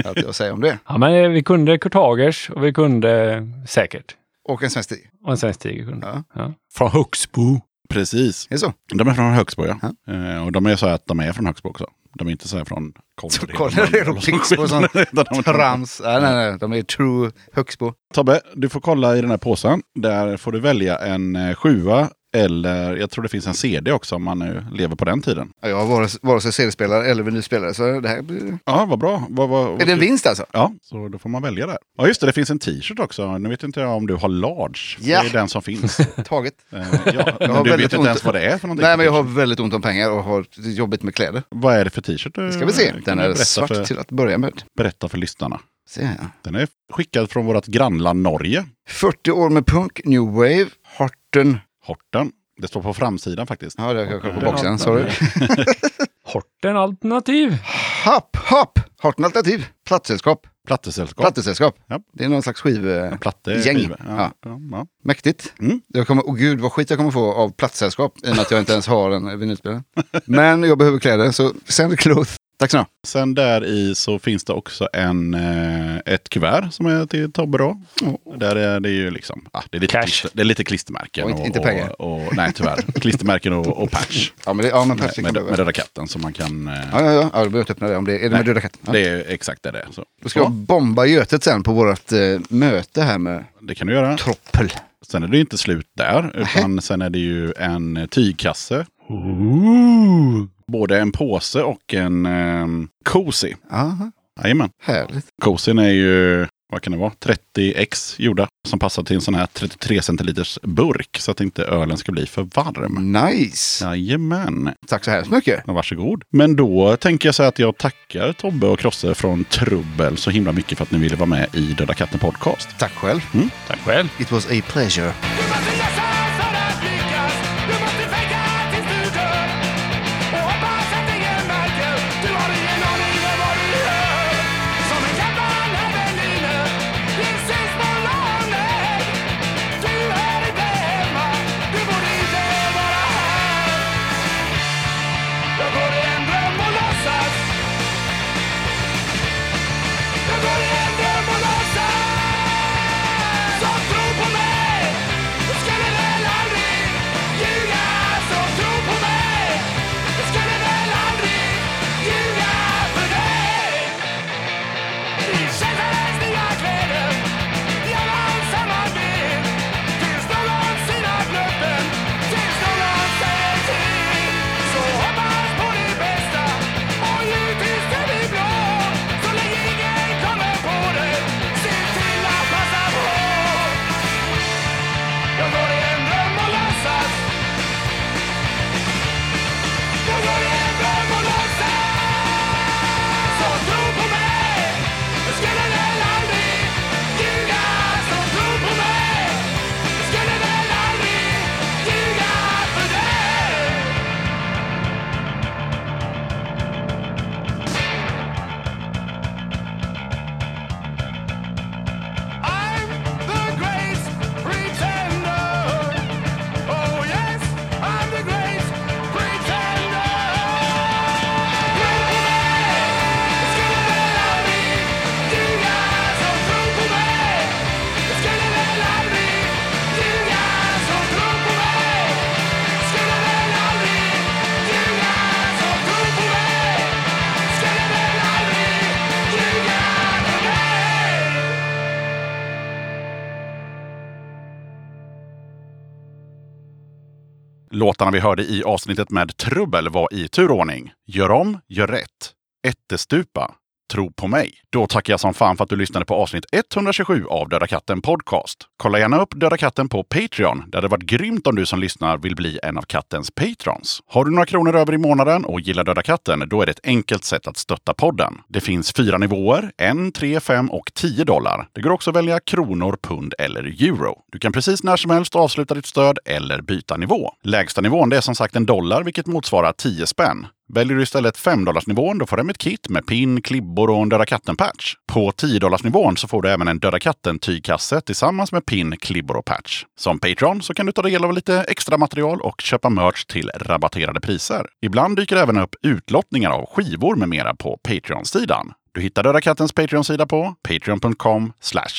F: Att jag säger om det.
A: Ja, men eh, vi kunde Kurt Hagers och vi kunde eh, säkert.
F: Och en svensk stil.
A: Och en svensk tiger kunde.
F: Ja.
A: Ja.
B: Från Högsbo. Precis.
F: Är det så?
B: De är från Högsbo ja. Eh, och de är så här att de är från Högsbo också. De är inte så här från Kållered.
F: Kållered och
B: (laughs)
F: Pixbo och sånt.
B: Utan de är från-
F: Trams. Nej, nej, nej. De är true Högsbo.
B: Tobbe, du får kolla i den här påsen. Där får du välja en eh, sjua eller jag tror det finns en CD också om man nu lever på den tiden.
F: Ja, Jag har vare, vare sig CD-spelare eller vinylspelare. Så det här blir...
B: Ja, vad bra. Vad, vad, vad
F: Är det en vinst alltså?
B: Ja, så då får man välja där. Ja, just det. Det finns en t-shirt också. Nu vet inte jag om du har large. för
F: Ja.
B: Det är den som
F: (laughs)
B: finns.
F: Taget.
B: Eh, ja,
F: har
B: men du
F: väldigt
B: vet inte
F: ont-
B: ens vad det är för någonting.
F: Nej, men jag har väldigt ont om pengar och har jobbigt med kläder.
B: Vad är Mm. det för t-shirt? du-
F: Ska vi se.
B: kan
F: Den
B: du
F: är
B: berätta
F: svart
B: För,
F: till att börja med.
B: berätta för lyssnarna.
F: Ser jag.
B: Den är skickad från vårt grannland Norge,
F: 40 år med punk, new wave, Horten.
B: Horten. Det står på framsidan faktiskt.
F: Ja, det har jag kanske på boxen. Sorry.
A: Horten alternativ.
F: Happ, happ! Horten Alternativ. Plattsällskap.
B: Plattesällskap.
F: Plattesällskap.
B: Ja.
F: Det är någon slags skiv...
B: Platte.
F: Gäng.
B: skiva. Ja.
F: Ja.
B: Ja. Ja.
F: Mäktigt.
B: Mm.
F: Jag kommer, oh gud vad skit jag kommer få av plattsällskap i och med att jag inte ens har en vinylspelare. Men jag behöver kläder, så send cloth. Tack så mycket.
B: Sen där i så finns det också en, eh, ett kuvert som är till Tobbe då. Där är det ju liksom, ah, det, är lite
A: Cash.
B: klister, det är lite klistermärken.
F: Oh. Och inte- inte pengar.
B: Och, och, nej, tyvärr.
F: (laughs)
B: klistermärken och, och patch.
F: Ja, men, det, ja, men
B: med,
F: perfekt.
B: med,
F: Ja,
B: med Röda katten som man kan... eh,
F: ja, ja. ja, du behöver inte öppna det om det är det
B: Nej.
F: med Döda katten. Ja.
B: Det är exakt det det är. Så.
F: Då ska jag bomba Götet sen på vårt eh, möte här med
B: Det kan du göra.
F: Troppel.
B: Sen är det ju inte slut där, utan sen är det ju en tygkasse. Både en påse och en um, kosi.
F: Aha,
B: Jajamän.
F: härligt.
B: Kosin är ju, vad kan det vara, 30 x gjorda. Som passar till en sån här 33 centiliters burk. Så att inte ölen ska bli för varm.
F: Nice.
B: Jajamän.
F: Tack så hemskt mycket.
B: Ja, Varsågod. Men då tänker jag säga att jag tackar Tobbe och Krosse från Trubbel så himla mycket för att ni ville vara med i Döda katten podcast.
F: Tack själv.
A: Tack själv.
F: It was a pleasure.
D: Du måste läsa för att lyckas Du måste fejka tills du dör Och hoppas att ingen märker Du har ingen aning om vad du gör Som en kappan här Berliner Precis på lånet Du är inte hemma Du borde inte vara här Jag går i en dröm och låtsas Jag går i en dröm och låtsas Som tror på mig Oh,
B: Låtarna vi hörde i avsnittet med Trubbel var i turordning Gör om, gör rätt, Ättestupa, Tro på mig. Då tackar jag som fan för att du lyssnade på avsnitt 127 av Döda katten Podcast. Kolla gärna upp Döda katten på Patreon. Det hade varit grymt om du som lyssnar vill bli en av kattens patrons. Har du några kronor över i månaden och gillar Döda katten, då är det ett enkelt sätt att stötta podden. Det finns fyra nivåer, en, tre, fem och 10 dollar. Det går också att välja kronor, pund eller euro. Du kan precis när som helst avsluta ditt stöd eller byta nivå. Lägsta nivån det är som sagt en dollar, vilket motsvarar 10 spänn. Väljer du istället 5-dollarsnivån, då får du hem ett kit med pin, klibbor och en Döda katten-patch. På 10-dollarsnivån så får du även en Döda katten-tygkasse tillsammans med pin, klibbor och patch. Som Patreon så kan du ta del av lite extra material och köpa merch till rabatterade priser. Ibland dyker det även upp utlottningar av skivor med mera på Patreon-sidan. Du hittar Döda Kattens Patreon-sida på patreon.com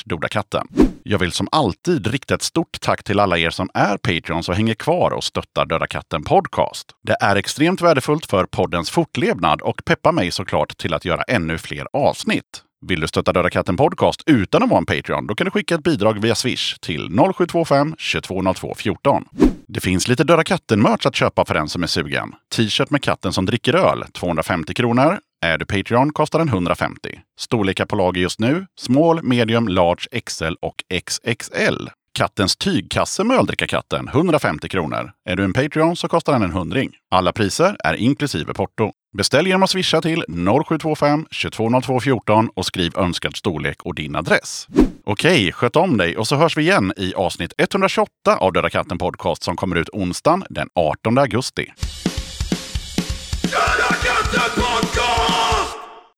B: dodakatten. Jag vill som alltid rikta ett stort tack till alla er som är Patreons och hänger kvar och stöttar Döda Katten Podcast. Det är extremt värdefullt för poddens fortlevnad och peppar mig såklart till att göra ännu fler avsnitt. Vill du stötta Döda katten Podcast utan att vara en Patreon? Då kan du skicka ett bidrag via Swish till 0725 2202 14. Det finns lite Döda katten-merch att köpa för den som är sugen. T-shirt med katten som dricker öl, 250 kronor. Är du Patreon kostar den 150. Storlekar på lager just nu, small, medium, large, XL och XXL. Kattens tygkasse med öldrickakatten, 150 kronor. Är du en Patreon så kostar den en hundring. Alla priser är inklusive porto. Beställ genom att swisha till 0725 220214 och skriv önskad storlek och din adress. Okej, sköt om dig och så hörs vi igen i avsnitt 128 av Döda katten Podcast som kommer ut onsdagen den 18 augusti.
C: Döda katten på